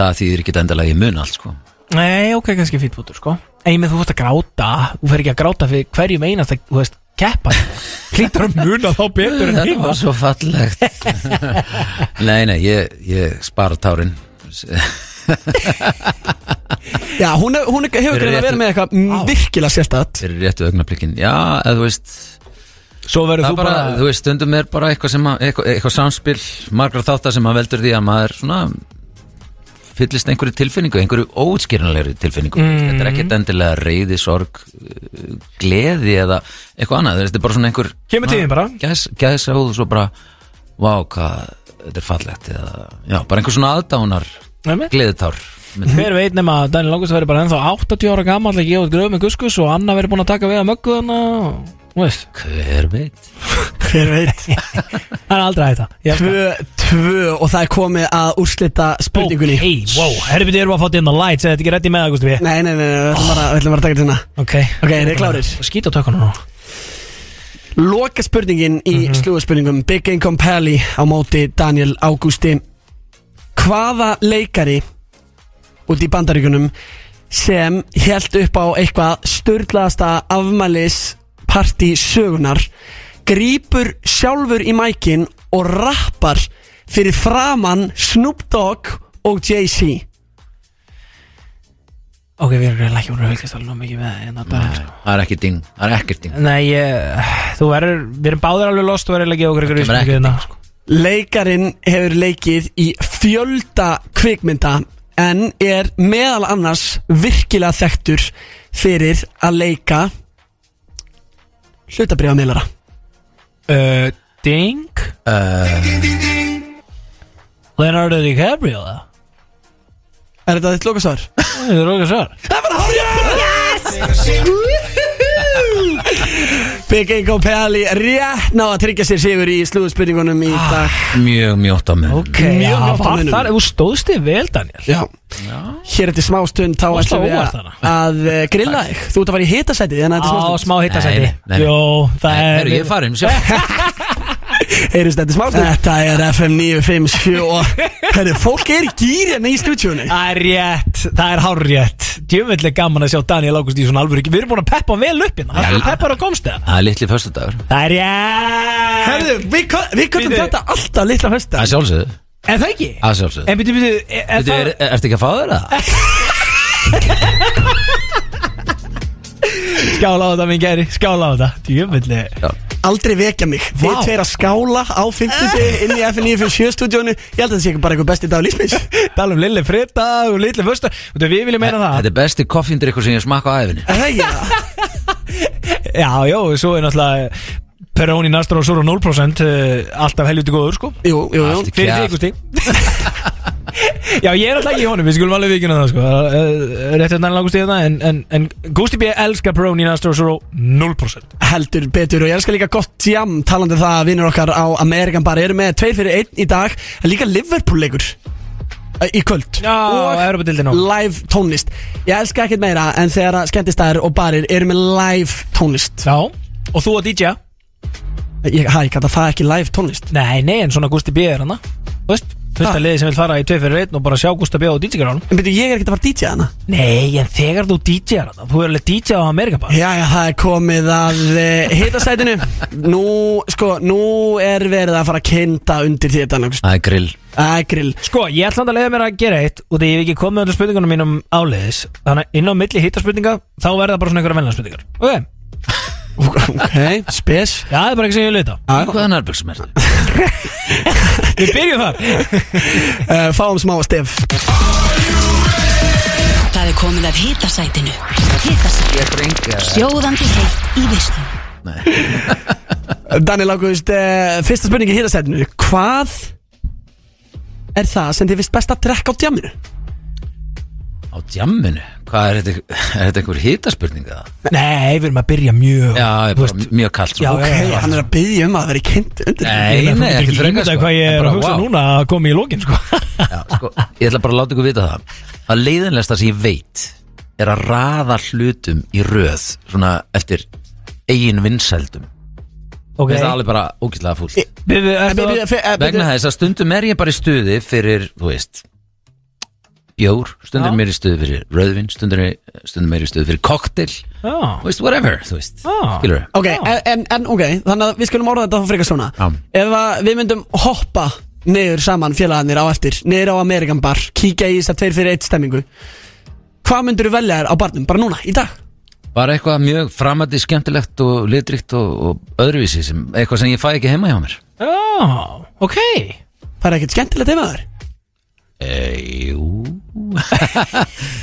Speaker 3: það þýðir ekki endalega ég mun allt sko
Speaker 4: Nei, ok, kannski fýtt bútur, sko En ég með þú fórst að gráta Þú fer ekki að gráta fyrir hverjum einast að, Þú veist, keppa Hlýtur að muna þá betur en
Speaker 3: Þetta
Speaker 4: hinn
Speaker 3: var svo fallegt Nei, nei, ég, ég spara tárin
Speaker 2: Já, hún, er, hún er, hefur
Speaker 3: Fyrir
Speaker 2: greið að vera
Speaker 3: réttu-
Speaker 2: með eitthvað mm, virkilega sérstætt
Speaker 3: Fyrir réttu augnablikin Já, eða þú veist
Speaker 4: Svo verður
Speaker 3: Það
Speaker 4: þú
Speaker 3: bara,
Speaker 4: bara,
Speaker 3: þú veist, stundum er bara eitthvað sem að, eitthvað, eitthvað samspil margra þáttar sem að veldur því að maður svona fyllist einhverju tilfinningu, einhverju óutskýranlegri tilfinningu, þetta er ekkert endilega reyði, sorg, uh, gleði eða eitthvað annað, þú veist, þetta er bara svona einhver
Speaker 4: Kemur tíðin bara.
Speaker 3: gæs, gæs og svo bara, vá, hvað þetta er fallegt, eða, já, bara einhver svona aðdánar
Speaker 4: Einmitt.
Speaker 3: gleðitár
Speaker 4: Hver veit nema að Daniel Ágústi verður bara ennþá 80 ára gammal Þegar ég átt gröf með Guskus og Anna verður búin að taka við að möggu hana og- Þú veist,
Speaker 3: hver veit
Speaker 2: Hver veit
Speaker 4: það er aldrei að þetta
Speaker 2: 2-2 og það er komið að úrslita spurningunni
Speaker 4: Hey, wow, herfið þið eru að fá þetta inn á light Þetta er ekki rétt í með Ágústi við
Speaker 2: Nei, nei, nei, nei, við ætlum bara, við ætlum bara að taka þetta hérna
Speaker 4: Ok,
Speaker 2: Ok, eruð þið klárir?
Speaker 4: Skýt á tökkunum nú
Speaker 2: Loka spurningin í mm Big Income Pally á móti Daniel Ágústi Hvaða leikari út í bandaríkunum sem held upp á eitthvað störðlaðasta afmælis partí sögunar grípur sjálfur í mækin og rappar fyrir framann Snoop Dogg og Jay-Z
Speaker 4: Ok, við erum reyðilega ekki búin að fylgjast alveg nóg mikið með hérna en þetta
Speaker 3: það er ekki ding, það er ekkert ding
Speaker 4: sko. Nei, ég, þú verður, við erum báðir alveg lost og verður ekki okkur ykkur
Speaker 3: Það kemur
Speaker 4: vísbendingu
Speaker 3: ekkert
Speaker 4: hérna.
Speaker 2: Leikarin hefur leikið í fjölda kvikmynda en er meðal annars virkilega þekktur fyrir að leika hlutabriðamilara
Speaker 4: uh, Ding
Speaker 3: Eh,
Speaker 4: Leonardo DiCaprio það?
Speaker 2: Er þetta þitt lokasvar?
Speaker 4: Það er okkar svar
Speaker 2: Það var hárjör Yes Big Ingo Peli rétt ná að tryggja sér sigur í slúðspurningunum í dag
Speaker 3: Mjög mjótt á mig
Speaker 2: Ok, já,
Speaker 4: Mjög
Speaker 2: bara
Speaker 4: var
Speaker 2: munum.
Speaker 4: þar, þú stóðst þig vel Daniel
Speaker 2: Já. Hér eftir smá stund þá
Speaker 4: Varstu
Speaker 2: ætlum við
Speaker 4: óvart
Speaker 2: að,
Speaker 4: þarna?
Speaker 2: að eh, grilla þig Þú ert að fara í hitasæti Þannig að
Speaker 4: Á
Speaker 2: þetta er
Speaker 4: smá
Speaker 3: Nei,
Speaker 4: hittasæti
Speaker 3: nei, nei.
Speaker 4: Jó, það
Speaker 3: Herru,
Speaker 4: er
Speaker 3: ég er farin, sjá
Speaker 2: Heyrist þetta smá stund Þetta er FM 957 og Herri, fólk er í gýr hérna í stúdíunni
Speaker 4: Það er rétt, það er hárrétt Djöfellig gaman að sjá Daniel Ágúst í svona alvöru Við erum búin að peppa hann vel upp hérna Það er peppar á komstega
Speaker 3: Það er litli föstudagur
Speaker 4: Það er rétt
Speaker 2: Herðu, við, kö- við köllum
Speaker 4: Bíddu.
Speaker 2: þetta alltaf litla hösta
Speaker 3: Að sjálfsögðu
Speaker 4: En það ekki
Speaker 3: Að sjálfsögðu
Speaker 4: En byrju, byrju, er- er
Speaker 3: Þetta
Speaker 4: það
Speaker 3: er, ertu ekki að fá þér það?
Speaker 4: Skála á þetta, minn gæri, skála á þetta Djöfellig
Speaker 2: Aldrei vekja mig Þið
Speaker 4: Vá.
Speaker 2: tveir að skála á 50 inn í FM 957 stúdíunni Ég held að þetta sé ekki bara eitthvað besti dag lífsmins
Speaker 4: Tala um lilli frita og lilli fösta Við viljum meina það
Speaker 3: Þetta er besti koffindrykkur sem ég smakka á æfinni
Speaker 2: Er það ekki það?
Speaker 4: Já, já, og svo er náttúrulega Peroni Nastro og Soro 0% uh, Alltaf helviti góður, sko
Speaker 2: Jú, jú, jú
Speaker 3: Allt í
Speaker 4: Fyrir því,
Speaker 3: Kjaft.
Speaker 4: Gusti Já, ég er alltaf ekki í honum, við skulum alveg vikina það, sko Eh, Rétt hérna alveg Gusti hérna En, en, en Gusti B. elskar Peroni Nastro og Soro 0%
Speaker 2: Heldur betur og ég elskar líka gott jam talandi um það að vinnur okkar á Amerikan bara eru með tveir fyrir einn í dag en líka Liverpool leikur eh, í kvöld
Speaker 4: Já,
Speaker 2: og
Speaker 4: Evropadildin á
Speaker 2: live tónlist Ég elska ekkert meira en þegar að skemmtistæðir og barir eru með live tónlist
Speaker 4: Já, og þú að DJ-a
Speaker 2: Ég, hæ, ég kalla það ekki live tónlist
Speaker 4: Nei, nei, en svona Gusti B. er hana Þú veist, fyrsta
Speaker 2: Ha.
Speaker 4: liði sem vil fara í 2 fyrir 1 og bara sjá Gusti B. á DJ-gráðum
Speaker 2: En byrju, ég er ekkert að fara að DJ hana
Speaker 4: Nei, en þegar þú DJ-ar hana, þú er alveg DJ á Amerika bara
Speaker 2: Jæja, það er komið að uh, hitasætinu Nú, sko, nú er verið að fara að Eh, kynda undir því þetta
Speaker 3: Það er grill
Speaker 2: Ægril
Speaker 4: Sko, ég ætla samt að leiða mér að gera eitt og því ég hef ekki komið með öllum spurningunum mínum áleiðis þannig að inn á milli hittaspurninga þá verða það bara svona einhverja velna spurningar Ok,
Speaker 2: Ok, spes
Speaker 4: já, það er bara ekki sem ég vil vita
Speaker 3: Hvaða nærbyggsum ertu?
Speaker 4: Við byrjum þar
Speaker 2: uh, Fáum smá stef
Speaker 5: Það er komið að hitasætinu Hitasætinu
Speaker 3: Ég drengi
Speaker 5: Sjóðandi heitt í veislun
Speaker 2: Daniel Ágúst, uh, fyrsta spurning í hitasætinu Hvað er það sem þið finnst best að drekka á djaminu?
Speaker 3: Á djamminu? Hvað er þetta? Er þetta einhver hitaspurning eða?
Speaker 4: Nei, við erum að byrja mjög
Speaker 3: Já, ég er
Speaker 4: Þú
Speaker 3: bara
Speaker 4: veist,
Speaker 3: mjög kalt
Speaker 4: Já,
Speaker 3: svona.
Speaker 4: já,
Speaker 2: Hey, hann er að byggja um að vera kynnt undir
Speaker 3: Nei,
Speaker 4: Ég er
Speaker 3: nei, ekki
Speaker 4: ekki
Speaker 3: frekar,
Speaker 4: ímyndað
Speaker 3: sko.
Speaker 4: hvað ég
Speaker 3: En
Speaker 4: er
Speaker 3: bara,
Speaker 4: að hugsa
Speaker 3: vá.
Speaker 4: núna að koma í lókin sko.
Speaker 3: Já, sko, ég ætla bara að láta ykkur vita það Það leiðinlegasta sem ég veit er að raða hlutum í röð svona eftir eigin vinsældum
Speaker 4: Ok,
Speaker 3: okay. Það er alveg bara ógæslega fúll
Speaker 4: byrju,
Speaker 2: Eh,
Speaker 4: eftir það
Speaker 3: Vegna þess að stundum er ég bara í stuði fyrir, þú veist bjór, stundum
Speaker 4: Já.
Speaker 3: er ég í stuði fyrir röðvin stundum er, stundum er ég í stuði fyrir koktel þú
Speaker 4: Já,
Speaker 3: veist, whatever, þú veist
Speaker 4: Já.
Speaker 3: Skilur við?
Speaker 2: Ok, en, en, en ok, þannig að við skulum orða þetta þá frekar svona
Speaker 3: Já.
Speaker 2: Ef að við myndum hoppa niður saman félagarnir á eftir Niður á Amerikan bar, kíkja í þess að tveir fyrir eitt stemmingu Hvað myndur þú velja þér á barnum, bara núna, í dag?
Speaker 3: Bara eitthvað mjög framandi skemmtilegt og litrikt og, og öðruvísi sem, eitthvað sem ég fæ ekki heima hjá mér
Speaker 4: já, ok
Speaker 2: Það er ekkert skemmtilegt heima þér
Speaker 3: E, jú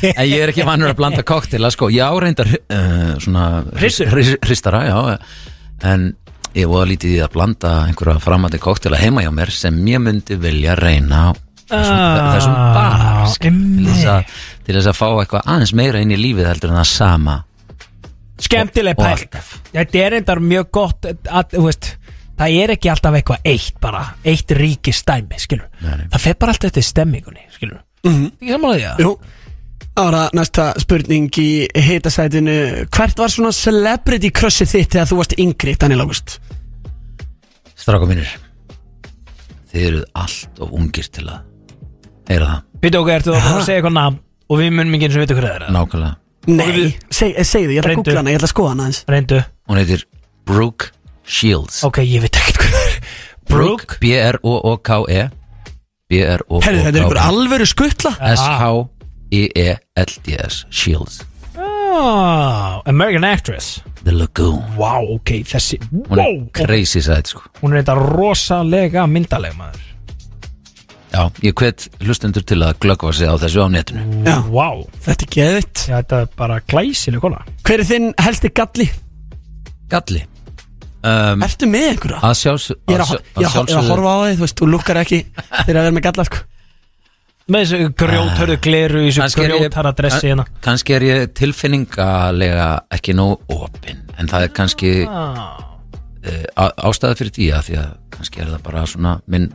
Speaker 3: En ég er ekki vannur að blanda koktela sko. Já, reyndar uh, svona
Speaker 4: Hryssur.
Speaker 3: hriss- Hristara, já En ég voða lítið í að blanda einhverja framandi koktela heima hjá mér sem ég myndi vilja reyna á þessum,
Speaker 4: Ah,
Speaker 3: þessum bar skilur, til þess,
Speaker 4: einmitt.
Speaker 3: að, til þess að fá eitthvað aðeins meira inn í lífið heldur en það sama
Speaker 4: Skemmtileg
Speaker 3: Og- og
Speaker 4: pæl
Speaker 3: alltaf.
Speaker 4: Þetta er endar mjög gott að, þú veist, Það er ekki alltaf eitthvað eitt bara Eitt ríkistæmi, skilur
Speaker 3: Nei, nei.
Speaker 4: Það fer bara alltaf eftir stemmingunni, skilur mm -hmm. Ekki samanlega því að
Speaker 2: Jú Ára, næsta spurning í hitasætinu Hvert var svona celebrity crushið þitt þegar þú varst yngri, Daniel August?
Speaker 3: Stráka mínir Þið eruð allt og ungir til að heyra það,
Speaker 4: Býtu okkur, ertu þá að fara að segja eitthvað nafn Og við munum ekki eins og vita hver það er eða?
Speaker 3: nákvæmlega
Speaker 2: Nei, seg, eh, segðu, ég ætla að
Speaker 4: Reyndu.
Speaker 2: googla hana, ég ætla að skoða hana aðeins
Speaker 4: Reyndu
Speaker 3: Hún heitir Brooke Shields
Speaker 4: Ok, ég veit ekkert hver það er
Speaker 3: Brooke B-R-O-O-K-E B-R-O-O-K-E
Speaker 2: Herðu, þetta er einhver alvöru skuttla
Speaker 3: E S-H-E-E-L-D-S
Speaker 2: E
Speaker 3: Shields
Speaker 4: Ah, American Actress
Speaker 3: The Lagoon
Speaker 4: Vá, ok, þessi
Speaker 3: Hún er
Speaker 4: Wow, ok,
Speaker 3: crazy sæt sko
Speaker 4: hún er þetta rosalega myndaleg maður
Speaker 3: Já, ég hvet hlustendur til að glöggva sig á þessu á netinu
Speaker 2: Já,
Speaker 4: Vá,
Speaker 2: þetta er geðvitt
Speaker 4: já, þetta er bara glæsileg kona
Speaker 2: Hver er þinn helsti galli?
Speaker 3: Galli um,
Speaker 2: Ertu með einhverja?
Speaker 3: Að sjálfs
Speaker 2: Ég er að, ég er að, ég er að horfa á þig, þú veist, þú lukkar ekki þegar að vera með galla, sko
Speaker 4: Með þessu grjóthörðu gleru í þessu grjóthara dressi hérna
Speaker 3: Kanski er ég tilfinningalega ekki nóg opinn En það er kannski
Speaker 2: Ah.
Speaker 3: eh, á- ástæða fyrir því að Því að kannski er það bara svona minn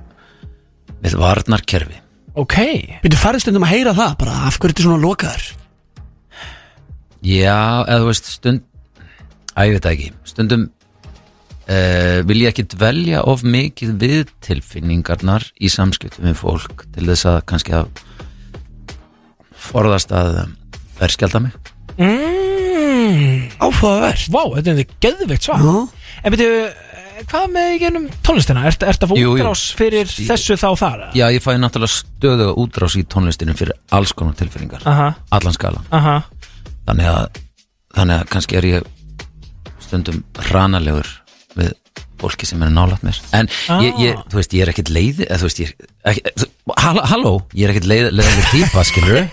Speaker 3: Mitt varnarkerfi
Speaker 4: Ok
Speaker 2: Býttu farið stundum að heyra það, bara af hverju ertu svona lokaður
Speaker 3: Já, eða þú veist stund Æ, ég veit það ekki Stundum uh, vil ég ekki dvelja of mikið við tilfinningarnar í samskiptum við fólk til þess að kannski að forðast að verðskjálda mig
Speaker 2: Áhugavert
Speaker 4: Vá, þetta er þetta geðveikt svar En veitu, hvað með í genum tónlistina? Ert er það
Speaker 3: Jú, jú.
Speaker 4: útrás fyrir þessu þá þar?
Speaker 3: Já, ég fæði náttúrulega stöðuga útrás í tónlistinu fyrir alls konar tilfinningar
Speaker 4: Aha,
Speaker 3: allan skala
Speaker 4: aha
Speaker 3: þannig að, þannig að kannski er ég stundum ranalegur við fólki sem er nálægt mér en ég,
Speaker 4: Ah.
Speaker 3: ég, þú veist, ég er ekkert leiði eða, þú veist, ég, er ekki, þú- hall- halló, ég er ekkert leið, leiðileg típa, skilur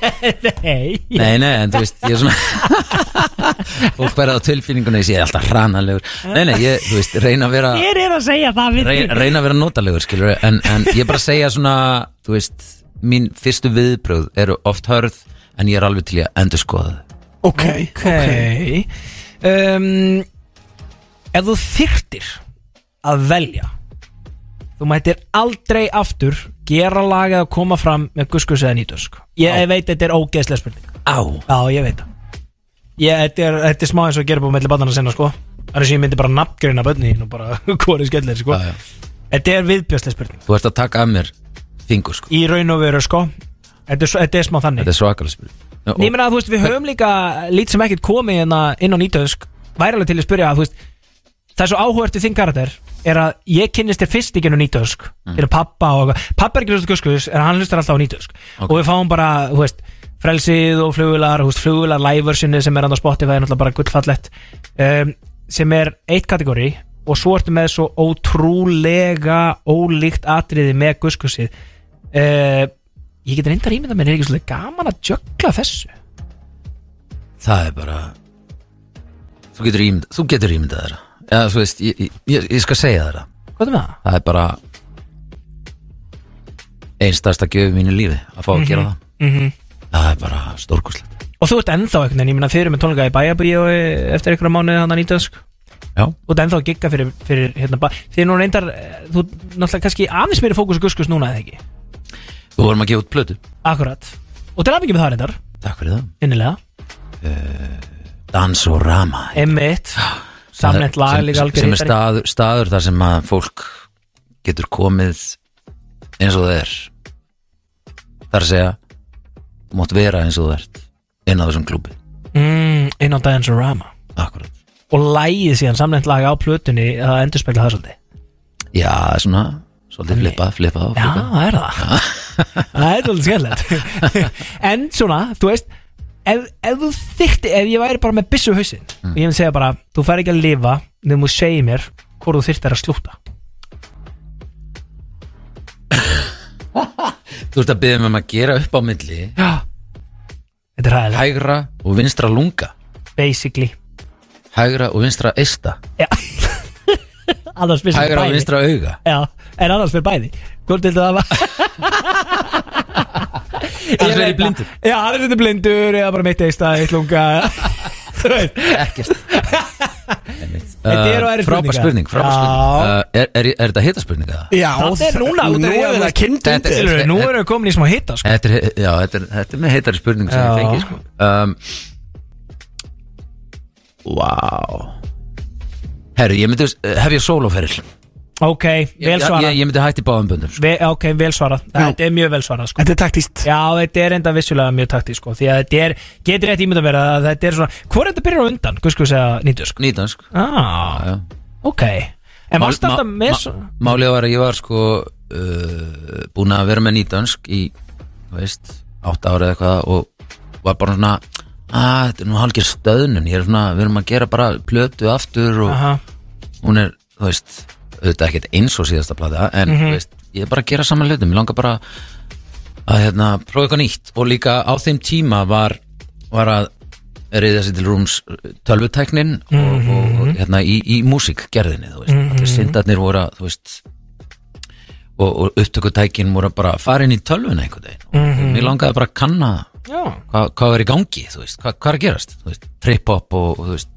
Speaker 4: Nei
Speaker 3: nei, nei, en þú veist, ég er svona fólk verða á tilfinninguna ég sé alltaf ranalegur, nei, nei, ég, þú veist reyna að vera
Speaker 4: Ég er að segja það við
Speaker 3: reyna, reyna að vera notalegur skilur en, en ég er bara að segja svona þú veist, mín fyrstu viðbröð eru oft hörð en ég er alveg til ég að endur skoða
Speaker 2: Ok,
Speaker 4: Ok um, Ef þú þyrtir að velja Þú mættir aldrei aftur gera lagið að koma fram með guskus eða nýtusk Ég veit þetta er ógeðslega spurning
Speaker 3: á,
Speaker 4: Já, ég veit það ég, þetta, er, þetta er smá eins og að gera búið mellir barnana sinna sko Það er sem ég myndi bara nafngreina bönnin og bara hvori skellir sko
Speaker 3: Já, já.
Speaker 4: Þetta er viðbjörslega spurning
Speaker 3: þú ert að taka af mér fingur sko,
Speaker 4: Í raun og veru sko Þetta er, svo- þetta er smá þannig
Speaker 3: þetta er svakalega spil
Speaker 4: Nei, menn að þú veist, við höfum líka lít sem ekkert komið hérna inn á nýtöðsk væri alveg til að spyrja að þú veist það er svo áhugert í þinn karakter er að ég kynnist þér fyrst ekki inn á nýtöðsk mm. er pappa og pappa er ekki hlustur kuskus en hann hlustar alltaf á nýtöðsk og við fáum bara, þú veist, frelsið og flugular þú veist, flugular læfursinni sem er hann á Spotify er náttúrulega bara gullfallett um, sem er eitt kategóri og svo ertu með svo ótrúlega ólíkt atriði með guskusið uh, ég get reyndar ímynda mér er ekki svolítið gaman að jökla þessu
Speaker 3: það er bara þú getur ímynd þú getur ímyndað þeirra Já, þú veist, ég, ég- ég, ég skal segja þeirra
Speaker 4: Hvað er með það?
Speaker 3: það er bara einstasta gjöfum mínu lífi að fá að
Speaker 4: Mhm,
Speaker 3: gera það -hmm. það er bara stórkoslegt
Speaker 4: Og þú ert ennþá einhvern veginn, ég meina þeir eru með tónleika í bæjabíu eftir einhverja mánuði hann að nýta ösk
Speaker 3: já,
Speaker 4: Þú ert ennþá að gigga fyrir, fyrir hérna bara Þið er nú reyndar, eh, þú ert náttúrulega kannski aðeins meiri fókus og guskus núna eða ekki
Speaker 3: þú vorum að gefa út plötu
Speaker 4: Akkurat Og til aðbyggjum það reyndar,
Speaker 3: takk fyrir það
Speaker 4: innilega
Speaker 3: dans og rama
Speaker 4: M1, samnett lag
Speaker 3: sem,
Speaker 4: líka
Speaker 3: sem,
Speaker 4: algjör
Speaker 3: sem er
Speaker 4: hittari
Speaker 3: staður, staður þar sem að fólk getur komið eins og það er þar að segja þú mátt vera eins og það ert inn á þessum klúbi
Speaker 4: mm, Inn á Dansorama
Speaker 3: akkurat
Speaker 4: Og lægið síðan samnett lag á plötunni að endurspegla það svolítið
Speaker 3: já, svona, svolítið flippa, flippa og
Speaker 4: Já,
Speaker 3: flippa
Speaker 4: það er það Það er svolítið skemmtilegt En svona, þú veist Ef, ef þú þykti, ef ég væri bara með byssu hausinn
Speaker 3: Mm.
Speaker 4: og ég myndi segja bara, þú fær ekki að lifa þegar þú segir mér hvort þú þyrftir að slúta
Speaker 3: þú ert að byggja mig um að gera upp á milli
Speaker 4: Já Þetta er hæðilega,
Speaker 3: hægra og vinstra lunga
Speaker 4: basically
Speaker 3: hægra og vinstra eista
Speaker 4: Já Annars fyrir
Speaker 3: hægra og
Speaker 4: bæði
Speaker 3: vinstra auga
Speaker 4: Já, en annars fyrir bæði Hvort heldur það var
Speaker 3: Annars
Speaker 4: Ég
Speaker 3: verð ég
Speaker 4: veit það.
Speaker 3: blindur.
Speaker 4: Já, annars verður blindur eða bara mitt eista, eitt lunga Þú veist
Speaker 3: ekkert Uh,
Speaker 4: Þetta eru aðrir
Speaker 3: frábær
Speaker 4: spurningar.
Speaker 3: spurning, frábær
Speaker 4: Já.
Speaker 3: spurning. Uh, er, er, er þetta hitaspurninga?
Speaker 2: Já,
Speaker 4: Þetta er núna,
Speaker 2: Nú
Speaker 4: þetta er-
Speaker 2: er það kind
Speaker 3: Þetta
Speaker 2: undir
Speaker 3: er-
Speaker 4: Skilurðu, Nú erum við komin í smá hitta sko.
Speaker 3: Þetta er, já, þetta er, þetta er með heitari spurning sem
Speaker 4: Já.
Speaker 3: ég fengi sko. um, Wow Herru, ég myndi, eh, hef ég sóloferil
Speaker 4: Ok, vel
Speaker 3: ég,
Speaker 4: svarað
Speaker 3: ég, ég myndi hætti báðum böndum sko.
Speaker 4: Ve Ok, vel svarað Þetta er mjög vel svarað sko.
Speaker 2: Þetta er taktíst
Speaker 4: Já, þetta er enda vissulega mjög taktið sko. Því að þetta er, getur rétt ímynda verið að þetta er svona Hvor er þetta byrjar á undan, hvað sko segja nýttu sko
Speaker 3: Nýdansk
Speaker 4: ah,
Speaker 3: já.
Speaker 4: Ok En
Speaker 3: Mál-
Speaker 4: varst alltaf
Speaker 3: ma-
Speaker 4: með
Speaker 3: ma-
Speaker 4: svo
Speaker 3: Málið var að ég var sko uh, búin að vera með nýdansk í, þú veist, átta ára eða eitthvað og var bara svona að þetta er nú hálfgeir stöðnun ég er svona, við erum að gera bara plötu aftur og
Speaker 4: Aha,
Speaker 3: hún er, þú veist auðvitað ekkert eins og síðasta plata en
Speaker 4: Mhm.
Speaker 3: þú veist, ég er bara að gera saman hlutum ég langar bara að hérna, prófa eitthvað nýtt og líka á þeim tíma var, var að reyða sér til rúms eh, tölvutæknin og, og hérna í, í músikgerðinni þú veist,
Speaker 4: Mhm.
Speaker 3: allir syndarnir voru að, þú veist og, og upptökutækin voru bara farin í tölvuna einhvern veginn og
Speaker 4: Mhm.
Speaker 3: mér langaði bara að kanna hvað, hvað er í gangi, þú veist, hvað, hvað er að gerast þú veist, trip-hop og, og þú veist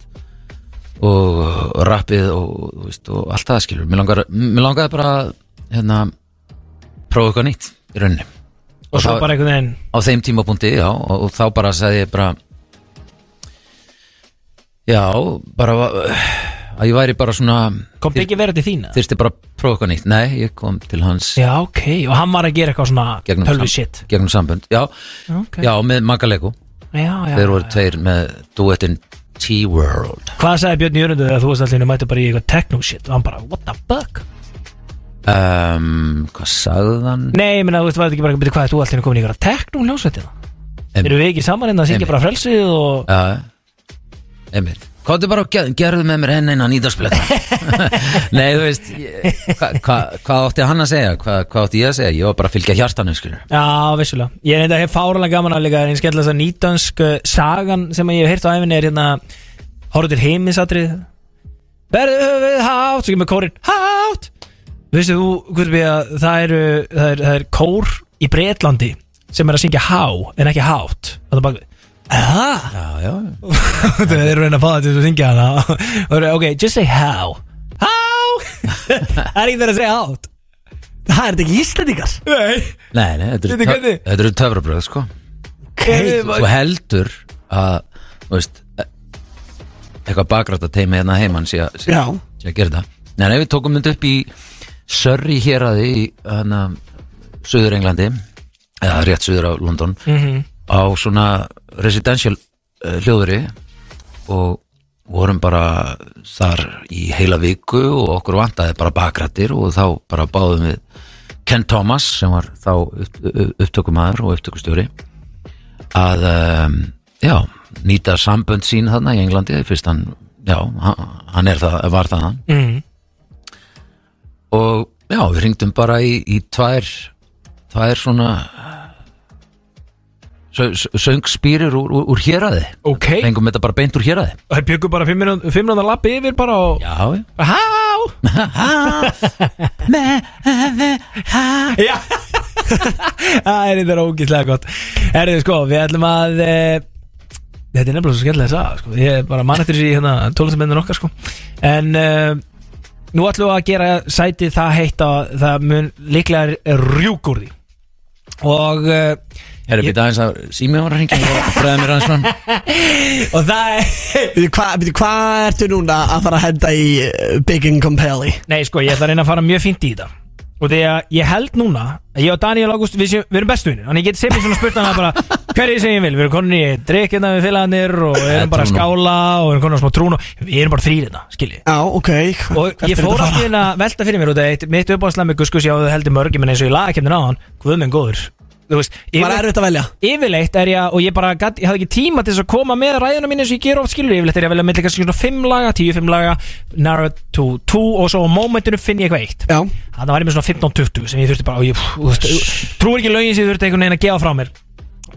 Speaker 3: og rappið og, þú veist, og allt það skilur, mér langaði, mér langaði bara að, hérna prófa eitthvað nýtt í rauninni
Speaker 4: Og svo bara einhvern veginn
Speaker 3: á þeim tímapunkti, já, og, og þá bara sagði ég bara já, bara va- að ég væri bara svona
Speaker 4: Kom þetta ekki verið til þín? eða?
Speaker 3: þyrfti bara að prófa eitthvað nýtt, nei, ég kom til hans
Speaker 4: Já, ok, og hann var að gera eitthvað svona
Speaker 3: gegnum,
Speaker 4: tölvi shit
Speaker 3: gegnum sambund, já,
Speaker 4: Ok.
Speaker 3: já, með Magalego
Speaker 4: Já, já,
Speaker 3: þeir voru tveir með duettin T-World
Speaker 4: Hvað sagði Björn Jörgundu þegar þú veist allir mættu bara í eitthvað techno shit og hann bara, what the fuck?
Speaker 3: um, hvað sagði hann?
Speaker 4: Nei, ég meina, þú veist, var þetta ekki bara, byrju, hvað er þú allir komin í eitthvað techno hljósveitina? Eru við ekki saman en það syngja
Speaker 3: Einmitt.
Speaker 4: bara frelsið og
Speaker 3: Já, einmitt Kóttu bara og ger- gerðu með mér enn einan ídarspletta Nei, þú veist ég- hva- hva- Hvað átti hann að segja? Hvað hva átti ég að segja? Ég var bara að fylgja hjartanu, skilur
Speaker 4: Já, vissulega. Ég er enda hef fáralega gaman að líka eins skella þess að nýtansk sagan sem ég hef heyrt á æfinni er hérna Horfðu til heimisatrið Berðu höfuð hátt Svo kemur kórin hátt Veistu þú, Guðbjörn, að það eru það er, það er kór í Bretlandi sem er að syngja há en ekki hátt og það er bara Aha!
Speaker 3: Já, já
Speaker 4: Þeir eru að reyna að fá það til að syngja hana og það eru, ok, just say how How? það er ekki verið að segja hátt Það er þetta ekki íslendingar Nei
Speaker 3: Nei, nei, þetta eru
Speaker 4: Veitu
Speaker 3: töf-
Speaker 4: hvernig?
Speaker 3: þetta eru töfrabröð, sko
Speaker 4: Hey,
Speaker 3: Þú heldur að, þú veist e- eitthvað bakrætt að teimi hérna heimann sé að sé-
Speaker 2: Já.
Speaker 3: sé að gera það Nei, nei, við tókum þetta upp í Surrey hér að því hana, Suður Englandi eða rétt suður á London
Speaker 4: Mhm.
Speaker 3: á svona residential uh, hljóðri og vorum bara þar í heila viku og okkur vantaði bara bakrættir og þá bara báðum við Ken Thomas sem var þá upp, upptökumæður og upptökustjóri að um, já, nýta sambönd sín þarna í Englandi fyrst hann, já, hann hann er það, var það hann
Speaker 4: Mm.
Speaker 3: og já, við ringdum bara í, í tvær tvær svona sö- sö- söngspýrir úr, úr, úr héraði
Speaker 4: Ok.
Speaker 3: fengum þetta bara beint úr héraði
Speaker 4: Og það byggur bara 500 lappi yfir bara og
Speaker 3: já, já.
Speaker 4: Há Já Það er þetta ógíslega gott Erðu sko, við ætlum að e, Þetta er nefnilega svo skemmtilega að sagða sko. Ég er bara mann eftir þessi hérna, tólestamennin okkar sko. En e, Nú ætlum við að gera sætið það heitt að það mun líklega rjúk úr því Og e,
Speaker 3: Herra, býta aðeins að sími var að ringja og bregða mér aðeins fram
Speaker 4: Og það er
Speaker 2: Bíddu, Hvað bíddu, hvað ertu núna að fara að henda í eh, Big Income Pally?
Speaker 4: Nei, sko, ég ætla að reyna að fara mjög fínt í þetta Og því að ég held núna að Ég og Daniel August, við, séum, við erum bestu vinnir Þannig ég get sem ég svona spurt hann að bara Hverju sem ég vil, við erum konin í drikkina við félagarnir Og við erum bara að
Speaker 3: Trúnó.
Speaker 4: skála Og við erum konin á smá trún og Við erum bara þrýrina, skilji
Speaker 2: Já, ok
Speaker 4: Og ég fór alltaf inn að velta fyrir mér út að eitt, Mitt uppáðslega með Guskus, já, þú heldur mörgum En eins og ég laga kemdina á hann, guð minn góður Þú veist,
Speaker 2: Var
Speaker 4: yfir,
Speaker 2: erfitt að velja?
Speaker 4: yfirleitt er ég Og ég bara, gat, ég hafði ekki tíma til þess að koma með ræðuna mín eins og ég ger oft skilur Yfirleitt er ég að velja með kannski svona 5 laga, 10-5 laga Narrow to 2 Og svo á momentinu finn ég eitthvað eitt
Speaker 2: Já
Speaker 4: Þannig var ég með svona 15-20 sem ég þurfti bara og ég, pff, þú veist, Trúir ekki lögin sem ég þurfti einhvern veginn að gefa frá mér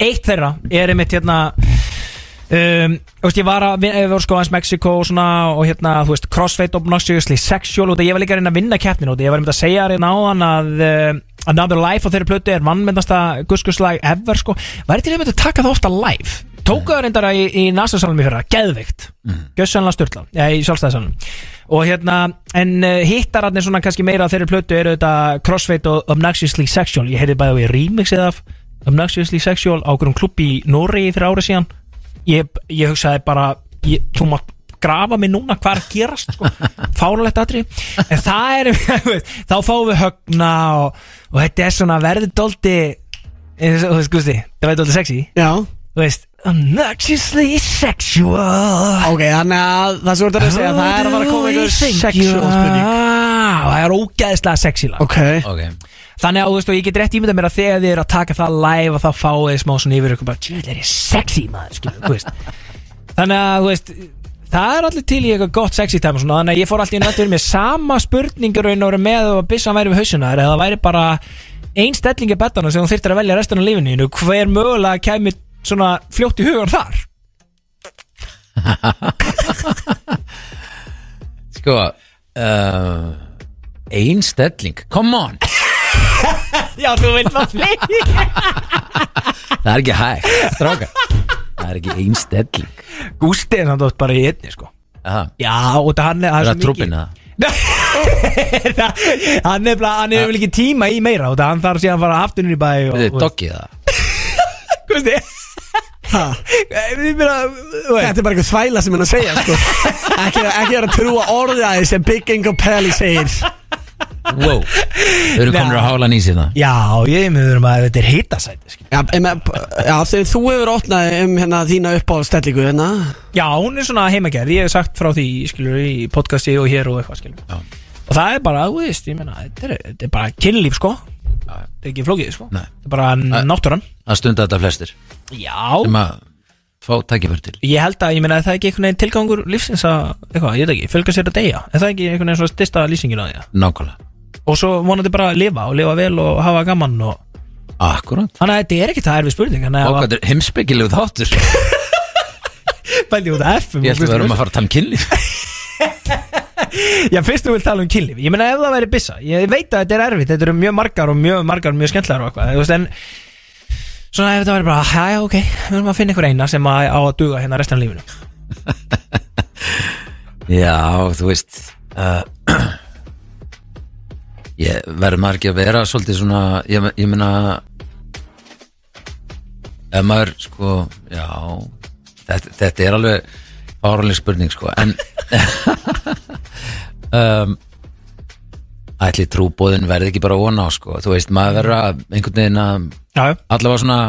Speaker 4: Eitt þeirra er einmitt hérna um, Þú veist, ég var að vinna, við vorum sko aðeins Mexiko og svona og hérna, þú veist, crossfit obnoxiously sexual og það ég var líka að reyna að vinna keppnin og það ég var einmitt að segja hérna á hann að uh, Another Life á þeirri plötu er vannmyndasta guskuslag ever sko Væri til einmitt að taka það ofta live Tóku það reyndara í, í NASA-salmi fyrra, geðveikt Gjössanlega styrla, ja, í sjálfstæðisalmi Og hérna, en uh, hittararnir svona kannski meira á þeirri plötu eru þetta crossfit og obnoxiously sexual Ég heyrði bæði á ég remixið af Obnoxiously Sexual á okkur um klubb í Noregi fyrir árið síðan ég, ég hugsaði bara ég, þú mátt grafa mig núna hvað er að gerast sko. fárulegt aðri en það er, þú veist, þá fáum við högna og, og þetta er svona verður doldi eins og þú veist, Gusti, það verður doldi sexy
Speaker 2: Já
Speaker 4: þú veist, obnoxiously sexual
Speaker 2: Ok, þannig að það sem þú ert að reyna að segja Það er að fara að koma einhver sexual spurning
Speaker 4: Ah, það er ógæðislega sexy lag
Speaker 2: Ok
Speaker 3: Ok,
Speaker 4: Þannig að þú veist og ég get rétt ímyndað mér að þegar þið eru að taka það live og þá fáið þið smá svona yfir ykkur bara Tjöld er ég sexy maður, skilur, þú veist Þannig að, þú veist, það er allir til í eitthvað gott sexy time og svona Þannig að ég fór allir inn allir með sama spurningur og voru með og byssan væri við hausuna þér, eða það væri bara ein stelling í betanum sem þú þyrftir að velja restan af lífinu þínu, Hver mögulega kæmi svona fljótt í hugan þar
Speaker 3: Sko uh, Ein stelling, come on
Speaker 4: Já, þú veit maður fleiri
Speaker 3: Það er ekki hægt, stráka Það er ekki ein stelling
Speaker 4: Gústi er samt oft bara í einni sko
Speaker 3: Aha.
Speaker 4: Já, og það hann er
Speaker 3: Það er
Speaker 4: svo
Speaker 3: að
Speaker 4: mikið-
Speaker 3: trúbin það
Speaker 4: Það- Hann er bara, hann hefur ekki tíma í meira og það hann þarf síðan að fara aftunni í bæ og,
Speaker 3: Þetta er doggið það
Speaker 4: Gústi
Speaker 2: Ha,
Speaker 4: Ég meina, þú veist,
Speaker 2: Þetta er bara eitthvað þvæla sem hann að segja sko. ekki, ekki vera að trúa orðið að þessi Big Ingo Pelli segir
Speaker 3: Wow, þau eru
Speaker 4: Nei.
Speaker 3: komin að hála nýsið það
Speaker 4: Já, ég meður maður, þetta er hitasæti skil.
Speaker 2: Já, em, em, já þegar þú hefur opnað um hérna, þína uppáhaldstellingu hérna.
Speaker 4: Já, hún er svona heimagerð, ég hef sagt frá því skilur, í podcasti og hér og eitthvað skilur
Speaker 3: Já.
Speaker 4: Og það er bara, þú veist, ég meina, þetta er, þetta er bara kynlíf sko Þetta er ekki flókið sko
Speaker 3: Nei.
Speaker 4: Þetta er bara náttúran
Speaker 3: að stunda þetta flestir
Speaker 4: Já,
Speaker 3: sem að fá tækifæri til
Speaker 4: ég held að, ég meina, er það er ekki einhvern veginn tilgangur lífsins að, eitthvað, ég veit ekki, fölga sér að deyja Er það ekki einhvern veginn svona stista lýsingin á því að-
Speaker 3: Nákvæmlega,
Speaker 4: og svo vonandi bara að lifa og lifa vel og hafa gaman og
Speaker 3: akkurát
Speaker 4: þannig að þetta er ekki það erfið spurning þannig að
Speaker 3: Ákvæmt er heimspekilegu þáttur Ég
Speaker 4: bæði út af FM og
Speaker 3: held að við
Speaker 4: Guðmundur.
Speaker 3: erum að fara að tala um kynlíf
Speaker 4: Já, fyrst þú vil tala um kynlíf Ég meina ef það væri byssa Ég veit að þetta er erfitt Þetta eru mjög margar og mjög margar og mjög skemmtlar og eitthvað Þú veist en Svona ef þetta væri bara Já, já, ok Við erum að finna ykkur eina sem að, á að duga hérna restan af lífinu
Speaker 3: Já, þú veist uh, Ég verður maður ekki að vera svolítið svona, ég, ég meina ef maður, sko, já þetta, þetta er alveg fáraleg spurning, sko en um, ætli trúbóðin verði ekki bara vona á, sko, þú veist, maður verður að einhvern veginn að
Speaker 4: Já, já
Speaker 3: allavega svona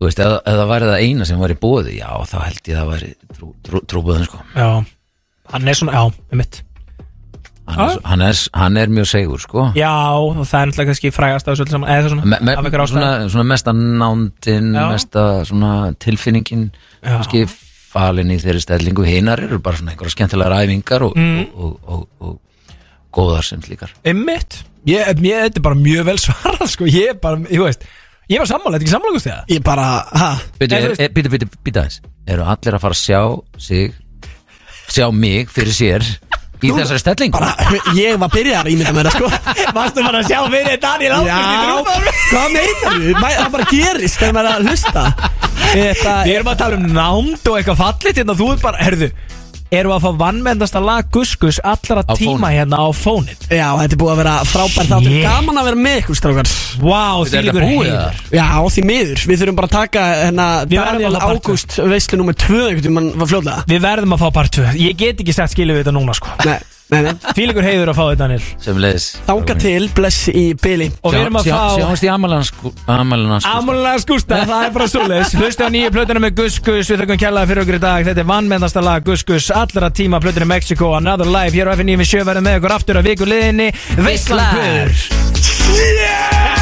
Speaker 3: þú veist, ef, ef það væri það eina sem væri bóði, já, þá held ég það væri trú, trú, trúbóðin, sko
Speaker 4: Já Hann er svona, já, um mitt
Speaker 3: hann er, hann er, hann er mjög segur sko
Speaker 4: Ah. Já, og það er náttúrulega kannski frægast af þessu öllu saman Eða svona
Speaker 3: me, me,
Speaker 4: af ykkur ástæða
Speaker 3: svona, svona mesta nándin
Speaker 4: Já.
Speaker 3: mesta svona tilfinningin
Speaker 4: Já.
Speaker 3: kannski falin í þeirri stellingu hinar eru bara svona einhverja skemmtilega ræfingar og,
Speaker 4: Mm.
Speaker 3: og, og, og, og góðar sem slíkar
Speaker 4: Einmitt Ég, mér, þetta er bara mjög vel svarað sko Ég er bara, ég veist Ég er bara sammála, þetta er ekki sammála gúst þegar
Speaker 2: Ég bara, ha
Speaker 4: Nei,
Speaker 3: Bíddu,
Speaker 4: þú
Speaker 3: er-
Speaker 4: veist-
Speaker 3: er- bíddu, bíddu, bíddu aðeins eru allir að fara að sjá sig sjá mig fyrir sér í þessari stellingu
Speaker 2: bara, Ég var byrjar að ímynda mér það sko
Speaker 4: Varstu bara að sjá fyrir Daniel
Speaker 2: Já, hvað meinar þú? Það bara gerist þegar maður er að hlusta Þetta,
Speaker 4: Við erum að tala um nánd og eitthvað fallit hérna, þú er bara, herðu Erum við að fá vannmendasta lag Guskus allra
Speaker 3: Á
Speaker 4: tíma
Speaker 3: fóninn.
Speaker 4: hérna á fónin
Speaker 2: Já, þetta er búið að vera frábær þáttur
Speaker 4: Shit.
Speaker 2: Gaman að vera með ykkur strákar
Speaker 4: Vá,
Speaker 3: Þetta er
Speaker 4: þvílíkur
Speaker 3: þetta búið,
Speaker 4: heiður.
Speaker 3: eða?
Speaker 2: Já, því miður, við þurfum bara að taka hérna,
Speaker 4: Við verðum
Speaker 2: Daniel
Speaker 4: alveg bara
Speaker 2: Ágúst veislu nummer 2 einhvern tímann var fljóðlega
Speaker 4: Við verðum að fá part 2 Ég get ekki sagt skilja við þetta núna sko
Speaker 2: Nei, nei, nei
Speaker 4: Þvílíkur heiður að fá þetta Daniel
Speaker 3: sem leðis
Speaker 2: Þanga til, bless í byli
Speaker 4: Og við erum að fá
Speaker 3: sjáumst í amalans
Speaker 4: Amulas Gústa, það er bara svoleiðis Hlustu á nýju plötuna með Guskus Við þökkum kjallaði fyrir okkur í dag Þetta er vannmennasta lag Guskus Allra tíma plötuna í Mexiko Another Life Hér á FN9 við sjö verðum með okkur aftur að viku liðinni Veistlan
Speaker 3: Veislan.
Speaker 4: hver Yeah!